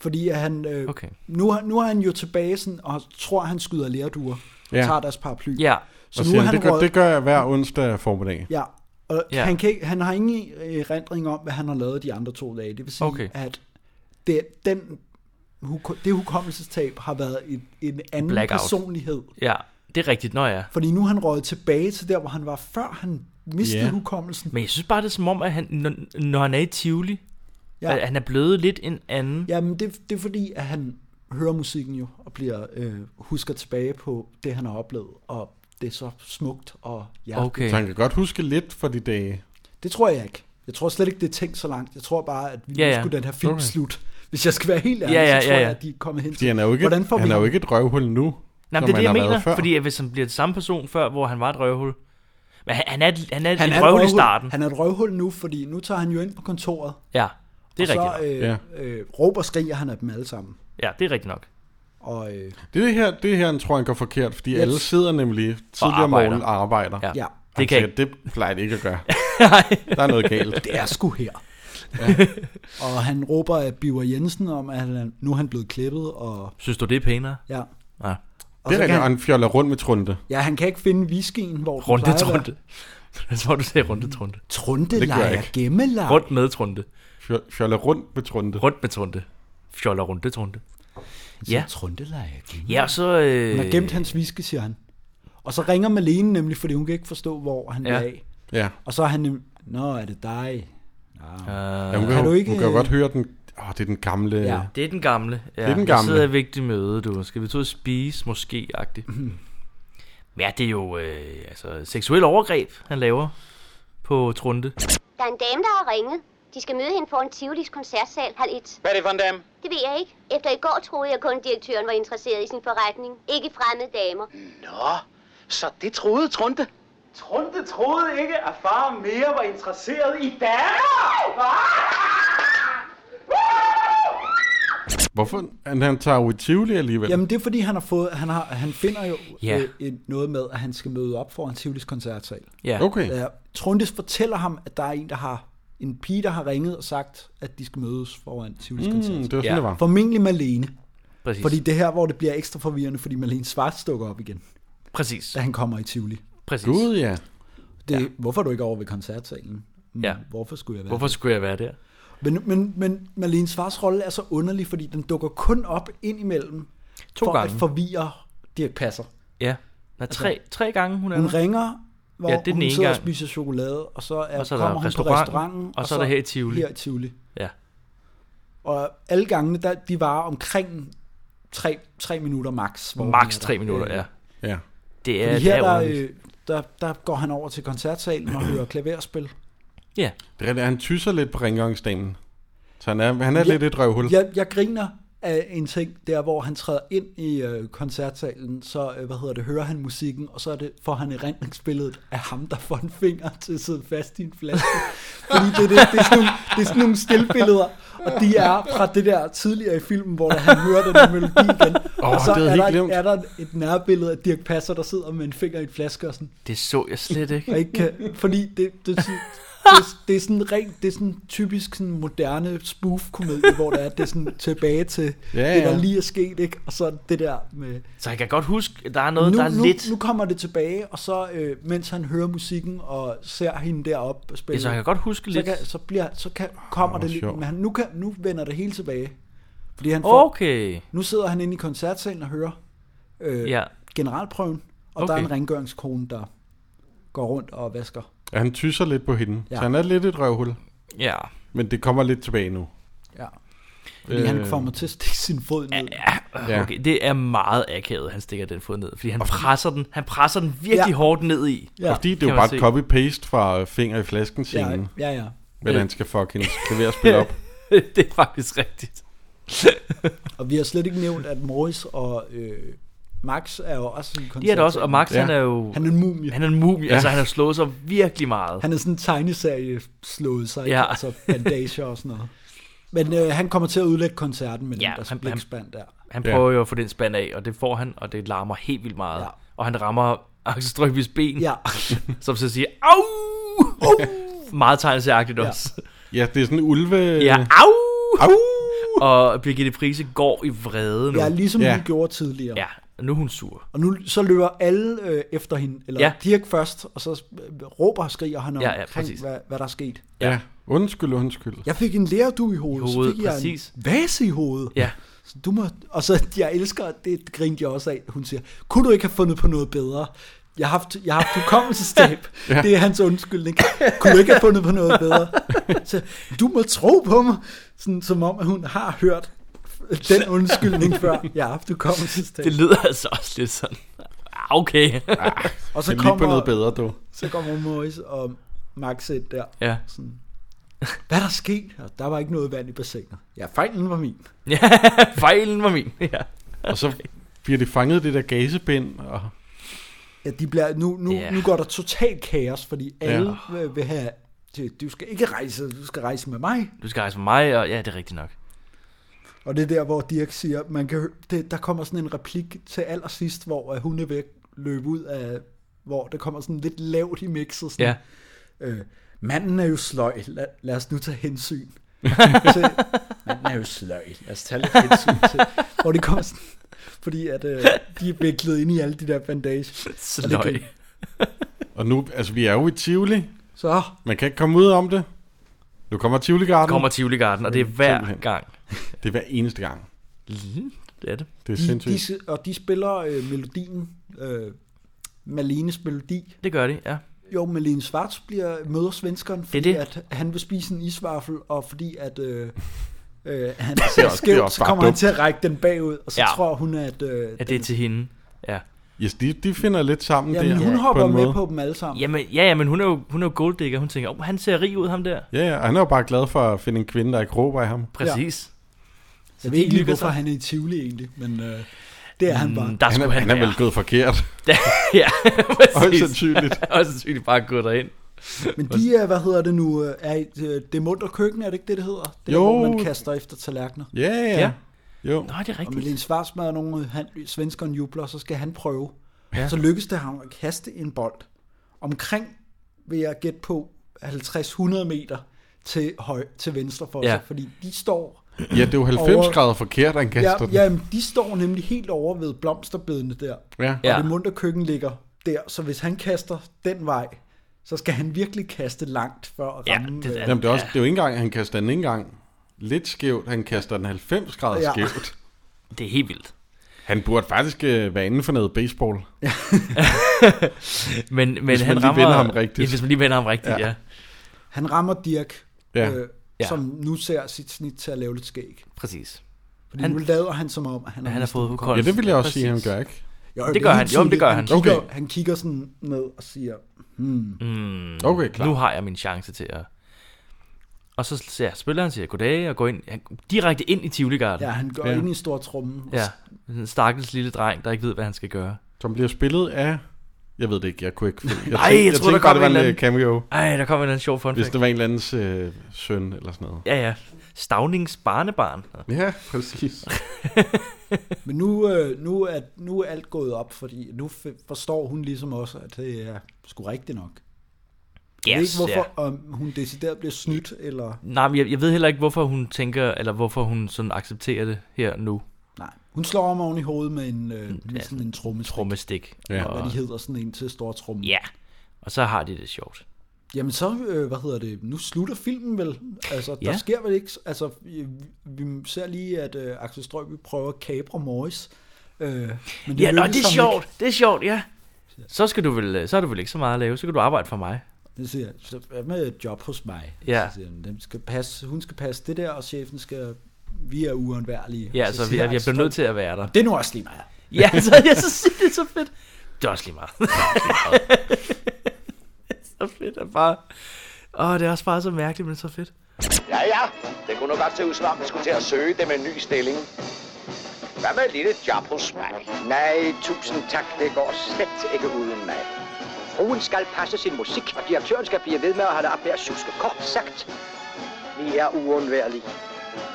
Fordi at han... Øh, Okay. nu, har- nu er han jo tilbage sådan, og tror, han skyder lærduer. Ja. Ja. Tager deres paraply. Så og siger, er han, det, gør, røget- det gør jeg hver onsdag formiddag. Ja, og Ja. ja. Han, kan, ikke- han har ingen erindring om, hvad han har lavet de andre to dage. Det vil sige, Okay. okay. at det, den, huko- det hukommelsestab har været et, en anden Blackout. personlighed. Ja, det er rigtigt, når jeg Fordi nu er han røget tilbage til der, hvor han var, før han mistede Ja. yeah. hukommelsen. Men jeg synes bare, det er som om, at han, når, når han er i Tivoli, Ja. ja. at han er blevet lidt en anden. Jamen, det, det er fordi, at han hører musikken jo, og bliver øh, husker tilbage på det, han har oplevet, og det er så smukt og hjerteligt. Så han kan godt huske lidt for de dage. Det tror jeg ikke. Jeg tror slet ikke, det er tænkt så langt. Jeg tror bare, at vi Ja, ja, ja. ja. skulle den her film Okay. okay. slut. Hvis jeg skal være helt ærlig, Ja, ja, så tror ja, ja. jeg, at de er kommet hen Fordi han er jo ikke, Hvordan får han vi er jo ham? ikke et røvhul nu. Nej, som men det er det, jeg han har været mener. før. Fordi at hvis han bliver den samme person før, hvor han var et røvhul. Men han, han er, et- han er Han han er et et røvhul i røvhul. starten. Han er et røvhul nu, fordi nu tager han jo ind på kontoret. Ja, det er og rigtigt. så øh, øh, råber og skriger han af dem alle sammen. Ja, det er rigtigt nok. Og, øh, Det er det her, det her, han tror, han går forkert, fordi Yes. alle sidder nemlig tidligere om arbejder. morgenen og arbejder. Ja. Ja. Det, Det kan kan siger, det plejer det ikke at gøre. (laughs) Der er noget galt. (laughs) Det er sgu her. (laughs) og han råber af Biver Jensen om, at han, nu er han blevet klippet. Og, Synes du, det er pænere? ja. Ja. Og så Det er kan rigtigt, og han, han fjoller rundt med Trunte. ja, han kan ikke finde whiskyen, hvor den Runde plejer at være. trunde. Jeg tror, du sagde runde trunde. Trunte Det gør jeg leger ikke. gemmeleg. Rundt med trunde. Fjo- Fjoller rundt med Trunte. Rundt med trunte. Fjoller runde trunde. Ja. Trunte leger gemmeleg. Ja, og så... Øh, Hun har gemt hans whisky, siger han. Og så ringer Malene nemlig, fordi hun kan ikke forstå, hvor han Ja. ja. er af. Ja. Og så er han nem- Nå, er det dig? Nå. Ja, hun, kan, Kan jo- du ikke- øh, hun kan jo godt høre den... Åh, det er den gamle... Ja. Det er den gamle. Ja, Det er den Jeg gamle. sidder i et vigtigt møde, du. Skal vi tage ud og spise, måske, (clears throat) agtigt. Ja, det er jo øh, altså, seksuel overgreb, han laver på Trunte. Der er en dame, der har ringet. De skal møde hende foran Tivolis koncertsal halv et. Hvad er det for en dame? Det ved jeg ikke. Efter i går troede jeg kun, direktøren var interesseret i sin forretning. Ikke i fremmede damer. Nå, så det troede Trunte. Trunte troede ikke, at far mere var interesseret i damer. Hvorfor? Han, han tager jo i Tivoli alligevel. Jamen det er fordi, han, har fået, han, har, han finder jo Ja. yeah. øh, et, noget med, at han skal møde op foran Tivolis koncertsal. Ja. Okay. Ja, Trundes fortæller ham, at der er en, der har en pige, der har ringet og sagt, at de skal mødes foran Tivolis Mm, koncertsal. det var sådan, Ja. det var. Formentlig Malene. Præcis. Fordi det er her, hvor det bliver ekstra forvirrende, fordi Malene Svart dukker op igen. Præcis. Da han kommer i Tivoli. Præcis. Gud, ja. Det, ja. Hvorfor er du ikke over ved koncertsalen? Mm, Ja. Hvorfor skulle jeg være Hvorfor skulle jeg være der? Men, men, men Marlene Svars rolle er så underlig, fordi den dukker kun op indimellem To for gange. at forvirre Dirk Passer. Ja. Der er tre, Altså- tre gange, hun er Hun der. ringer, hvor Ja, det er den hun ene sidder og gang. spiser chokolade, og så, er, Og så er der kommer hun på restauranten, restauranten. og så er der her i Tivoli. Her i Tivoli. Ja. Og alle gangene, der, de varer omkring tre, tre minutter max. hvor hun Max er der. tre minutter, ja. Ja. Det er, Fordi det her, er der, øh, underligt. der, der går han over til koncertsalen (clears throat) og hører klaverspil. øh, Ja. Det er, rigtigt, han tysser lidt på ringgangsdamen. Så han er, han er lidt et røvhul. Jeg, jeg griner af en ting, der hvor han træder ind i øh, koncertsalen, så øh, hvad hedder det, hører han musikken, og så er det, får han erindringsbilledet af ham, der får en finger til at sidde fast i en flaske. Fordi det, det, det, er sådan nogle, det er sådan nogle stillbilleder, og de er fra det der tidligere i filmen, hvor da han hører den her melodi igen. Åh, og så det havde er, jeg der, helt glemt. er der et nærbillede af Dirk Passer, der sidder med en finger i en flaske og sådan, Det så jeg slet ikke. og ikke (laughs) kan, fordi det, det, er sådan- det, er- det, er sådan rent, det er sådan typisk sådan moderne spoof-komedie, hvor der er det er sådan tilbage til Ja, ja, det, der ja. lige er sket, ikke? Og så det der med... Så jeg kan godt huske, at der er noget, nu, der er nu, lidt... Nu kommer det tilbage, og så øh, mens han hører musikken og ser hende deroppe spille... Ja, så jeg kan godt huske så lidt. Kan, så, bliver, så kan, kommer hvor det lidt, sjovt. men han, nu, kan, nu vender det hele tilbage. Fordi han får, Okay. Nu sidder han inde i koncertsalen og hører øh, Ja. ja. generalprøven, og okay. der er Okay. en rengøringskone, der går rundt og vasker Ja, han tysser lidt på hende. Ja. Ja. Så han er lidt et røvhul. Ja. Men det kommer lidt tilbage nu. Ja. Fordi øh, han kommer til at stikke sin fod ned. Ja. Okay, det er meget akavet, han stikker den fod ned, fordi han presser den, han presser den virkelig ja. Ja. hårdt ned i. (laughs) Ja. Og fordi det er jo Kan bare man et se. copy-paste fra øh, Finger i flasken scenen. Ja, ja, ja. Men Ja. han skal (laughs) fuck hendes klaverspil op. det er faktisk rigtigt. og vi har slet ikke nævnt, at Morris og øh, Max er jo også en koncert. De er det også, og Max, ja. han er jo... Han er en mumie. Han er en mumie, ja. Ja. altså han har slået sig virkelig meget. Han er sådan en tegneserie slået sig, Ja. ja. altså bandager og sådan noget. Men øh, han kommer til at udlægge koncerten med ja, den der han- blikspand der. Han Ja. prøver jo at få den spand af, og det får han, og det larmer helt vildt meget. Ja. Og han rammer Axel Strøbys ben, ja. (laughs) som så siger, au! meget tegneserieagtigt Ja. også. Ja, det er sådan en ulve... Ja, au! au! Og Birgitte Prise går i vrede nu. Ja, ligesom ja. hun gjorde tidligere. Ja, og nu er hun sur. Og nu så løber alle øh, efter hende, eller Ja. ja. Dirk først, og så øh, råber og skriger han om, Ja, ja, ja, præcis. ja, hvad, hvad der er sket. Ja. ja. Undskyld, undskyld. Jeg fik en lærdu i hovedet, Hovedet, så fik jeg præcis. en vase i hovedet. Ja. Så du må, og så, jeg elsker, at det grinte jeg også af, hun siger, kunne du ikke have fundet på noget bedre? Jeg har haft, jeg har haft (laughs) hukommelsestab. Ja. ja. Det er hans undskyldning. Kunne du ikke have fundet på noget bedre? (laughs) Så, du må tro på mig, sådan, som om at hun har hørt den undskyldning før. Jeg har haft hukommelsestab. Det lyder altså også lidt sådan. Ah, Okay. Og så kommer, du. Så kommer Morris og Max ind der. Ja. Sådan, hvad er der sket? Og der var ikke noget vand i bassinet. Ja, fejlen var min. Ja, fejlen var min. Ja. Og så bliver de fanget i det der gasebind, og Ja, de bliver, nu, nu, Ja. yeah. nu går der totalt kaos, fordi alle yeah. vil have, du, du skal ikke rejse, du skal rejse med mig. Du skal rejse med mig, og ja, det er rigtigt nok. Og det er der, hvor Dirk siger, man kan, hø- det, der kommer sådan en replik til allersidst, hvor øh, hun er væk løbe ud af, hvor det kommer sådan lidt lavt i mixet. Sådan, øh, manden er jo sløj, lad, lad os nu tage hensyn. til, manden er jo sløj, lad os tage lidt hensyn til. Hvor det kommer sådan, fordi at, øh, de er viklet ind i alle de der bandager. Og det kan- og nu, altså vi er jo i Tivoli. Så. Man kan ikke komme ud om det. Nu kommer Tivoli Garden. Kommer Tivoli Garden, og det er hver gang. Det er hver eneste gang. Det er det. Det er De, sindssygt. de, si- og de spiller øh, melodien, øh, Malenes melodi. Det gør de, ja. Jo, Malene Schwarz bliver, møder svenskeren, fordi det. det det. at han vil spise en isvaffel, og fordi at øh, øh, han Det er ser også- det er skævt, også så bare kommer han dumt. til at række den bagud, og så Ja. ja. tror hun, at... Øh, At det er til hende. Ja. Yes, de, de finder lidt sammen Jamen, der. hun hopper en med måde. på dem alle sammen. Jamen, ja, ja, men hun er jo, hun er jo golddigger. Hun tænker, oh, han ser rig ud, ham der. Ja, ja, og han er jo bare glad for at finde en kvinde, der ikke råber af ham. Præcis. Jeg ved ikke lige, hygger hvorfor sig. han er i Tivoli egentlig, men øh, det er han bare. Mm, der Han er, skulle han, han han er være. vel gået forkert. (laughs) (laughs) ja, præcis. Højst sandsynligt. Højst sandsynligt bare gået derind. Men de er, hvad hedder det nu, øh, er i øh, det munter køkken, er det ikke det, det hedder? Det Jo. Der, hvor man kaster efter tallerkener. Ja, ja. Ja. Jo. Nå, det er Og rigtigt. Malene Svartsmad og nogle øh, han, svenskeren jubler, så skal han prøve. Ja. Ja. Så lykkes det ham at kaste en bold omkring, vil jeg gætte på, 50-100 meter til, høj, til venstre for Ja. sig, fordi de står... Ja, det er jo 90 over- grader forkert, han kaster den. ja, jamen, de står nemlig helt over ved blomsterbedene der. Ja. Og Ja. det munter køkken ligger der, så hvis han kaster den vej, så skal han virkelig kaste langt for at ramme... øh, Jamen, det, er også, det er jo ikke engang, han kaster den ikke engang lidt skævt. Han kaster den 90 grader Ja. ja. skævt. Det er helt vildt. Han burde faktisk øh, være inden for noget baseball. Men, men Hvis man han lige rammer, vender ham rigtigt. Ja, hvis man lige vender ham rigtigt, ja. ja. Han rammer Dirk, Ja. ja. Øh, Ja. som nu ser sit snit til at lave lidt skæg. Præcis. Fordi Han- han, nu lader han som om, at han, Ja, han har fået Ja, hukommelse. det vil jeg også Præcis. sige, han gør ikke. Jo, Det gør er han. helt Jo, men det tydeligt. gør han. kigger, Okay. han kigger sådan ned og siger, hmm. Mm, Okay, klar. Nu har jeg min chance til at... Og så ser spiller han siger goddag og går ind, han, direkte ind i tivoli Garden. ja, han går ja. ind i stor trummen. Ja, en stakkels lille dreng, der ikke ved, hvad han skal gøre. Som bliver spillet af... Jeg ved det ikke, jeg kunne ikke... (laughs) Nej, Jeg jeg troede, der tænkte bare, kom det var en en eller øh, cameo. Ej, der kommer en eller anden sjov fun Hvis fact. det var en eller andens øh, søn eller sådan noget. Ja, ja. Stavnings barnebarn. Ja, præcis. Men nu, øh, nu, er, nu er alt gået op, fordi nu f- forstår hun ligesom også, at det er sgu rigtigt nok. jeg ved Yes, ikke, hvorfor ja. om hun decideret bliver snydt, eller... Nej, men jeg, jeg ved heller ikke, hvorfor hun tænker, eller hvorfor hun sådan accepterer det her nu. Nej, hun slår ham oven i hovedet med, en, øh, med sådan en trommestik. Trommestik. Ja. Mm, Og- Hvad de hedder, sådan en til stor tromme. Ja, og så har de det sjovt. Jamen så, øh, hvad hedder det, nu slutter filmen vel? Altså, der Ja. sker vel ikke, altså, vi, vi ser lige, at øh, Axel Strøby prøver at kapre Morris. Øh, men det Ja, nå, lykkes det er ligesom- ham sjovt. Det er sjovt, ja. Så, skal du vel, øh, så er du vel ikke så meget at lave, så kan du arbejde for mig. Ikke. Det siger, jeg, så hvad med et job hos mig? Ja. Så siger han, den skal passe, hun skal passe det der, og chefen skal, vi er uundværlige. Ja, så, vi, siger er, vi er Axel blevet nødt Strøby, til at være der. Det er nu også lige meget. Ja, (laughs) så, ja, så siger det så fedt. Det er også lige meget. (laughs) så fedt er bare... Åh, det er også bare så mærkeligt, men så fedt. Ja, ja. Det kunne nu godt se ud, som om vi skulle til at søge dem en ny stilling. Hvad med et lille job hos mig? Nej, tusind tak. Det går slet ikke uden mig. Fruen skal passe sin musik, og direktøren skal blive ved med at holde op med at suske. Kort sagt, Vi er uundværlige.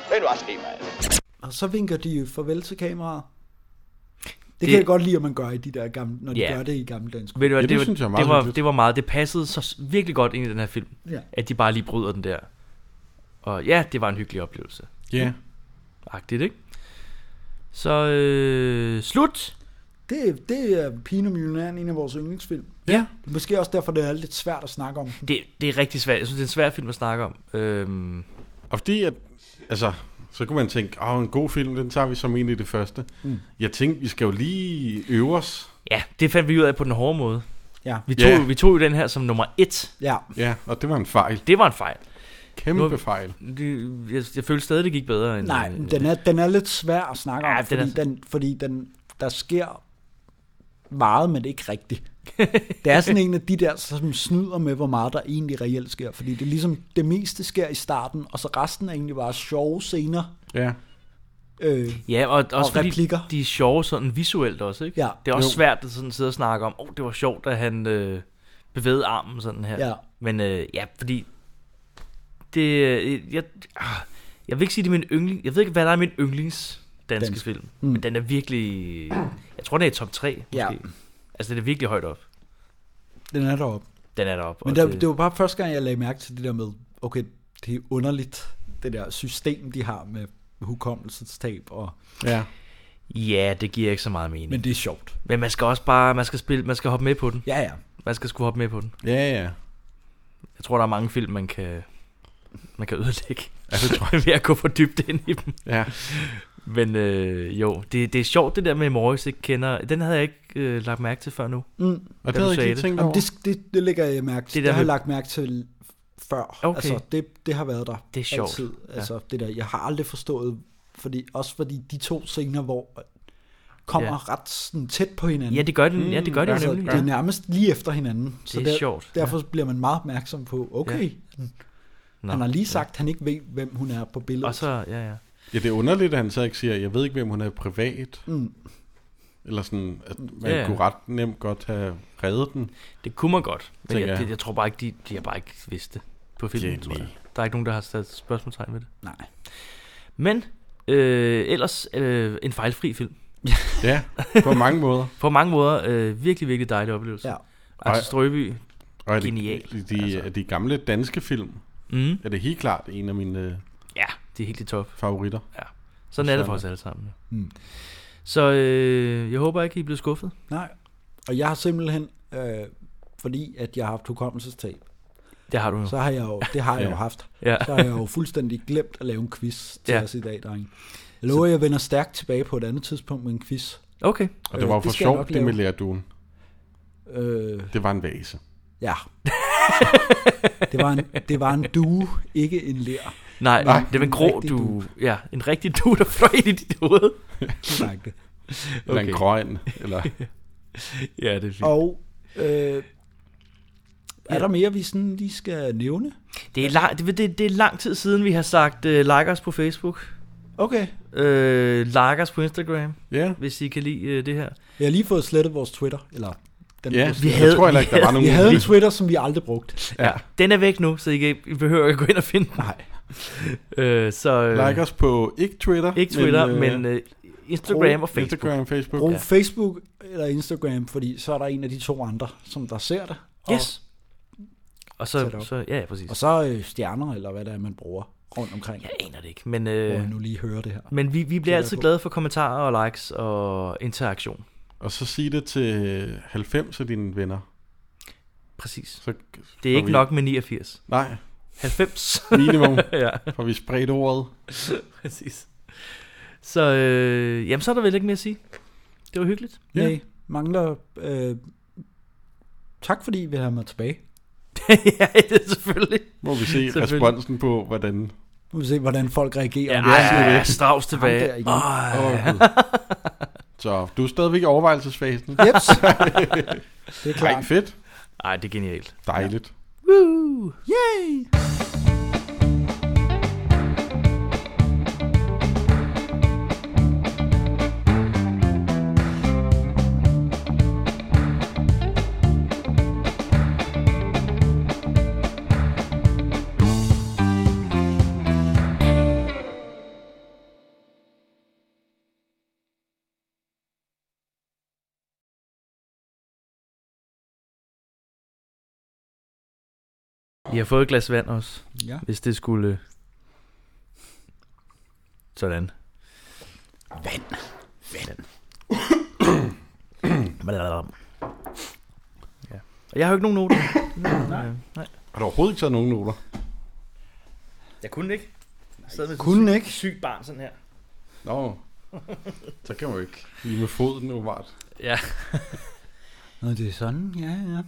Det er nu også lige meget. Og så vinker de jo farvel til kameraet. Det, det Det- kan jeg godt lide, at man gør i de der gamle, når de Ja. gør det i gamle dansk. Ved du, hvad, Ja, det det, var, synes jeg er meget det, var, hyggeligt. det var meget. Det passede så s- virkelig godt ind i den her film, Ja. at de bare lige bryder den der. Og ja, det var en hyggelig oplevelse. (laughs) Ja. Agtigt, ikke? Så øh, slut. Det, det er Pino Millionæren, en af vores yndlingsfilm. Ja. Det er Måske også derfor, det er lidt svært at snakke om. Det, det er rigtig svært. Jeg synes, det er en svær film at snakke om. Øhm, Og fordi, at, altså, så kunne man tænke, åh, en god film, den tager vi som en i det første. Mm. Jeg tænkte, vi skal jo lige øve os. ja, det fandt vi ud af på den hårde måde. Ja. Vi tog, Ja. vi tog jo den her som nummer et. Ja. Ja, og det var en fejl. Det var en fejl. Kæmpe Nu- fejl. Det, jeg, jeg følte stadig, det gik bedre. End, Nej, end- den er, den er lidt svær at snakke om, Øh, Ja, ja, den fordi, er- den den, fordi den, der sker meget, men ikke rigtigt. Det er sådan en af de der, som snyder med, hvor meget der egentlig reelt sker. Fordi det er ligesom, det meste sker i starten, og så resten er egentlig bare sjove scener. Ja. Øh, Ja, og også og fordi replikker. de er sjove sådan visuelt også, ikke? Ja. Det er også Jo. svært at sådan sidde og snakke om, åh, oh, det var sjovt, at han øh, bevægede armen sådan her. Ja. Men øh, ja, fordi det, øh, jeg, ah, jeg vil ikke sige, det er min yndling, jeg ved ikke, hvad der er min yndlings danske Dansk. film, Mm. men den er virkelig, jeg tror, den er i top 3, måske. Ja. Altså, den er virkelig højt op. den er deroppe. Den er deroppe. Men og der, det... det var bare første gang, jeg lagde mærke til det der med, okay, det er underligt, det der system, de har med hukommelsestab. Og... Ja. Ja, det giver ikke så meget mening. Men, Men det er sjovt. men man skal også bare, man skal spille, man skal hoppe med på den. Ja, ja. Man skal sgu hoppe med på den. Ja, ja. Jeg tror, der er mange film, man kan, man kan ødelægge. Ja, det tror jeg. (laughs) ved at gå for dybt ind i dem. Ja. Men øh, jo, det, det er sjovt det der med, at Morris ikke kender... Den havde jeg ikke øh, lagt mærke til før nu. Mm. Og det da Og det du havde jeg sagde ikke lige tænkt over. Jamen, det, det, det lægger jeg mærke til. Det Det, der det har jeg med- lagt mærke til før. Okay. Altså, det, det har været der Det er sjovt. altid. Ja. Altså, det der, jeg har aldrig forstået, fordi, også fordi de to scener, hvor kommer Ja. ja. ret sådan, tæt på hinanden. Altså, Ja, det gør hmm, det- ja, det gør det jo nemlig. Det er Ja. nærmest lige efter hinanden. Så Det er sjovt, ja. Derfor bliver man meget opmærksom på, okay, ja. Nå, han har lige sagt, han ikke ved, hvem hun er på billedet. Og så, ja, ja. Ja, det er underligt, at han så ikke siger, jeg ved ikke, hvem hun er privat. Mm. Eller sådan, at man Ja, ja, ja. ja. kunne ret nemt godt have reddet den. Det kunne man godt, men tænker jeg, jeg, jeg tror bare ikke, de, de har bare ikke vidst det på filmen, Ja, tror jeg. nej. Der er ikke nogen, der har sat spørgsmålstegn ved det. Nej. Men øh, ellers øh, en fejlfri film. Ja, på mange måder. på mange måder. Øh, virkelig, virkelig dejlig oplevelse. Ja. Axel Strøby, og er det- genial. De, altså. de gamle danske film, Mhm. er det helt klart en af mine øh, Ja, det er helt top. favoritter. Ja. Sådan er det for os alle sammen. ja. Så øh, jeg håber ikke, I blev skuffet. Nej. Og jeg har simpelthen, øh, fordi at jeg har haft hukommelsestab. Det har du jo. Så har jeg jo, det har jeg Ja. jo haft. Ja. Så har jeg jo fuldstændig glemt at lave en quiz til Ja. ja. os i dag, drenge. Jeg lover, jeg vender stærkt tilbage på et andet tidspunkt med en quiz. Okay. Og det var for Øh, skal jeg sjovt, nok det lave. med lærduen. Øh, Det var en vase. (laughs) ja. det, var en, det var en due, ikke en lær. Nej, Men Nej det var en grå rigtig du. Ja, en rigtig du, der fløj ind i dit hoved. Korrekt. Eller en grøn, (laughs) eller... ja, det er fint. Og øh, er der mere, vi sådan lige skal nævne? Det er, lang, det, det, det er lang tid siden, vi har sagt uh, like os på Facebook. Okay. Uh, like os på Instagram. Ja. Hvis I kan lide uh, det her. Jeg har lige fået slettet vores Twitter. Eller den Ja, vores vi Twitter. havde- Jeg tror heller ikke, der vi var havde- nogen- Vi havde en Twitter, som vi aldrig brugte. Ja. Den er væk nu, så I, kan, I behøver ikke gå ind og finde den. Nej. (laughs) øh, så, øh, Like os på ikke Twitter. Ikke Twitter, men, øh, men øh, Instagram og Facebook. Instagram, Facebook. Brug Ja. ja. Facebook eller Instagram, fordi så er der en af de to andre, som der ser det. Og Yes. Og så- tager det op. så- ja, ja, præcis. Og så øh, stjerner, eller hvad det er, man bruger rundt omkring. Jeg aner det ikke, men... Øh, hvor jeg nu lige hører det her. Men vi, vi bliver Gætter altid på. glade for kommentarer og likes og interaktion. Og så sig det til 90 af dine venner. Præcis. Så Det er ikke nok med 89. Nej. (laughs) 90. Minimum. ja. For vi spredt ordet. Præcis. Så, øh, jamen, så er der vel ikke mere at sige. Det var (laughs) hyggeligt. Ja. Nej, mangler... Øh, tak fordi I vil have mig tilbage. ja, det er selvfølgelig. Må vi se responsen på, hvordan... Nu må vi se, hvordan folk reagerer. Ja, ja, ja, altså, Strauss tilbage. Ham der igen. Åh. Åh, Gud. Så du er stadigvæk i overvejelsesfasen. (laughs) Jeps. Det er klart. Ej, fedt. Ej, det er genialt. Dejligt. Woo! Yay! I har fået et glas vand også. Ja. Hvis det skulle... øh, Sådan. Vand. Vand. ja. Og jeg har jo ikke nogen noter. Nej. Nej. Har du overhovedet ikke taget nogen noter? Jeg kunne ikke. Jeg sad med Kunne sådan ikke? Sygt barn sådan her. Nå, så kan man jo ikke. Lige med foden, åbenbart. Ja. Nå, det er sådan, ja, ja.